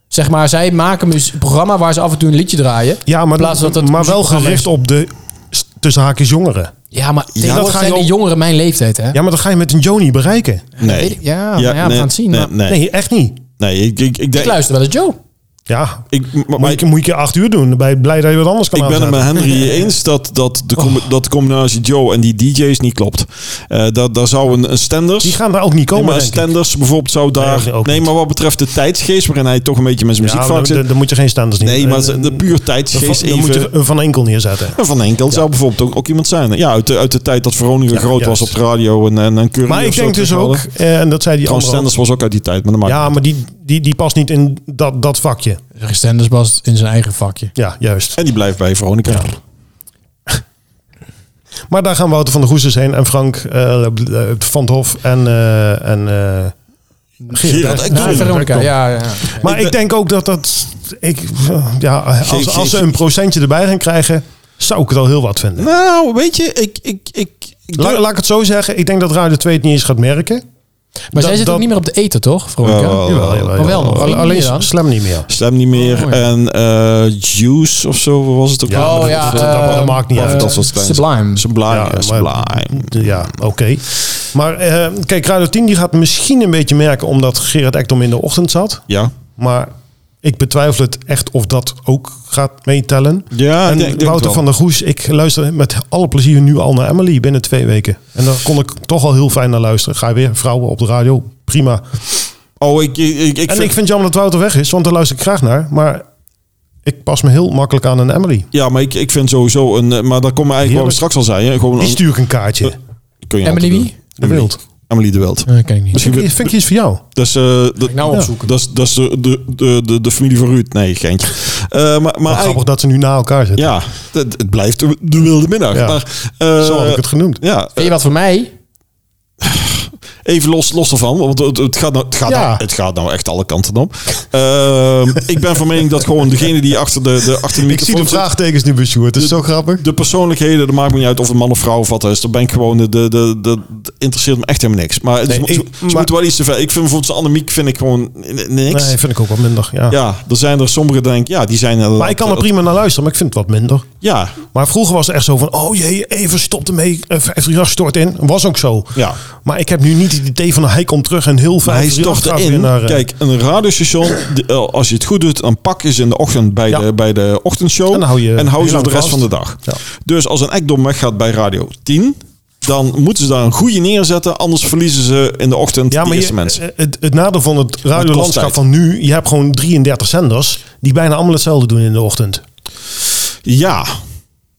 B: Zeg maar, zij maken muzie- een programma waar ze af en toe een liedje draaien.
C: ja, maar,
B: In plaats van dat het
C: maar wel
B: muziekprogramma
C: gericht
B: is.
C: op de s- tussen haakjes jongeren.
B: Ja, maar ja,
C: dat ga
B: zijn
C: je
B: de
C: op-
B: jongeren mijn leeftijd, hè?
C: Ja, maar dat ga je met een Joni bereiken.
B: weet
A: Nee.
B: ik- ja, nou ja, we gaan het zien,
A: Nee,
B: maar-
A: nee, nee.
C: Nee, echt niet.
A: ik, ik, ik,
B: Ik
A: denk,
B: luister wel eens Joe.
C: Ja,
A: ik, maar- maar
C: moet,
A: ik,
C: je, moet je acht uur doen. Dan ben je blij dat je wat anders kan
A: ik ben het
C: aanzetten.
A: met Henry eens dat, dat, de,
C: Oh.
A: com- dat de combinatie Joe en die DJ's niet klopt. Eh dat, daar zou een, een Stenders...
C: Die gaan daar ook niet
A: Nee,
C: komen,
A: maar een
C: denk ik.
A: Stenders bijvoorbeeld zou daar...
C: Nee,
A: Nee,
C: ook niet.
A: maar wat betreft de tijdsgeest waarin hij toch een beetje met zijn
C: Ja,
A: muziek
C: dan,
A: vaak zit...
C: dan- dan moet je geen standers nemen.
A: Nee, maar
C: Dan-
A: ze- de puur tijdsgeest
C: dan moet je
A: even...
C: een van enkel neerzetten.
A: En Van Enkel zou bijvoorbeeld ook, ook iemand zijn. Ja, uit de, uit de tijd dat Veronica
C: Ja,
A: groot
C: juist.
A: was op de radio en, en, en Curry
C: Maar
A: of
C: ik
A: zo
C: denk dus ook,
A: tegenwoordig.
C: eh, en dat zei die
A: Trouwens,
C: andere
A: Stenders was ook uit die tijd, maar dat
C: ook.
A: maakt
C: Ja, maar die, die, die past niet in dat, dat vakje.
B: Stenders was in zijn eigen vakje.
C: Ja, juist.
A: En die blijft bij Veronica.
C: Maar daar gaan Wouter van der Goes dus heen en Frank eh, eh, van het Hof en... eh, en eh,
A: Gerard
C: daar-
A: Ekdom.
C: daar-
B: Ja,
A: Ja,
B: Veronica,
C: daar-
B: ja, ja.
C: Maar
A: Ik
C: ik denk ook dat dat... Ik, ja,
A: Geef-
C: als,
A: geef-
C: als ze een procentje erbij gaan krijgen, zou ik het al heel wat vinden.
A: Nou, weet je, ik... ik, ik, ik
C: La- laat ik het zo zeggen, ik denk dat Radio 2 het niet eens gaat merken.
B: Maar zij zit
C: Dat-
B: ook
C: dat-
B: niet meer op de eten, toch, Veronica?
A: Jawel.
C: Jawel,
B: Maar wel nog,
C: Al-
B: één
C: Alleen
B: keer dan.
C: Slam niet meer.
A: Stem niet meer.
B: Oh, ja.
A: En eh, Juice of zo was het ook.
C: Ja,
A: wel.
B: Oh
C: maar
B: ja,
C: dat- dat- dat
B: eh,
C: maakt niet
B: eh,
C: uit.
A: Dat soort kleine-
B: Sublime.
A: Sublime. Ja,
C: maar-
A: Sublime.
C: Ja, oké. Maar eh, kijk, Radio 10 die gaat misschien een beetje merken omdat Gerard Ekdom in de ochtend zat.
A: Ja.
C: Maar ik betwijfel het echt of dat ook gaat meetellen.
A: Ja,
C: en
A: ik denk- ik denk
C: Wouter
A: het wel.
C: van der Goes, ik luister met alle plezier nu al naar Emily binnen twee weken. En daar kon ik toch al heel fijn naar luisteren. Ga je weer vrouwen op de radio, prima.
A: Oh, ik, ik, ik, ik
C: en
A: vind-
C: ik vind het jammer dat Wouter weg is, want daar luister ik graag naar. Maar ik pas me heel makkelijk aan een Emily.
A: Ja, maar ik, ik vind sowieso een... eh, Maar daar komen we eigenlijk waar we
C: Heerlijk.
A: straks al zijn. Hè? Gewoon
C: Die
A: een,
C: stuur ik een kaartje.
A: Eh, kun je
B: Emily
A: altijd
B: wie?
A: doen.
C: De Wild.
A: Emily de Wild.
B: Nee, ken ik niet.
A: Misschien
C: Vind ik- vind ik iets voor jou.
A: Dat is, eh, dat,
B: ik nou
A: Ja.
B: opzoeken.
A: Dat is, dat is de, de, de, de, de familie van Ruud. Nee, geintje. Eh, maar maar
C: Wat grappig
A: eigenlijk-
C: dat ze nu na elkaar zitten.
A: ja, het, het blijft de, de wilde middag.
C: Ja.
A: Maar, eh,
C: Zo had ik het genoemd.
A: Ja,
B: Weet je wat voor mij?
A: even los, los ervan, want het, het gaat nou, het, gaat
C: Ja.
A: nou, het gaat nou echt alle kanten op. Ehm, ik ben van mening dat gewoon degene die achter de, de, achter de
C: Ik zie
A: microfoon
C: de
A: zit,
C: vraagtekens nu bij Sjoerd. Het is zo grappig.
A: de persoonlijkheden, dat maakt me niet uit of het man of vrouw of wat is. Dan ben ik gewoon, de, de, de, de- het interesseert me echt helemaal niks. Maar het is-
C: Nee,
A: ze,
C: ik-
A: ze
C: maar-
A: moeten wel iets te ver. Ik vind bijvoorbeeld Annemiek vind ik gewoon n- niks.
C: Nee, vind ik ook wat minder. Ja.
A: ja, er zijn er sommige die denken, ja, die zijn...
C: Maar ik kan er prima naar luisteren, maar ik vind het wat minder.
A: Ja,
C: Maar vroeger was het echt zo van, oh jee, even stop ermee. eh, 538 stort in. Was ook zo.
A: Ja.
C: Maar ik heb nu niet het idee van, hij komt terug en heel
A: Maar hij
C: 538
A: stort
C: gaat weer
A: erin.
C: naar... eh,
A: Kijk, een radiostation, de- eh, als je het goed doet, dan pak je ze in de ochtend bij,
C: Ja.
A: de, bij de ochtendshow.
C: En dan hou je heel
A: ze
C: lang
A: voor de rest
C: vast.
A: van de dag.
C: Ja.
A: Dus als een ekdom weggaat bij Radio 10, dan moeten ze daar een goede neerzetten. Anders verliezen ze in de ochtend
C: Ja,
A: de
C: maar
A: eerste
C: je, eh,
A: mensen.
C: het, het nadeel van het radiolandschap
A: tijd.
C: van nu, je hebt gewoon 33 zenders die bijna allemaal hetzelfde doen in de ochtend. eh.
A: Ja.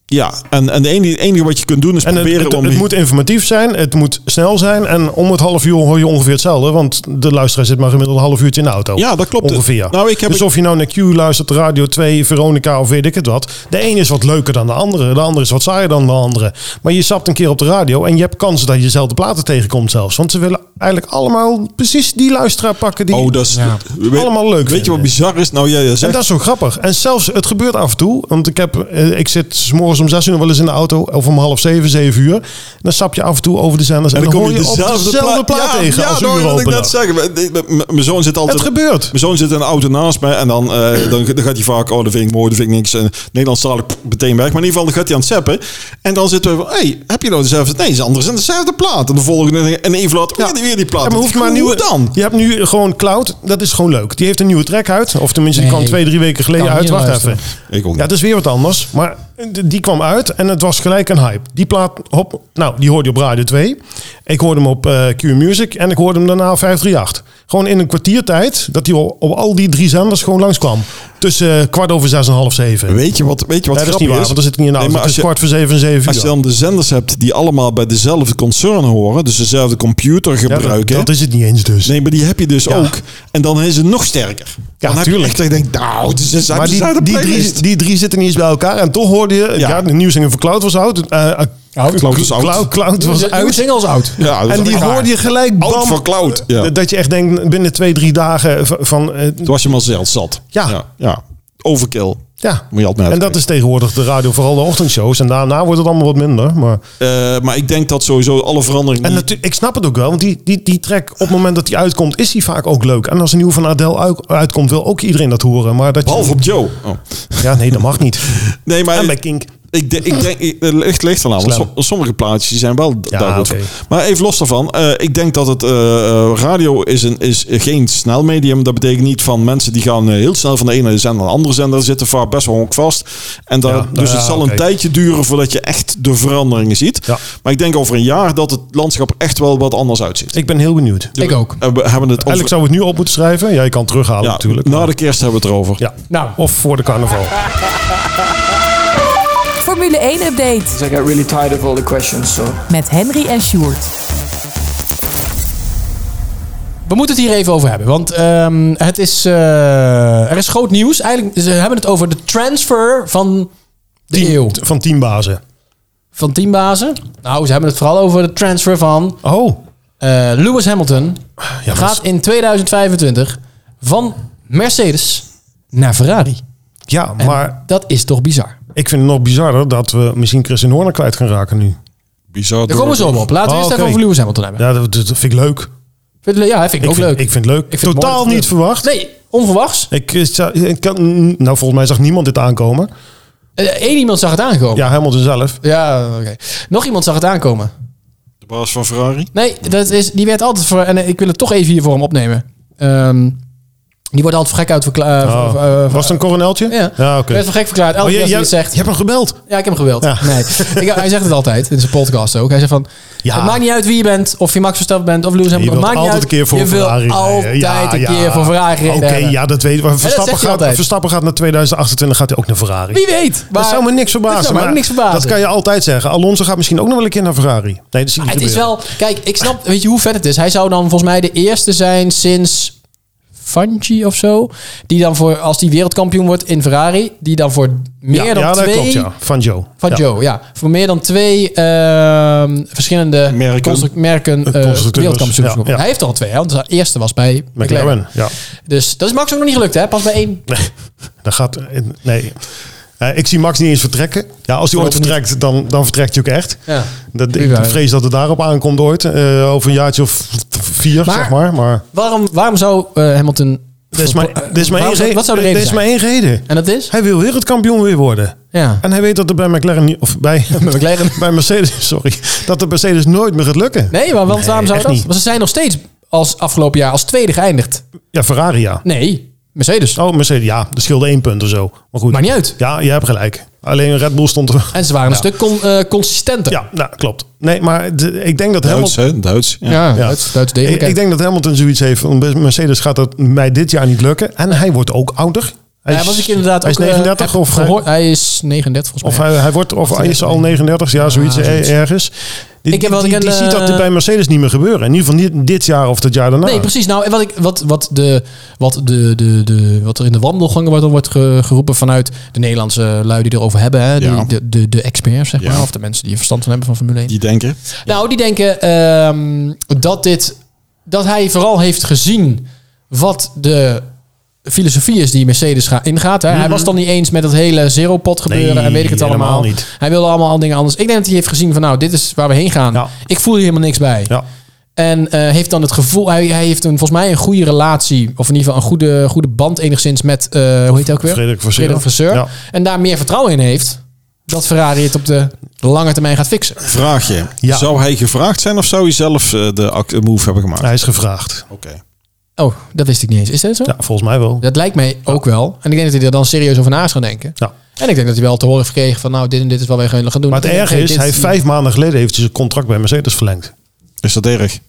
A: Ja, en, en de enige, enige wat je kunt doen is
C: En het,
A: proberen
C: het,
A: om...
C: het moet informatief zijn, het moet snel zijn en om het half uur hoor je ongeveer hetzelfde, want de luisteraar zit maar gemiddeld een half uurtje in de auto.
A: Ja, dat klopt.
C: Ongeveer.
A: Nou, ik heb-
C: dus of je nou naar Q luistert, Radio 2, Veronica of weet ik het wat, de een is wat leuker dan de andere, de andere is wat saaier dan de andere. Maar je stapt een keer op de radio en je hebt kansen dat je dezelfde platen tegenkomt zelfs, want ze willen eigenlijk allemaal precies die luisteraar pakken die...
A: oh, dat is...
B: Ja.
A: weet-
C: Allemaal
A: Weet
C: leuk
A: je wat
C: vinden.
A: bizar is? Nou, jij jij
C: En
A: zegt...
C: dat is zo grappig. En zelfs, het gebeurt af en toe. Want ik, heb, eh, ik zit 's morgens om zes uur nog wel eens in de auto. Of om half zeven, zeven uur. Dan stap je af en toe over de zenders.
A: En
C: En, dan,
A: dan kom
C: hoor
A: je
C: op
A: dezelfde,
C: dezelfde plaat
A: ja,
C: tegen
A: Ja, nou,
C: als
A: dat wilde ik
C: uuropener.
A: net zeggen. M- m- m- Mijn zoon zit altijd...
C: Het gebeurt.
A: Mijn zoon zit in een auto naast mij en dan, eh, dan, dan gaat hij vaak, oh, dat vind ik mooi, dat vind ik niks. En Nederlands ik meteen weg. Maar in ieder geval, dan gaat hij aan het zappen. En dan zitten we van, hey, heb je nou dezelfde? Nee, ze anders en dezelfde plaat. En de volgende, en even later, ja. weer, weer die plaat.
C: Ja, maar hoeft maar
A: Hoe
C: een nieuwe
A: dan?
C: Je hebt nu gewoon Cloud. Dat is gewoon leuk. Die heeft een nieuwe track uit. Of tenminste, die
B: Nee,
C: kwam twee, drie weken geleden
B: kan
C: uit.
B: niet
C: Wacht
B: luisteren.
C: even.
A: Ik ook niet.
C: Ja, dat is weer wat anders. Maar d- die kwam uit en het was gelijk een hype. Die plaat, hop, nou, die hoorde je op Radio 2. Ik hoorde hem op eh, Q Music en ik hoorde hem daarna op 538. Gewoon in een kwartiertijd dat hij op, op al die drie zenders gewoon langskwam. Tussen eh, kwart over zes en half zeven.
A: Weet je wat, weet je wat
C: Nee, dat is
A: grappig
C: niet waar, want er zit niet in de
A: Nee,
C: auto.
A: maar als
C: het is
A: je,
C: kwart voor zeven en zeven
A: als je
C: uur.
A: dan de zenders hebt die allemaal bij dezelfde concern horen, dus dezelfde computer
C: Ja, dat,
A: gebruiken...
C: dat is het niet eens dus.
A: Nee, maar die heb je dus
C: Ja.
A: ook. En dan is het nog sterker.
C: Ja,
A: dan heb je
C: tuurlijk.
A: echt dat je denkt, nou, het is een
C: Maar die, die, drie, die drie zitten niet eens bij elkaar. En toch hoorde je, ja,
A: Ja.
C: de nieuwsingen van Cloud was oud. eh,
B: Oud.
A: Cloud is oud.
C: Cloud, Cloud was
B: Nieuwe
C: uit.
B: singles oud.
A: Ja, dat is
C: En die
A: echt raar.
C: hoorde je gelijk bam.
A: Oud van Cloud. Ja.
C: Dat- Dat je echt denkt binnen twee, drie dagen van- van... eh,
A: Toen was je maar zelf zat.
C: Ja.
A: ja. ja. Overkill.
C: ja.
A: Moet je altijd
C: En dat is tegenwoordig de radio, vooral de ochtendshows. En daarna wordt het allemaal wat minder. Maar...
A: Eh, maar ik denk dat sowieso alle veranderingen...
C: En
A: die-
C: natuurlijk, ik snap het ook wel, want die, die, die track op het moment dat die uitkomt, is die vaak ook leuk. En als een nieuwe van Adele uit- uitkomt, wil ook iedereen dat horen. Maar dat je-
A: Behalve op Joe. Oh.
C: Ja, nee, dat mag niet.
A: Nee, maar
C: En bij
A: ik,
C: Kink.
A: ik, de- ik denk... ik- Het ligt, ligt eraan. Want
C: Slim.
A: som- sommige plaatjes die zijn wel d-
C: Ja,
A: daar goed
C: oké.
A: voor. Maar even los daarvan. eh, ik denk dat het... eh, eh, radio is, een, is geen snel medium. Dat betekent niet van mensen die gaan eh, heel snel van de ene zender naar de andere zender zitten. Vaak best wel honkvast. En daar,
C: Ja,
A: dus
C: ja,
A: het zal
C: oké.
A: een tijdje duren voordat je echt de veranderingen ziet.
C: Ja.
A: Maar ik denk over een jaar dat het landschap er echt wel wat anders uitziet.
C: Ik ben heel benieuwd.
B: Ik ook.
A: En we hebben het over...
C: Eigenlijk zou het nu op moeten schrijven. Ja, je kan het terughalen
A: Ja,
C: natuurlijk.
A: na de kerst hebben we het erover.
C: Ja.
B: Nou.
C: Of voor de carnaval.
D: Formule 1 update
F: I got really tired of all the questions, so
D: met Henry en Sjoerd.
B: We moeten het hier even over hebben. Want ehm, het is, eh, er is groot nieuws. Eigenlijk, ze hebben het over de transfer van de eeuw.
C: Van teambazen.
B: Van teambazen. Nou, ze hebben het vooral over de transfer van
C: Oh.
B: eh, Lewis Hamilton.
C: Ja, maar
B: Gaat in 2025 van Mercedes naar Ferrari.
C: ja,
B: En
C: maar
B: dat is toch bizar.
C: ik vind het nog bizarder dat we misschien Christian Horner kwijt gaan raken nu.
A: Bizar.
B: Daar komen we zo op. Laten we
C: Oh,
B: eerst
C: oké.
B: even over Lewis Hamilton hebben.
C: Ja, dat, dat vind ik leuk.
B: Vind je- Ja, vind ik, ook
C: vind,
B: leuk.
C: Ik vind het leuk.
B: Ik vind het mooi
C: Totaal
B: dat het
C: niet
B: gebeurt.
C: verwacht.
B: nee, onverwachts.
C: Ik, eh, zou- ik kan, nou, volgens mij zag niemand dit aankomen.
B: Eén Eh, iemand zag het aankomen.
C: Ja, Hamilton zelf.
B: Ja, oké. Nog iemand zag het aankomen.
A: De baas van Ferrari.
B: Nee, dat is, die werd altijd voor. En eh, ik wil het toch even hier voor hem opnemen. Ehm, die wordt altijd voor gek uit verklaard.
C: Oh. Was het een coroneltje?
B: eh, ja,
C: oké.
B: werd voor gek verklaard. Elke keer
C: Oh, je,
B: als
C: je,
B: hij iets zegt.
C: je hebt hem gebeld.
B: Ja, ik heb hem geweld.
C: Ja.
B: Nee. Ik, hij zegt het altijd. In zijn podcast ook. Hij zegt van...
C: Ja.
B: Het maakt niet uit wie je bent. Of je Max Verstappen bent. Of Lewis Hamilton.
C: wilt
B: Het maakt niet
C: altijd
B: uit.
C: een keer voor
B: je wil
C: Ferrari rijden.
B: altijd
C: Ja,
B: een
C: ja.
B: keer voor Ferrari
C: Oké,
B: gereden hebben.
C: ja, dat weet ik. Maar Verstappen,
B: zegt hij
C: gaat,
B: altijd.
C: Verstappen gaat naar 2028, gaat hij ook naar Ferrari.
B: Wie weet. Maar
C: dat zou me niks verbazen.
B: Dat zou me ook
C: maar
B: niks verbazen.
C: Dat kan je altijd zeggen. Alonso gaat misschien ook nog wel een keer naar Ferrari. Nee, dat zie ik
B: Maar
C: niet
B: Ah, het is
C: gebeuren.
B: wel... Kijk, ik snap... Weet je hoe vet het is? Hij zou dan volgens mij de eerste zijn sinds... Fanchi of zo. Die dan voor... Als die wereldkampioen wordt in Ferrari. Die dan voor meer
C: ja,
B: dan
C: ja, dat
B: twee...
C: klopt, ja. Van Joe.
B: Van
C: ja.
B: Joe, ja. Voor meer dan twee ehm, verschillende
A: Merken.
B: construct- merken eh,
C: Constructeurs,
B: wereldkampioenschappen.
C: ja, ja.
B: Hij heeft er al twee, hè, want de eerste was bij McLaren.
C: McLaren, ja.
B: Dus dat is Max ook nog niet gelukt, hè? Pas bij één.
C: Nee, dat gaat... Nee. Eh, ik zie Max niet eens vertrekken. Ja, als hij
B: Voorlopig
C: ooit vertrekt, dan, dan vertrekt hij ook echt.
B: Ja.
C: Dat,
B: Prima.
C: ik vrees dat het daarop aankomt ooit. Eh, over een jaartje of vier,
B: Maar-
C: zeg maar. Maar
B: Waarom, waarom zou eh, Hamilton... eh,
C: er is maar, er is maar één
B: Waarom zou-
C: reden.
B: Wat zou de
C: er
B: reden
C: is
B: zijn?
C: maar één reden.
B: En dat is?
C: Hij wil wereldkampioen weer worden.
B: Ja.
C: En hij weet dat er bij McLaren niet- of bij,
B: Bij McLaren.
C: bij Mercedes, sorry, dat de Mercedes nooit meer gaat lukken.
B: Nee, maar want waarom zou
C: echt
B: dat?
C: niet.
B: Want ze zijn nog steeds als afgelopen jaar als tweede geëindigd.
C: Ja, Ferrari ja.
B: Nee, Mercedes.
C: Oh, Mercedes, ja, er scheelde één punt of zo. Maar goed.
B: Maakt niet uit.
C: Ja, je hebt gelijk. Alleen Red Bull stond er.
B: En ze waren een stuk con- eh, consistenter.
C: Ja, nou, klopt. Nee, maar de- ik denk dat
A: Duits,
C: Hamilton...
A: hè? Duits. Ja.
B: ja,
C: Ja.
B: eh, Duits, Duits
C: Ik,
B: degelijk.
C: ik denk dat Hamilton zoiets heeft. van, Mercedes gaat dat mij dit jaar niet lukken. En hij wordt ook ouder. Hij
B: Ja, was ik inderdaad
C: hij is
B: ook, eh,
C: 39
B: heb
C: of
B: gehoord. Hij is 39 volgens mij.
C: Of hij, hij wordt, of hij is al 39, ja, zoiets eh, ergens. Die,
B: Ik heb wel
C: die,
B: een,
C: die ziet dat
B: eh,
C: bij Mercedes niet meer gebeuren. In ieder geval niet dit jaar of dat jaar daarna.
B: Nee, precies. Nou, en wat, ik, wat, wat, de, wat, de, de, de, wat er in de wandelgangen wordt, wordt ge- geroepen vanuit de Nederlandse lui die erover hebben. Hè? Die-
A: Ja.
B: de, de, de experts, zeg
A: Ja.
B: maar. Of de mensen die er verstand van hebben van Formule 1.
A: Die denken.
B: Nou, die denken ehm, dat, dit, dat hij vooral heeft gezien wat de filosofie is die Mercedes ga, ingaat. Hè? Hij was dan niet eens met dat hele zero-pot gebeuren
C: Mhm. Nee,
B: en weet ik het
C: helemaal
B: allemaal.
C: niet.
B: Hij wilde allemaal al dingen anders. Ik denk dat hij heeft gezien van nou, dit is waar we heen gaan.
C: Ja.
B: Ik voel hier helemaal niks bij.
C: Ja.
B: En eh, heeft dan het gevoel, hij, hij heeft een, volgens mij een goede relatie, of in ieder geval een goede, goede band enigszins met, eh, hoe heet hij ook weer?
C: Frederik Vasseur.
B: Vasseur.
C: Ja.
B: En daar meer vertrouwen in heeft, dat Ferrari het op de lange termijn gaat fixen.
A: Vraag je.
C: Ja.
A: Zou hij gevraagd zijn of zou hij zelf eh, de act- move hebben gemaakt?
C: Hij is gevraagd.
A: Oké.
B: Oh, dat wist ik niet eens. Is dat zo?
C: Ja, volgens mij wel.
B: Dat lijkt mij ook wel. En ik denk dat hij er dan serieus over na is gaan denken.
C: Ja.
B: En ik denk dat hij wel te horen heeft gekregen van nou, dit en dit is wat wij gaan gaan doen.
C: Maar het
B: En,
C: erg
B: hey,
C: is,
B: dit-
C: hij heeft vijf maanden geleden heeft hij zijn contract bij Mercedes verlengd.
A: Is dat erg?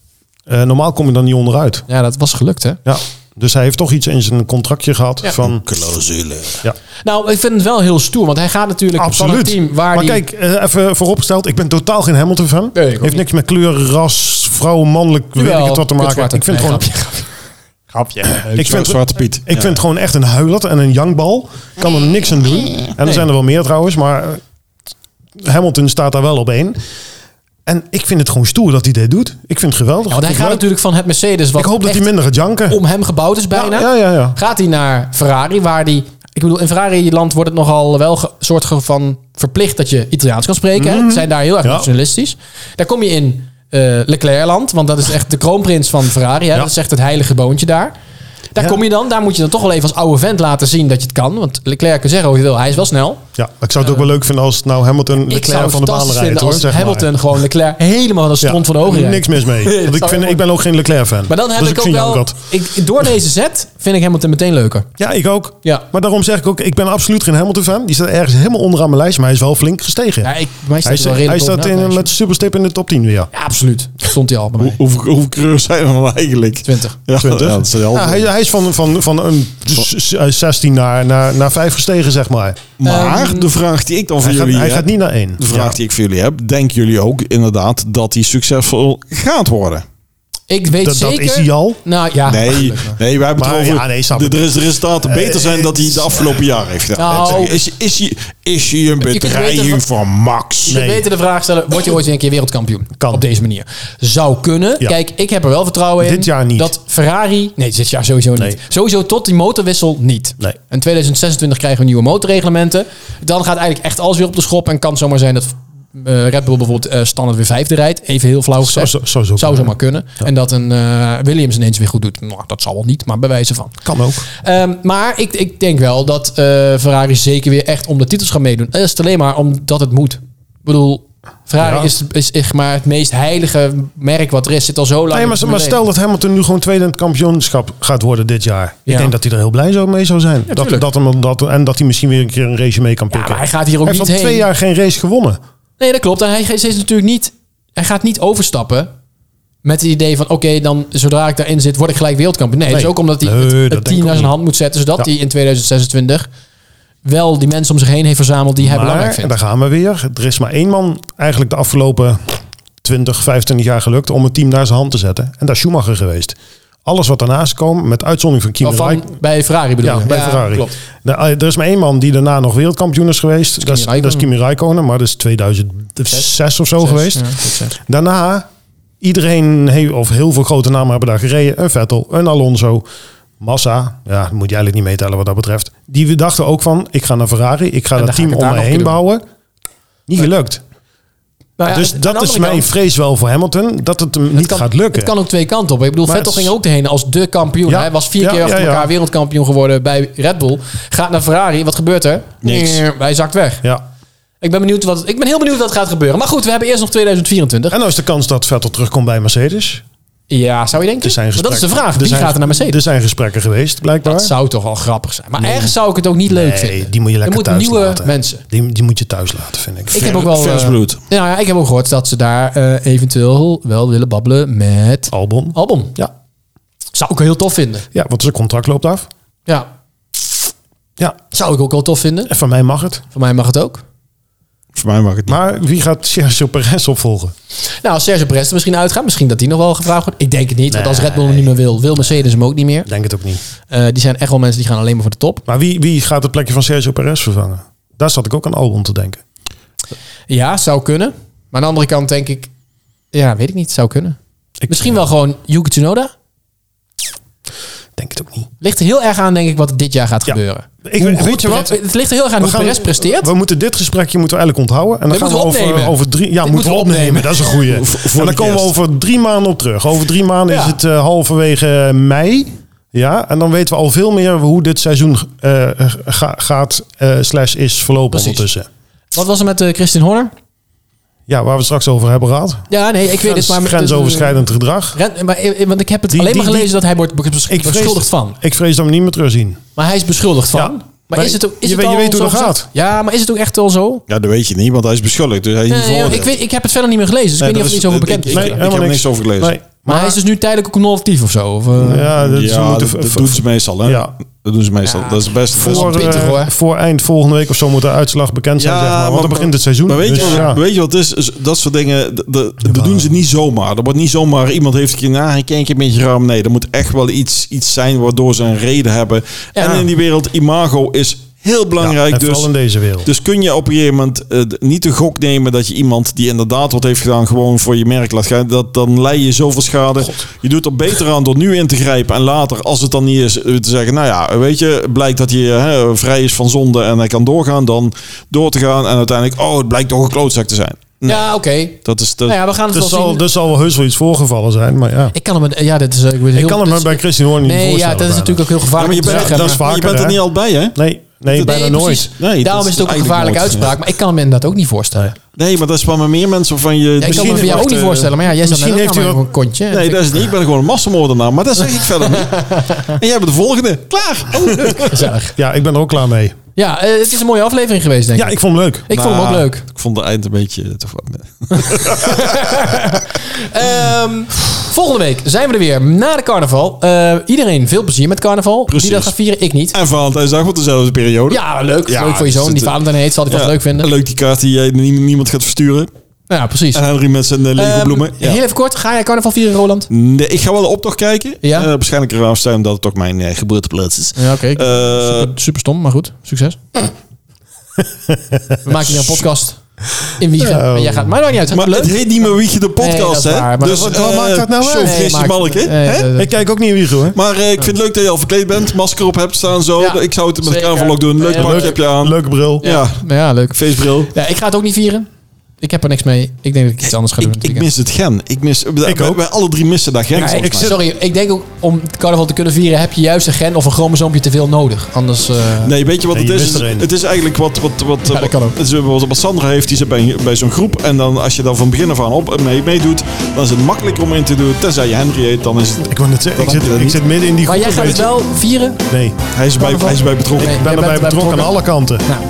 C: Eh, normaal kom je dan niet onderuit.
B: Ja, dat was gelukt hè.
C: Ja. Dus hij heeft toch iets in zijn contractje gehad
B: Ja.
C: van...
A: Clausule.
C: Ja,
B: Nou, ik vind het wel heel stoer, want hij gaat natuurlijk van een
C: absoluut.
B: team waar
C: maar
B: die...
C: kijk, eh, even vooropgesteld, ik ben totaal geen Hamilton-fan.
B: Nee, ik ook
C: heeft niks met kleur, ras, vrouw, mannelijk, weet ik het wat te maken. Ik vind, gewoon, ik, vind,
A: Zwarte Piet.
C: ik vind het gewoon echt een huilat en een jankbal. Kan er niks aan doen. En er zijn er wel meer trouwens, maar... eh, Hamilton staat daar wel op één. En ik vind het gewoon stoer dat hij dit doet. Ik vind het geweldig.
B: Ja, want hij
C: Ik
B: gaat
C: vind het
B: natuurlijk van het Mercedes,
C: leuk.
B: wat
C: Ik hoop dat
B: echt
C: hij minder gaat janken.
B: om hem gebouwd is bijna.
C: Ja, ja, ja.
B: Gaat hij naar Ferrari, waar die... Ik bedoel, in Ferrari-land wordt het nogal wel ge- soort ge- van verplicht dat je Italiaans kan spreken. hè. Ze zijn daar heel erg
C: Mhm. Ja.
B: nationalistisch. Daar kom je in eh Leclerc-land, want dat is echt de kroonprins van Ferrari. Hè?
C: Ja.
B: Dat is echt het heilige boontje daar. Daar
C: Ja.
B: kom je dan. Daar moet je dan toch wel even als oude vent laten zien dat je het kan. Want Leclerc kan zeggen wat hij wil. Hij is wel snel.
C: Ja, maar ik zou het ook wel leuk vinden als nou Hamilton
B: ik zou
C: Leclerc
B: het
C: van de baan
B: fantastisch
C: rijdt.
B: vinden
C: Hoor,
B: als
C: zeg maar.
B: Hamilton gewoon Leclerc helemaal als stront van de ogen rijdt.
C: Niks mis mee. Want ik,
B: zou
C: vind,
B: ik
C: ik ben ook geen Leclerc-fan.
B: Maar dan heb
C: Dus
B: ik ook
C: vind jou
B: wel... Ik, door deze set vind ik Hamilton meteen leuker.
C: Ja, ik ook.
B: Ja.
C: Maar daarom zeg ik ook, ik ben absoluut geen Hamilton-fan. Die staat ergens helemaal onderaan mijn lijst, maar hij is wel flink gestegen.
B: Ja, ik, mij staat hij wel
C: hij staat, hij
B: redelijk
C: staat
B: bovenaan,
C: in,
B: meisje.
C: met superstip in de top 10 weer.
B: Ja, absoluut. Stond hij al bij
A: Hoe,
B: mij.
A: hoeveel, hoeveel coureurs zijn er dan eigenlijk?
B: 20.
A: Ja,
C: 20.
A: ja, dat is wel-
C: Ja, hij, hij is van, van, van een s- s- 16 naar, naar, naar 5 gestegen, zeg maar.
A: Maar de vraag die ik dan voor
C: ehm, Hij, gaat,
A: jullie
C: hij
A: heb-
C: gaat niet naar 1.
A: De vraag die ik voor jullie heb, denken jullie ook inderdaad dat hij succesvol gaat worden?
B: Ik weet
C: Dat- dat
B: zeker...
C: is hij al?
B: Nou ja.
A: Nee, nee wij hebben
C: Maar
A: het over
C: ja, nee, snap
A: de,
C: ik. Eh,
A: de res- resultaten beter zijn dan hij de afgelopen jaren heeft gedaan.
B: Nou,
A: is, is, hij, is hij een
B: kunt weten
A: bedreiging
B: wat-
A: van Max?
B: Je
C: Nee.
B: beter de vraag stellen, word je ooit weer een keer wereldkampioen?
C: Kan.
B: Op deze manier. Zou kunnen.
C: Ja.
B: Kijk, ik heb er wel vertrouwen in.
C: Dit jaar niet.
B: Dat Ferrari... Nee, dit jaar sowieso niet.
C: Nee.
B: Sowieso tot die motorwissel niet.
C: Nee.
B: In 2026 krijgen we nieuwe motorreglementen. Dan gaat eigenlijk echt alles weer op de schop. En kan zomaar zijn dat eh, Red Bull bijvoorbeeld eh, standaard weer vijfde rijdt. Even heel flauw gezegd.
C: zo- zou zo
B: zou
C: kunnen.
B: zomaar kunnen. En dat een eh, Williams ineens weer goed doet. Nou, dat zal wel niet, maar bij wijze van.
C: Kan ook.
B: Ehm, maar ik, ik denk wel dat eh, Ferrari zeker weer echt om de titels gaat meedoen. Dat is het alleen maar omdat het moet. Ik bedoel, Ferrari
C: Ja.
B: is, is echt maar het meest heilige merk wat er is. Zit al zo lang.
C: Nee,
B: in
C: maar,
B: de
C: maar
B: Formule
C: stel dat Hamilton nu gewoon tweede in het kampioenschap gaat worden dit jaar.
B: Ja.
C: Ik denk dat hij er heel blij zo mee zou zijn. dat,
B: tuurlijk.
C: dat hem, dat, en dat hij misschien weer een keer een race mee kan
B: 1.
C: pikken.
B: Ja, maar hij gaat hier ook
C: hij heeft
B: niet
C: al
B: heen.
C: twee jaar geen race gewonnen.
B: Nee, dat klopt. En hij is is natuurlijk niet. Hij gaat niet overstappen. Met het idee van, oké, dan zodra ik daarin zit, word ik gelijk wereldkampioen. Nee, het is
C: Nee.
B: ook omdat hij
C: Nee,
B: het,
C: dat
B: het
C: denk ik
B: team
C: ook
B: naar zijn
C: niet.
B: hand moet zetten. Zodat
C: Ja.
B: hij in 2026 wel die mensen om zich heen heeft verzameld die hij belangrijk
C: Maar, en
B: vindt.
C: daar gaan we weer. Er is maar één man eigenlijk de afgelopen 20, 25 jaar gelukt om het team naar zijn hand te zetten. En dat is Schumacher geweest. Alles wat daarnaast kwam, met uitzondering van Kimi
B: Waarvan-
C: Räikkönen.
B: bij Ferrari bedoel
C: Ja,
B: ik.
C: bij Ferrari.
B: Klopt.
C: Nou, eh, er is maar één man die daarna nog wereldkampioen is geweest. Dat is,
B: Kimi
C: dat is Kimi Räikkönen, maar dat is 2006 of zo geweest.
B: Ja, dat is zes.
C: Daarna, iedereen, he- of heel veel grote namen hebben daar gereden. Een Vettel, een Alonso, Massa. Ja, dat moet je eigenlijk niet meetellen wat dat betreft. Die we dachten ook van, ik ga naar Ferrari. Ik ga
B: En
C: dat
B: dan ga
C: team
B: ik het
C: om
B: daar
C: me
B: nog
C: heen
B: doen.
C: bouwen. Niet gelukt.
B: Nou ja,
C: dus
B: aan de
C: dat is
B: andere
C: mijn
B: kant,
C: vrees wel voor Hamilton. Dat het hem niet
B: het kan-
C: gaat lukken.
B: Het kan ook twee kanten op. Ik bedoel,
C: Maar
B: Vettel
C: het is-
B: ging er ook heen als de kampioen.
C: Ja,
B: Hij was vier
C: ja,
B: keer achter
C: ja, ja.
B: elkaar wereldkampioen geworden bij Red Bull. Gaat naar Ferrari. Wat gebeurt er?
A: Niks.
B: Hij zakt weg.
C: Ja.
B: Ik ben, benieuwd wat, ik ben heel benieuwd wat gaat gebeuren. Maar goed, we hebben eerst nog 2024.
C: En nou is de kans dat Vettel terugkomt bij Mercedes.
B: Ja, zou je
C: Er
B: denken?
C: zijn
B: maar dat is de
C: gesprekken-
B: vraag. Wie
C: zijn-
B: gaat er naar
C: Er
B: Mercedes?
C: zijn gesprekken geweest, blijkbaar.
B: Dat zou toch wel grappig zijn. Maar ergens zou ik het ook niet leuk
C: nee,
B: vinden.
C: die moet je
B: Er
C: lekker
B: moeten
C: thuis
B: nieuwe
C: laten.
B: mensen.
C: Die, die moet je thuis laten, vind ik.
B: Ik heb ook wel...
A: vers
B: eh,
A: bloed.
B: nou ja, ik heb ook gehoord dat ze daar eh, eventueel wel willen babbelen met
C: Albon.
B: Albon.
C: Ja.
B: Zou ik heel tof vinden.
C: ja, want zijn contract loopt af.
B: Ja,
C: Ja,
B: zou ik ook wel tof vinden.
C: van mij mag het.
B: Voor mij mag het ook.
A: Voor mij mag het niet.
C: Maar wie gaat Sergio Perez opvolgen?
B: Nou, als Sergio Perez er misschien uitgaat, misschien dat die nog wel gevraagd wordt. Ik denk het niet, want als Red Bull hem niet meer wil, wil Mercedes hem ook niet meer.
C: Ik denk het ook niet.
B: Eh, die zijn echt wel mensen die gaan alleen maar voor de top.
C: Maar wie, wie gaat het plekje van Sergio Perez vervangen? Daar zat ik ook aan Albon te denken.
B: Ja, zou kunnen. Maar aan de andere kant denk ik, ja, weet ik niet, zou kunnen.
C: Ik
B: Misschien wel gewoon Yuki Tsunoda.
C: denk het ook niet.
B: Ligt er heel erg aan, denk ik, wat er dit jaar gaat
C: Ja.
B: gebeuren.
C: Ik,
B: Hoe
C: weet-
B: goed
C: weet je wat?
B: Perez- Het ligt er heel erg aan hoe Perez presteert.
C: We moeten dit gesprekje moeten we eigenlijk onthouden. En
B: Dit
C: dan gaan we
B: moeten we
C: over,
B: opnemen.
C: over drie... Ja,
B: Dit
C: moeten we opnemen. Dat is een goeie. en
A: Voor- voor
C: dan
A: het
C: komen we
A: eerst.
C: over drie maanden op terug. Over drie maanden
B: Ja.
C: is het eh, halverwege mei. Ja, en dan weten we al veel meer hoe dit seizoen eh, ga- gaat eh, slash is verlopen
B: Precies.
C: ondertussen.
B: Wat was er met eh Christian Horner?
C: Ja, waar we het straks over hebben gehad.
B: Ja, nee, ik weet het, maar... met-
C: Grensoverschrijdend gedrag.
B: Ren- maar, eh, want ik heb het
C: Die-
B: alleen
C: die-
B: maar gelezen
C: die-
B: dat hij wordt bes-
C: Ik vrees,
B: beschuldigd van.
C: Ik vrees dat we hem niet meer terugzien.
B: Maar hij is beschuldigd van.
C: Ja.
B: Maar,
C: Maar
B: is het ook, is
C: je
B: het
C: weet- je
B: al
C: weet hoe
B: zo
C: dat
B: gezegd?
C: gaat.
B: Ja, maar is het ook echt wel zo?
A: Ja, dat weet je niet, want hij is beschuldigd. Dus hij is niet
B: Nee,
A: veroordeeld.
B: Eh, ik, weet, ik heb het verder niet meer gelezen, dus
A: Nee,
B: ik weet niet of
A: dat
B: er iets
A: is- ik-
B: over bekend is.
A: ik-
B: maar,
A: ik-
C: helemaal
A: heb er niks over gelezen.
C: Nee, eh, maar,
B: hij is dus nu tijdelijk ook non-actief of zo? Of, eh?
C: ja, dat, ze
A: ja,
C: moeten
A: dat,
C: v-
A: dat
C: v-
A: doen ze meestal. Hè?
C: Ja.
A: Dat doen ze meestal. dat is best dat is-
C: voor,
B: pittig,
C: eh,
B: hoor.
C: voor eind volgende week of zo moet de uitslag bekend zijn. zeg maar, want dan begint het seizoen.
A: Maar weet,
C: Dus
A: je, wat,
C: ja.
A: weet je wat het is? Is Dat soort dingen, d- d- dat doen ze niet zomaar. Dat wordt niet zomaar iemand heeft een keer, nou, ik kijk een beetje raam. Nee, er moet echt wel iets, iets zijn waardoor ze een reden hebben.
B: Ja.
A: En in die wereld, imago is Heel belangrijk
C: en
A: dus.
C: vooral in deze wereld.
A: Dus kun je op een gegeven moment eh, d- niet de gok nemen dat je iemand die inderdaad wat heeft gedaan gewoon voor je merk laat gaan. Dat, dan lei je zoveel schade. Je doet er beter aan door nu in te grijpen en later, als het dan niet is, eh, te zeggen, nou ja, weet je, blijkt dat hij hè, vrij is van zonde en hij kan doorgaan, dan door te gaan en uiteindelijk, oh, het blijkt toch een klootzak te zijn. Nee,
B: Ja, oké.
A: dat is dat,
B: Nou ja, we gaan het
C: Dus Er
B: wel zien.
C: zal, er zal wel heus wel iets voorgevallen zijn, maar ja.
B: Ik kan hem... Ja, dit is... eh, Ik, weet
C: Ik
B: heel-
C: kan hem
B: dit
C: me
B: is-
C: bij Christian Horner niet
B: Nee, ja,
C: voorstellen.
B: dat is
C: bijna.
B: natuurlijk ook heel
A: Ja,
B: gevaarlijk
A: maar je
B: om te
A: bent,
B: zeggen.
C: dat is
A: maar je
C: vaker,
A: bent er
C: hè?
A: niet al bij, hè?
C: Nee, nee,
A: Dat-
C: bijna
B: Nee,
C: nooit.
B: precies.
A: Nee, dat
B: Daarom is het ook een
A: eigenlijk
B: gevaarlijke
A: nooit,
B: uitspraak.
A: ja.
B: Maar ik kan hem inderdaad ook niet voorstellen.
A: Nee, maar dat is bij maar meer mensen van je.
B: Ja, ik kan me
A: Misschien-
B: voor jou ook niet
A: eh,
B: voorstellen. Maar ja, jij zat
C: misschien
B: net ook
C: heeft u
B: aan
C: wel-
B: een kontje. En
A: Nee,
B: dat
A: dat is het niet. Ik ben gewoon een massamoordenaar. Maar dat zeg ik verder niet. En jij bent de volgende. Klaar.
B: vind ik gezellig.
C: Ja, ik ben er ook klaar mee.
B: Ja, eh, het is een mooie aflevering geweest, denk ik.
C: Ja, ik vond hem leuk.
B: Ik vond hem ook
A: Nou,
B: Oh, leuk.
A: Ik vond het eind een beetje te
B: Ehm, volgende week zijn we er weer na de carnaval. Eh, iedereen veel plezier met carnaval.
A: Precies.
B: Die dat gaat vieren, ik niet.
A: En Valentijnsdag wordt dezelfde periode.
B: Ja, leuk.
A: Ja,
B: leuk voor je
A: dus
B: zoon. Die
A: het-
B: Valentijn heet, zal ik
A: Ja,
B: wel leuk vinden.
A: Leuk die kaart die jij nie- niemand gaat versturen.
B: Ja, precies.
A: En Henry met zijn eh, lege
B: Ehm,
A: bloemen. Ja.
B: Heel even kort, ga jij carnaval vieren, Roland?
A: Nee, ik ga wel de optocht kijken.
B: Ja.
A: Eh, waarschijnlijk eraan staan dat het ook mijn eh, geboorteplaats is.
B: Ja, oké.
A: Eh,
B: super, super stom, maar goed. Succes. We maken hier een podcast in Wiegen.
C: Oh.
B: En jij gaat, maar dat maakt niet uit.
A: maar
B: leuk.
A: het heet niet meer Wiegje de
B: Nee, dat is
A: podcast, hè?
B: waar, maar
A: dus
B: wat-
C: wat
A: eh,
C: maakt dat nou uit?
A: Zo
B: Nee,
A: fris je
B: maakt-
A: balk, hè?
B: nee,
A: Hè?
B: dat-
C: Ik kijk ook niet in Wiego, hè?
A: Maar eh, ik vind het leuk dat je al verkleed bent, masker op hebt staan zo.
B: Ja,
A: ik zou het met
B: zeker.
A: carnaval ook doen. Leuk
B: Ja,
A: pakje
B: leuk.
A: heb je aan.
C: Leuke bril.
A: Ja,
B: Nou ja, leuk.
A: feestbril.
B: Ja, ik ga het ook niet vieren. Ik heb er niks mee. Ik denk dat ik iets anders ga doen.
A: Ik, ik
B: dit weekend.
A: mis het gen. Ik mis,
C: Ik
A: wij,
C: ook.
A: wij alle drie missen dat gen.
B: Ja,
A: volgens
B: ik,
A: mij.
B: sorry, ik denk ook om het carnaval te kunnen vieren heb je juist een gen of een chromosoompje te veel nodig. Anders. eh,
A: Nee, weet je wat
C: Nee,
A: het
C: je
A: is?
C: mist er een.
A: Het is eigenlijk wat, wat, wat,
B: dat kan ook.
A: het is wat, wat Sandra heeft. Die zit bij, bij zo'n groep. En dan, als je dan van begin af aan op, mee, meedoet, dan is het makkelijker om in te doen. Tenzij je Henry heet, dan is het...
C: Ik, wou net zeggen, ik,
A: Dat heb je
C: zit, ik
A: niet.
C: zit midden in die
B: Maar
C: groep.
B: jij gaat het
C: weet je.
B: wel vieren.
C: Nee,
A: Hij is bij, hij is bij betrokken.
B: Nee.
C: ik
B: jij bent
C: ben erbij
B: erbij
C: betrokken
B: betrokken.
C: aan alle kanten.
B: Nou,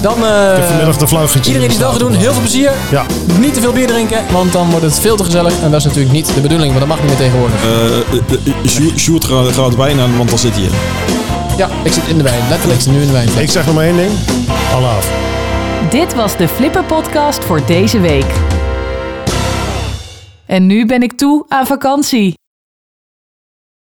B: dan. eh,
C: Vanmiddag de flauwgietje.
B: iedereen die het wel gaat doen, heel veel plezier.
C: Ja.
B: Niet te veel bier drinken, want dan wordt het veel te gezellig. En dat is natuurlijk niet de bedoeling, want dat mag niet meer tegenwoordig.
A: Eh, eh, eh, Sjoerd- Sjoerd gaat gaat wijn aan, want dan zit hij in.
B: Ja, ik zit in de wijn. Letterlijk, ik zit nu in de wijn.
C: Ik zeg nog maar één ding. Alle af.
D: Dit was de Flipper Podcast voor deze week. En nu ben ik toe aan vakantie.